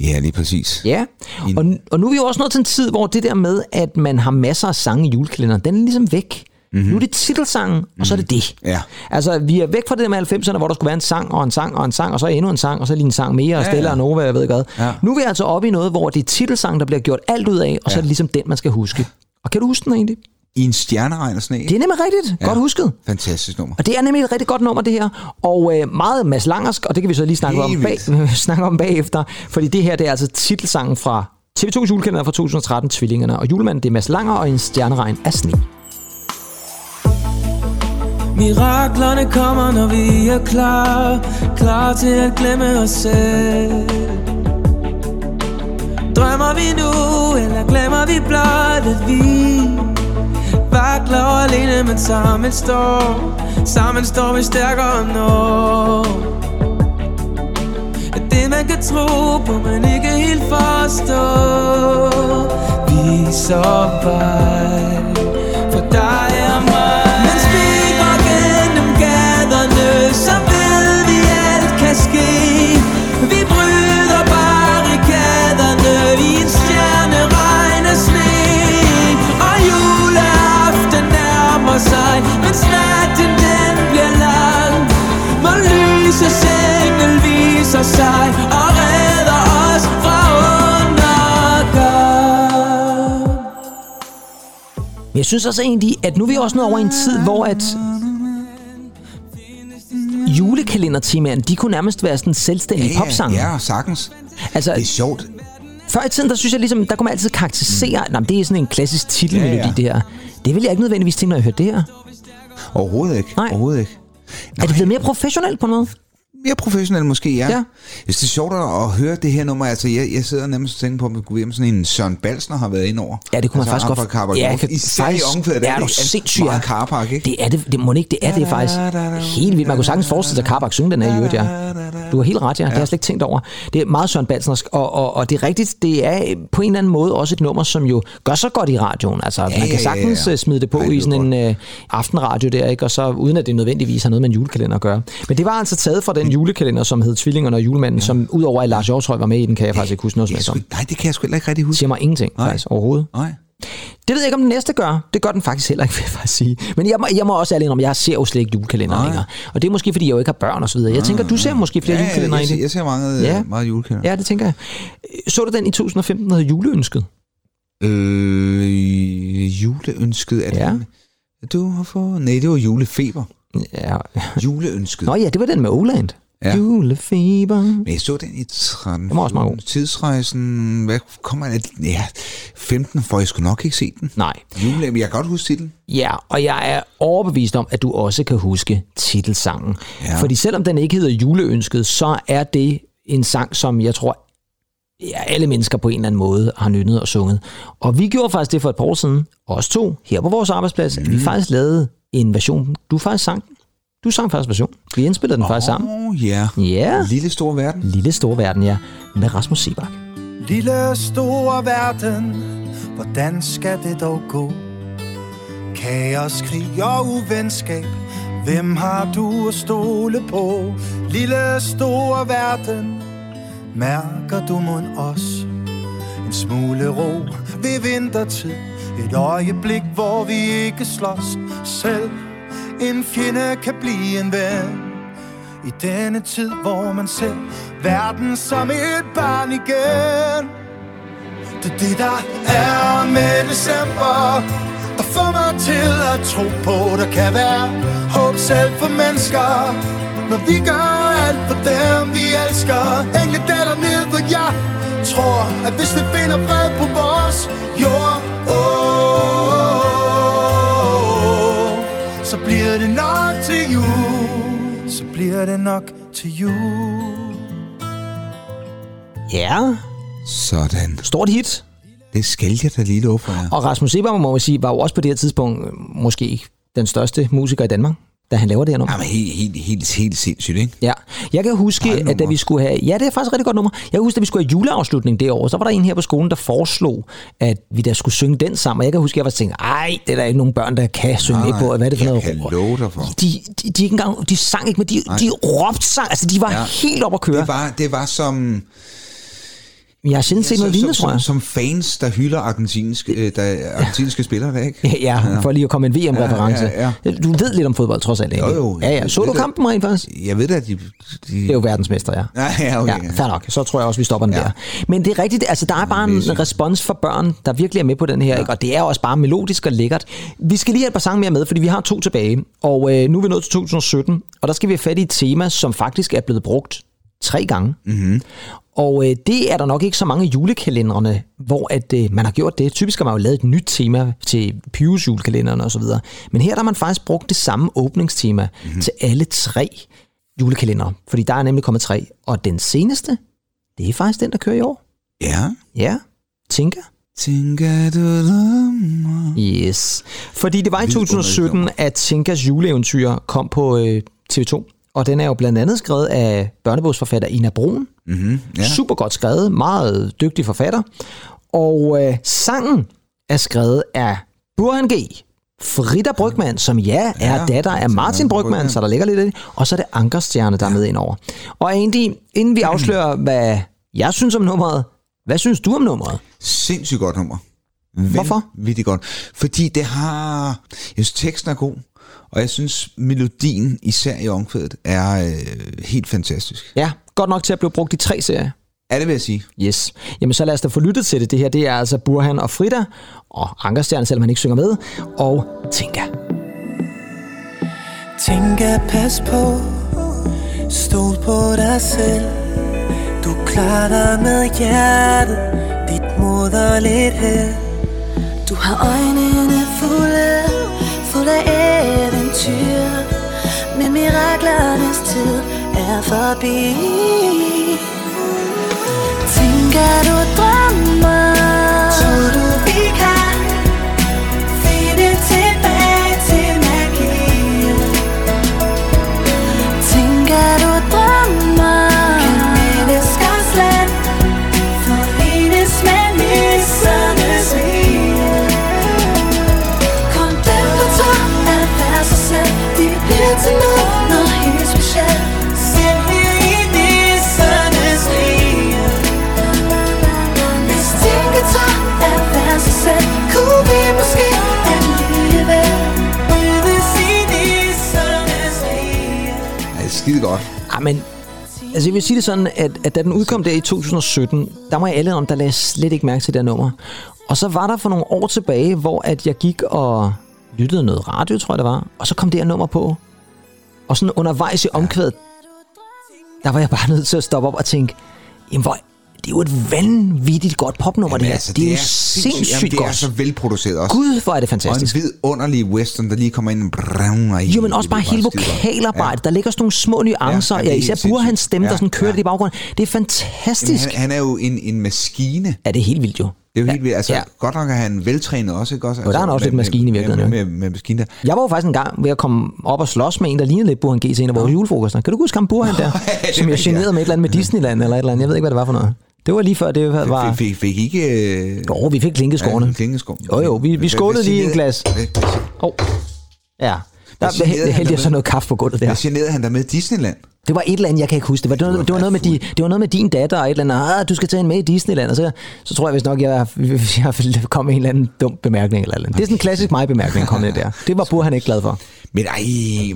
[SPEAKER 2] Ja, lige præcis.
[SPEAKER 1] Ja, og, og nu er vi jo også nået til en tid, hvor det der med, at man har masser af sange i julekalenderen, den er ligesom væk. Mm-hmm. Nu er det titelsangen, og så er det det.
[SPEAKER 2] Mhm. Ja.
[SPEAKER 1] Altså, vi er væk fra det der med 90'erne, hvor der skulle være en sang, og en sang, og en sang, og så endnu en sang, og så lige en sang mere, og
[SPEAKER 2] Ja,
[SPEAKER 1] Stella
[SPEAKER 2] ja.
[SPEAKER 1] og Nova, jeg ved ikke hvad.
[SPEAKER 2] Ja.
[SPEAKER 1] Nu er vi altså oppe i noget, hvor det er titelsangen, der bliver gjort alt ud af, og så er det ligesom den, man skal huske. Og kan du huske den egentlig?
[SPEAKER 2] I en stjerneregn og sne.
[SPEAKER 1] Det er nemlig rigtigt. Ja. Godt husket.
[SPEAKER 2] Fantastisk nummer.
[SPEAKER 1] Og det er nemlig et rigtig godt nummer, det her. Og øh, meget Mads Langersk, og det kan vi så lige snakke om,
[SPEAKER 2] Helt
[SPEAKER 1] bag, snakke om bagefter. Fordi det her, det er altså titelsangen fra TV2's julekalender fra 2013, Tvillingerne. Og julemanden, det er Mads Langer og en stjerneregn af sne.
[SPEAKER 9] Miraklerne kommer, når vi er klar Klar til at glemme os selv Drømmer vi nu, eller glemmer vi blot, at vi Vakler alene, men sammen står Sammen står vi stærkere end når At det man kan tro på, men ikke helt forstå Viser vej for dig og mig. Mens vi går gennem gaderne, så ved vi, alt kan ske. Vi bryder barrikaderne i en stjerneregn af sne. Og juleaften nærmer sig, mens natten den bliver lang. Hvor lysets engel viser sig og redder os fra undergang.
[SPEAKER 1] Men jeg synes også egentlig, at nu er vi også nået over i en tid, hvor at julekalendertemaerne, de kunne nærmest være sådan en selvstændig
[SPEAKER 2] Ja,
[SPEAKER 1] popsang.
[SPEAKER 2] Ja, sagtens.
[SPEAKER 1] Altså,
[SPEAKER 2] Det er sjovt.
[SPEAKER 1] før i tiden, der synes jeg ligesom, der kunne man altid karakterisere, at det er sådan en klassisk titelmelodi,
[SPEAKER 2] Mm. Ja, ja.
[SPEAKER 1] ja, ja. det her. Det ville jeg ikke nødvendigvis tænke, når jeg hørte det her.
[SPEAKER 2] Overhovedet ikke.
[SPEAKER 1] Nej.
[SPEAKER 2] Overhovedet ikke.
[SPEAKER 1] Er det blevet mere professionelt på noget?
[SPEAKER 2] mere professionel måske, ja.
[SPEAKER 1] Ja.
[SPEAKER 2] ja. Hvis det er sjovt at at høre det her nummer, altså jeg, jeg sidder nærmest og tænker på, om gud, jamen, sådan en Søren Balsner har været ind over.
[SPEAKER 1] Ja, det kunne man
[SPEAKER 2] Altså,
[SPEAKER 1] faktisk godt-
[SPEAKER 2] Carpark,
[SPEAKER 1] Ja,
[SPEAKER 2] ja,
[SPEAKER 1] jeg kan
[SPEAKER 2] Især
[SPEAKER 1] faktisk-
[SPEAKER 2] i omkvædet,
[SPEAKER 1] Ja, er du sindssyg,
[SPEAKER 2] meget
[SPEAKER 1] ja.
[SPEAKER 2] Carpark, ikke?
[SPEAKER 1] Det er det, det må ikke, det er det faktisk. Helt vildt. Man kunne sagtens forestille sig, at Karbak synge den her i øvrigt, ja. Du har helt ret, ja. Det har jeg slet ikke tænkt over. Det er meget Søren Balsnersk, og, og, og det er rigtigt, det er øh, på en eller anden måde også et nummer, som jo gør så godt i radioen. Altså, ja, man
[SPEAKER 2] ja,
[SPEAKER 1] kan
[SPEAKER 2] ja,
[SPEAKER 1] sagtens
[SPEAKER 2] ja.
[SPEAKER 1] ja, ja. smide det på
[SPEAKER 2] Ej,
[SPEAKER 1] Ej,
[SPEAKER 2] det
[SPEAKER 1] i
[SPEAKER 2] er
[SPEAKER 1] sådan en øh, aftenradio der, ikke? Og så uden at det nødvendigvis har noget med en julekalender at gøre. Men det var altså taget fra
[SPEAKER 2] Mm.
[SPEAKER 1] den julekalender, som hed Tvillingerne og julemanden, ja. som udover at Lars Hjortøj var med i den, kan jeg faktisk ikke huske noget som
[SPEAKER 2] Jeg
[SPEAKER 1] helst
[SPEAKER 2] sgu,
[SPEAKER 1] om.
[SPEAKER 2] nej, det kan jeg sgu heller ikke rigtig huske.
[SPEAKER 1] Siger mig ingenting,
[SPEAKER 2] Nej.
[SPEAKER 1] faktisk, overhovedet.
[SPEAKER 2] Nej.
[SPEAKER 1] Det ved jeg ikke, om den næste gør. Det gør den faktisk heller ikke, vil jeg faktisk sige. Men jeg må, jeg må også ærlig om, jeg ser jo slet ikke julekalender længere. Og det er måske, fordi jeg jo ikke har børn og så videre. Jeg tænker, du ser måske flere
[SPEAKER 2] Mm. Ja,
[SPEAKER 1] ja,
[SPEAKER 2] jeg,
[SPEAKER 1] julekalender
[SPEAKER 2] jeg, ser,
[SPEAKER 1] egentlig.
[SPEAKER 2] jeg ser mange,
[SPEAKER 1] Ja.
[SPEAKER 2] ja. meget julekalender.
[SPEAKER 1] Ja, det tænker jeg. Så du den i 2015, der hed Juleønsket?
[SPEAKER 2] Øh, juleønsket er det
[SPEAKER 1] Ja.
[SPEAKER 2] den? Du har fået... Nej, det var julefeber.
[SPEAKER 1] Ja.
[SPEAKER 2] Juleønsket.
[SPEAKER 1] Nå ja, det var den med Oland.
[SPEAKER 2] Ja.
[SPEAKER 1] Ja. Julefeber.
[SPEAKER 2] Men jeg så den i 13.
[SPEAKER 1] Den var også meget god.
[SPEAKER 2] Tidsrejsen, hvad kommer den? Ja, 15, for jeg skulle nok ikke se den.
[SPEAKER 1] Nej.
[SPEAKER 2] Jule, men jeg kan godt huske titlen.
[SPEAKER 1] Ja, og jeg er overbevist om, at du også kan huske titelsangen. Ja.
[SPEAKER 2] Ja.
[SPEAKER 1] Fordi selvom den ikke hedder Juleønsket, så er det en sang, som jeg tror, ja, alle mennesker på en eller anden måde har nynnet og sunget. Og vi gjorde faktisk det for et par år siden, os to, her på vores arbejdsplads, mm. vi faktisk lavede en version. Du faktisk sang den. Du sang faktisk version. Vi indspillede den oh. faktisk sammen.
[SPEAKER 2] Åh, ja.
[SPEAKER 1] Ja,
[SPEAKER 2] Lille store verden.
[SPEAKER 1] Lille Store Verden, ja, med Rasmus Sebak.
[SPEAKER 6] Lille store verden, hvordan skal det dog gå? Kaos, krig og uvenskab, hvem har du at stole på? Lille store verden, mærker du mon os? En smule ro ved vintertid, et øjeblik, hvor vi ikke slås. Selv en fjende kan blive en ven. I denne tid, hvor man ser verden som et barn igen Det er det, der er med december Der får mig til at tro på, der kan være håb selv for mennesker Når vi gør alt for dem, vi elsker Engle datter ned, hvor jeg tror, at hvis vi finder fred på vores bliver det nok til jul.
[SPEAKER 1] Ja,
[SPEAKER 2] Sådan.
[SPEAKER 1] stort hit.
[SPEAKER 2] Det skal jeg da lige love for jer.
[SPEAKER 1] Og Rasmus Sebam, må man sige, var jo også på det her tidspunkt øh, måske den største musiker i Danmark, da han laver det her nummer.
[SPEAKER 2] Jamen, Ah, helt, helt, helt, helt sindssygt, ikke?
[SPEAKER 1] Ja, jeg kan huske,
[SPEAKER 2] Dejligt
[SPEAKER 1] at da
[SPEAKER 2] nummer.
[SPEAKER 1] vi skulle have... Ja, det er faktisk et rigtig godt nummer. Jeg kan huske, da vi skulle have juleafslutning det år, så var der en her på skolen, der foreslog, at vi da skulle synge den sammen. Og jeg kan huske, at jeg var tænkt, ej, det er der ikke nogen børn, der kan synge med på. og Hvad er det for
[SPEAKER 2] jeg
[SPEAKER 1] noget
[SPEAKER 2] kan
[SPEAKER 1] rod?"
[SPEAKER 2] love dig for.
[SPEAKER 1] De, de, de, ikke engang, de sang ikke, men de, de råbte sang. Altså, de var ja.
[SPEAKER 2] Ja.
[SPEAKER 1] helt op at køre.
[SPEAKER 2] Det var, det var som...
[SPEAKER 1] Jeg har sjældent set
[SPEAKER 2] som,
[SPEAKER 1] noget lignende,
[SPEAKER 2] som,
[SPEAKER 1] tror jeg.
[SPEAKER 2] som fans, der hylder argentinske, øh, der, argentinske spillere, der, ikke?
[SPEAKER 1] Ja, for lige at komme med en VM-reference.
[SPEAKER 2] Ja, ja,
[SPEAKER 1] Du ved lidt om fodbold, trods alt, ikke?
[SPEAKER 2] Jo, jo,
[SPEAKER 1] Ja,
[SPEAKER 2] jeg
[SPEAKER 1] ja.
[SPEAKER 2] ved
[SPEAKER 1] Så du
[SPEAKER 2] det.
[SPEAKER 1] kampen rent faktisk?
[SPEAKER 2] Jeg ved da, at de... de
[SPEAKER 1] Det er jo verdensmester, ja.
[SPEAKER 2] Nej, ja, okay.
[SPEAKER 1] Ja, fair nok. Så tror jeg også, vi stopper den ja.
[SPEAKER 2] Ja.
[SPEAKER 1] der. Men det er rigtigt, altså der er bare en
[SPEAKER 2] Amazing.
[SPEAKER 1] respons fra børn, der virkelig er med på den her, ja. ikke? og det er også bare melodisk og lækkert. Vi skal lige have et par sange mere med, fordi vi har to tilbage, og øh, nu er vi nået til 2017, og der skal vi have fat i et tema, som faktisk er blevet brugt tre gange. Mm-hmm. Og øh, det er der nok ikke så mange i julekalenderne, hvor at øh, man har gjort det. Typisk har man jo lavet et nyt tema til Pyrus julekalenderen osv. Men her der har man faktisk brugt det samme åbningstema
[SPEAKER 2] Mhm.
[SPEAKER 1] mm-hmm. til alle tre julekalendere. Fordi der er nemlig kommet tre. Og den seneste, det er faktisk den, der kører i år.
[SPEAKER 2] ja.
[SPEAKER 1] Ja, Tinka.
[SPEAKER 2] Tænker du dem?
[SPEAKER 1] Yes. Fordi det var i
[SPEAKER 2] Vildt
[SPEAKER 1] 2017,
[SPEAKER 2] underligt
[SPEAKER 1] at Tinkas juleeventyr kom på øh, TV2. Og den er jo blandt andet skrevet af børnebogsforfatter Ina Brun.
[SPEAKER 2] Mm-hmm.
[SPEAKER 1] Ja.
[SPEAKER 2] Ja.
[SPEAKER 1] Super godt skrevet, meget dygtig forfatter. Og øh, sangen er skrevet af Burhan G., Frida Brygman, som ja, er ja,
[SPEAKER 2] Ja,
[SPEAKER 1] datter af Martin Brygman,
[SPEAKER 2] Brygmann.
[SPEAKER 1] så der ligger lidt af det. Og så er det Ankerstjerne, der er med ind over. Og egentlig, inden vi afslører, hvad jeg synes om nummeret, hvad synes du om nummeret?
[SPEAKER 2] Sindssygt godt nummer.
[SPEAKER 1] Hvorfor?
[SPEAKER 2] Vildt godt. Fordi det har... Jeg synes, teksten er god, og jeg synes, melodien, især i omkvædet, er øh, helt fantastisk.
[SPEAKER 1] Ja, godt nok til at blive brugt i tre serier.
[SPEAKER 2] Er det, vil jeg sige?
[SPEAKER 1] Yes. Jamen så lad os da få lyttet til det. Det her, det er altså Burhan og Frida, og Ankerstjerne, selvom han ikke synger med, og Tinka.
[SPEAKER 10] Tænk at pas på Stol på dig selv Du klarer dig med hjertet Dit moderligt held
[SPEAKER 11] Du har øjnene fulde, fulde af eventyr Men miraklernes tid er forbi Tænker du drømmer Tror du vi kan Finde tilbage til magien Tænker du drømmer Kan mennesker slet Forenes med nissernes vilje Kom dem på top at være sig selv De bliver til noget, noget helt specielt Selv her i nissernes vilje Hvis ting kan tage at være sig selv Kunne vi måske alligevel Mødes i nissernes vilje
[SPEAKER 2] Ja, det er skide godt.
[SPEAKER 1] Ah, men altså jeg vil sige det sådan, at, at da den udkom der i 2017, der var jeg alle om, der lagde jeg slet ikke mærke til det her nummer. Og så var der for nogle år tilbage, hvor at jeg gik og lyttede noget radio, tror jeg det var, og så kom det her nummer på. Og sådan undervejs i omkvædet, der var jeg bare nødt til at stoppe op og tænke, jamen hvor, det er jo et vanvittigt godt popnummer, det her.
[SPEAKER 2] altså,
[SPEAKER 1] det, er jo sindssygt,
[SPEAKER 2] jamen, det
[SPEAKER 1] godt.
[SPEAKER 2] er så velproduceret også.
[SPEAKER 1] Gud, hvor er det
[SPEAKER 2] og en
[SPEAKER 1] fantastisk.
[SPEAKER 2] vidunderlig western, der lige kommer ind. Brrrr, og
[SPEAKER 1] Jo, men også
[SPEAKER 2] det
[SPEAKER 1] bare
[SPEAKER 2] bliver skide
[SPEAKER 1] hele
[SPEAKER 2] godt.
[SPEAKER 1] vokalarbejdet. Ja. Der ligger sådan nogle små nuancer.
[SPEAKER 2] Ja,
[SPEAKER 1] Ja,
[SPEAKER 2] ja,
[SPEAKER 1] ja,
[SPEAKER 2] det er
[SPEAKER 1] især
[SPEAKER 2] helt
[SPEAKER 1] Burhans hans
[SPEAKER 2] sindssygt.
[SPEAKER 1] stemme, der
[SPEAKER 2] Ja,
[SPEAKER 1] sådan kører
[SPEAKER 2] ja.
[SPEAKER 1] ja. det i baggrunden. Det er
[SPEAKER 2] Jamen,
[SPEAKER 1] fantastisk.
[SPEAKER 2] han, han er jo en, en maskine.
[SPEAKER 1] Ja, det er helt vildt jo.
[SPEAKER 2] Det er jo helt vildt. Altså,
[SPEAKER 1] ja.
[SPEAKER 2] ja. godt nok er han veltrænet også, ikke også?
[SPEAKER 1] der er
[SPEAKER 2] Altså,
[SPEAKER 1] han også
[SPEAKER 2] med-
[SPEAKER 1] lidt maskine i
[SPEAKER 2] med-
[SPEAKER 1] virkeligheden,
[SPEAKER 2] Med, med, med, maskine der.
[SPEAKER 1] Jeg var jo faktisk en gang ved at komme op og slås med en, der lignede lidt Burhan G til en af vores julefrokoster. Kan du huske ham Burhan der,
[SPEAKER 2] det
[SPEAKER 1] som jeg
[SPEAKER 2] ved jeg.
[SPEAKER 1] generede med et eller andet med Disneyland eller et eller andet? Jeg ved ikke, hvad det var for noget. Det var lige før, det var...
[SPEAKER 2] Fik, fik, fik ikke... Øh,
[SPEAKER 1] Jo, vi fik klinkeskårene.
[SPEAKER 2] Klingeskov.
[SPEAKER 1] Jo, jo, vi- vi skålede lige en glas. Åh, ja. Der
[SPEAKER 2] generede
[SPEAKER 1] er
[SPEAKER 2] han
[SPEAKER 1] heldig,
[SPEAKER 2] dig
[SPEAKER 1] jeg så
[SPEAKER 2] med?
[SPEAKER 1] noget kaffe på gulvet der.
[SPEAKER 2] Hvad generede han der med Disneyland?
[SPEAKER 1] Det var et eller andet, jeg kan ikke huske det. Var, det, var, det, var noget med de, det var noget med din datter og et eller andet. Ah, du skal tage en med i Disneyland. Og så, så tror jeg vist nok, jeg, jeg kom med en eller anden dum bemærkning. Eller et eller andet. Det er sådan en klassisk mig-bemærkning, kom det der. Det var Burhan ikke glad for.
[SPEAKER 2] Men ej,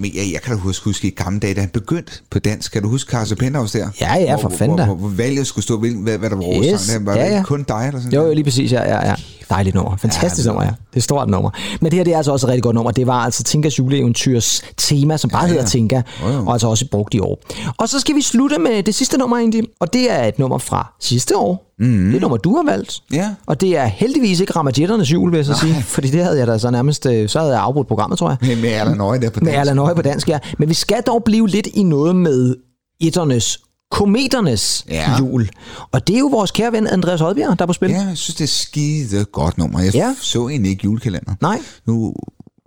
[SPEAKER 2] men jeg, jeg kan da huske, huske i gamle dage, da han begyndte på dansk. Kan du huske Karse Penthaus der?
[SPEAKER 1] Ja, ja, for
[SPEAKER 2] hvor,
[SPEAKER 1] fanden da.
[SPEAKER 2] hvor, hvor, hvor, valget skulle stå, hvilken, hvad, hvad der var
[SPEAKER 1] Yes,
[SPEAKER 2] årsagen. Yes. Var
[SPEAKER 1] ja,
[SPEAKER 2] det
[SPEAKER 1] ja.
[SPEAKER 2] ikke kun dig eller sådan
[SPEAKER 1] Jo, jo,
[SPEAKER 2] noget?
[SPEAKER 1] lige præcis, ja, ja, ja. Dejligt nummer. Fantastisk ja, nummer, ja. Det er et stort nummer. Men det her det er altså også et rigtig godt nummer. Det var altså Tinkas juleeventyrs tema, som bare ja, ja. hedder Tinka,
[SPEAKER 2] ja.
[SPEAKER 1] og altså også brugt i år. Og så skal vi slutte med det sidste nummer, Indy, og det er et nummer fra sidste år. Mm. Det er et nummer, du har valgt.
[SPEAKER 2] Ja.
[SPEAKER 1] Og det er heldigvis ikke Ramajetternes jul, vil jeg så sige. Fordi det havde jeg da så nærmest, øh, så havde jeg afbrudt programmet, tror jeg.
[SPEAKER 2] Med, med Erland Nøje der på
[SPEAKER 1] Med
[SPEAKER 2] dansk.
[SPEAKER 1] Erland Høje på dansk, ja. Men vi skal dog blive lidt i noget med etternes, kometernes
[SPEAKER 2] Ja.
[SPEAKER 1] ja. jul. Og det er jo vores kære ven Andreas Højbjerg, der er på spil.
[SPEAKER 2] Ja, jeg synes, det er skide godt nummer. Jeg ja.
[SPEAKER 1] Ja.
[SPEAKER 2] så egentlig ikke julekalender.
[SPEAKER 1] Nej.
[SPEAKER 2] Nu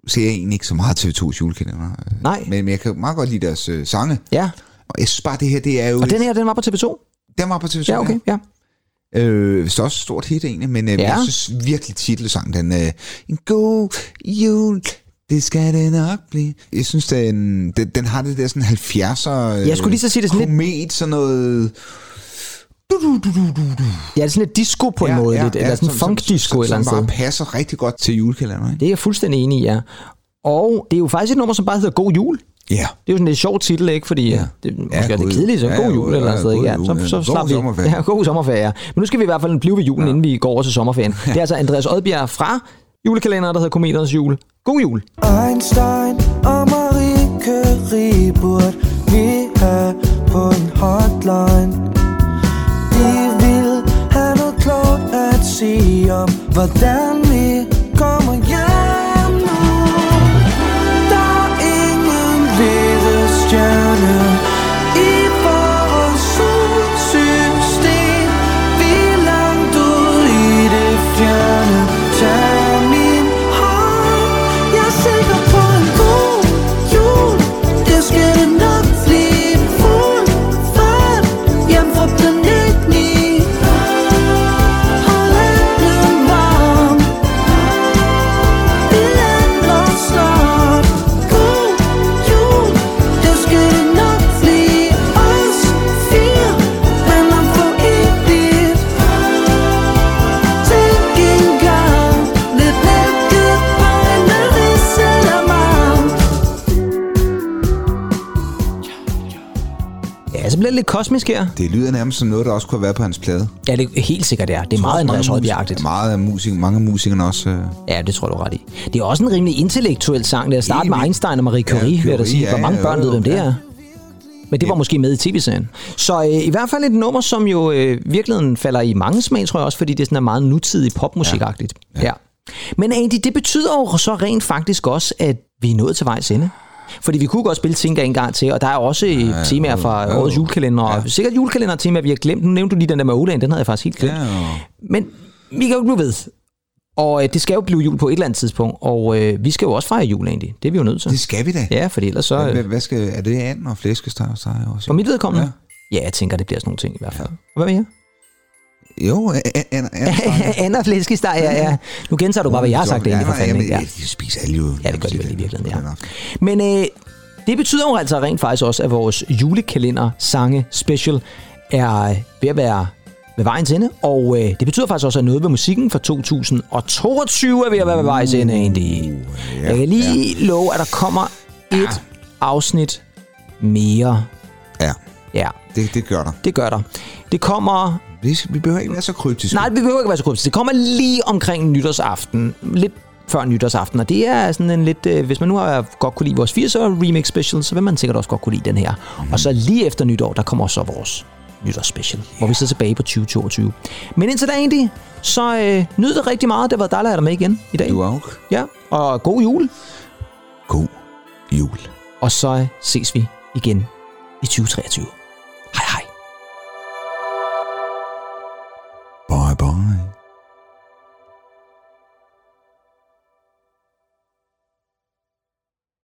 [SPEAKER 2] ser jeg egentlig ikke så meget TV2's julekalender. øh,
[SPEAKER 1] Nej.
[SPEAKER 2] Men, men jeg kan meget godt lide deres øh, sange.
[SPEAKER 1] Ja.
[SPEAKER 2] Og jeg synes bare, det her, det er jo...
[SPEAKER 1] Og den her, den var på TV2?
[SPEAKER 2] Den var på TV2.
[SPEAKER 1] Ja, okay. Ja.
[SPEAKER 2] Øh, så også et stort hit egentlig, men øh, ja.
[SPEAKER 1] Ja.
[SPEAKER 2] jeg synes virkelig titelsangen, den øh, en god jul, det skal det nok blive. Jeg synes, den, den, den har det der sådan 70'er... Øh,
[SPEAKER 1] Jeg skulle lige så sige, det er sådan lidt-
[SPEAKER 2] komet, lidt... sådan noget...
[SPEAKER 1] ja, det er sådan lidt disco på en ja, måde, ja, lidt, ja, eller sådan
[SPEAKER 2] som- som-
[SPEAKER 1] funk-disco
[SPEAKER 2] som-
[SPEAKER 1] et eller andet
[SPEAKER 2] Som bare
[SPEAKER 1] sted.
[SPEAKER 2] passer rigtig godt til julekalenderen, ikke?
[SPEAKER 1] Det er jeg fuldstændig enig i, ja. Og det er jo faktisk et nummer, som bare hedder God Jul.
[SPEAKER 2] Ja.
[SPEAKER 1] Det er jo sådan lidt sjov titel, ikke? Fordi ja. det måske
[SPEAKER 2] Ja,
[SPEAKER 1] er
[SPEAKER 2] god-
[SPEAKER 1] det kedeligt, så
[SPEAKER 2] ja,
[SPEAKER 1] god
[SPEAKER 2] ja,
[SPEAKER 1] jul
[SPEAKER 2] ja,
[SPEAKER 1] eller sådan
[SPEAKER 2] god
[SPEAKER 1] noget.
[SPEAKER 2] jul,
[SPEAKER 1] Ja,
[SPEAKER 2] ja.
[SPEAKER 1] så, så
[SPEAKER 2] God
[SPEAKER 1] slap vi.
[SPEAKER 2] sommerferie.
[SPEAKER 1] Ja, god sommerferie. ja. Men nu skal vi i hvert fald blive ved julen, ja. inden vi går over til sommerferien. Det er altså Andreas Odbjerg fra julekalenderen, der hedder Kometernes Jul. God jul.
[SPEAKER 11] Einstein og Marie Curie burde vi have på en hotline. De vil have noget klogt at sige om, hvordan vi kommer hjem nu. Der er ingen ledestjerne i vores solsystem. Vi er langt ud i det fjerne. Tag min hånd. Jeg er sikker på en god jul. Det skal det nok blive fuld fart. Hjem fra planeten i Hold anden varm. Vi lander snart. God jul. Det skal det nok blive os fire. Men om for evigt. Tænk engang. Lidt mælket på en ris eller marm.
[SPEAKER 1] Ja, så bliver det lidt kosmisk her.
[SPEAKER 2] Det lyder nærmest som noget, der også kunne have været på hans plade.
[SPEAKER 1] Ja, det er helt sikkert, det er. Det er meget Andreas
[SPEAKER 2] musikere,
[SPEAKER 1] Højbjerg-agtigt.
[SPEAKER 2] meget af musik, mange af musikerne også... Øh,
[SPEAKER 1] Ja, det tror du ret i. Det er også en rimelig intellektuel sang, der starter med
[SPEAKER 2] vildt.
[SPEAKER 1] Einstein og Marie Curie, ja, vil jeg da
[SPEAKER 2] Curie,
[SPEAKER 1] sige.
[SPEAKER 2] ja,
[SPEAKER 1] Hvor mange
[SPEAKER 2] ja,
[SPEAKER 1] børn
[SPEAKER 2] jo,
[SPEAKER 1] ved, hvem det
[SPEAKER 2] ja.
[SPEAKER 1] er? Men det var måske med i tv-serien. Så øh, i hvert fald et nummer, som jo øh, virkeligheden falder i mange smag, tror jeg også, fordi det sådan er meget nutidig popmusikagtigt. Ja. Ja. Men Andy, det betyder jo så rent faktisk også, at vi er nået til vejs ende. Fordi vi kunne godt spille Tinka en gang til, og der er også ja, temaer fra
[SPEAKER 2] jo, jo.
[SPEAKER 1] årets julekalender, og sikkert julekalender-temaer, vi har glemt. Nu nævnte du lige den der med Olaen, den havde jeg faktisk helt glemt.
[SPEAKER 2] ja, og
[SPEAKER 1] Men vi kan jo ikke blive ved. Og øh, det skal jo blive jul på et eller andet tidspunkt, og øh, vi skal jo også fejre jul egentlig. Det er vi jo nødt til.
[SPEAKER 2] det skal vi da.
[SPEAKER 1] Ja, for ellers så...
[SPEAKER 2] Hvad,
[SPEAKER 1] Øh,
[SPEAKER 2] hvad skal, er det and og flæskesteg og steg også?
[SPEAKER 1] for mit vedkommende... Ja. jeg tænker, det bliver sådan nogle ting i hvert fald. Og hvad med jer?
[SPEAKER 2] Jo, and, and, and, and
[SPEAKER 1] Anna flæskesteg, ja, ja. Nu gentager du bare, hvad jeg har sagt egentlig for fanden. ikke?
[SPEAKER 2] Ja,
[SPEAKER 1] Ja.
[SPEAKER 2] de spiser alle jo.
[SPEAKER 1] Ja, det gør de vel i virkeligheden, ja.
[SPEAKER 2] den aften.
[SPEAKER 1] Men øh, det betyder jo altså rent faktisk også, at vores julekalender sange special er øh, ved at være ved vejens ende. Og øh, det betyder faktisk også, at noget ved musikken for 2022 er ved at være ved vejens ende egentlig. Jeg kan lige love, at der kommer et afsnit mere.
[SPEAKER 2] Ja,
[SPEAKER 1] Ja,
[SPEAKER 2] det, det gør der.
[SPEAKER 1] det gør der. Det kommer
[SPEAKER 2] Vi, vi behøver ikke være så kryptiske.
[SPEAKER 1] Nej, vi behøver ikke være så kryptisk. Det kommer lige omkring nytårsaften. Lidt før nytårsaften, og det er sådan en lidt... Øh, hvis man nu har godt kunne lide vores 80'er remix special, så vil man sikkert også godt kunne lide den her. Og så lige efter nytår, der kommer så vores nytårsspecial, yeah. hvor vi sidder tilbage på 2022. Men indtil da egentlig, så øh, nyd det rigtig meget. Det har været dejligt at have dig med igen i dag.
[SPEAKER 2] Du er også
[SPEAKER 1] Ja, og god jul.
[SPEAKER 2] god jul.
[SPEAKER 1] Og så ses vi igen i 2023.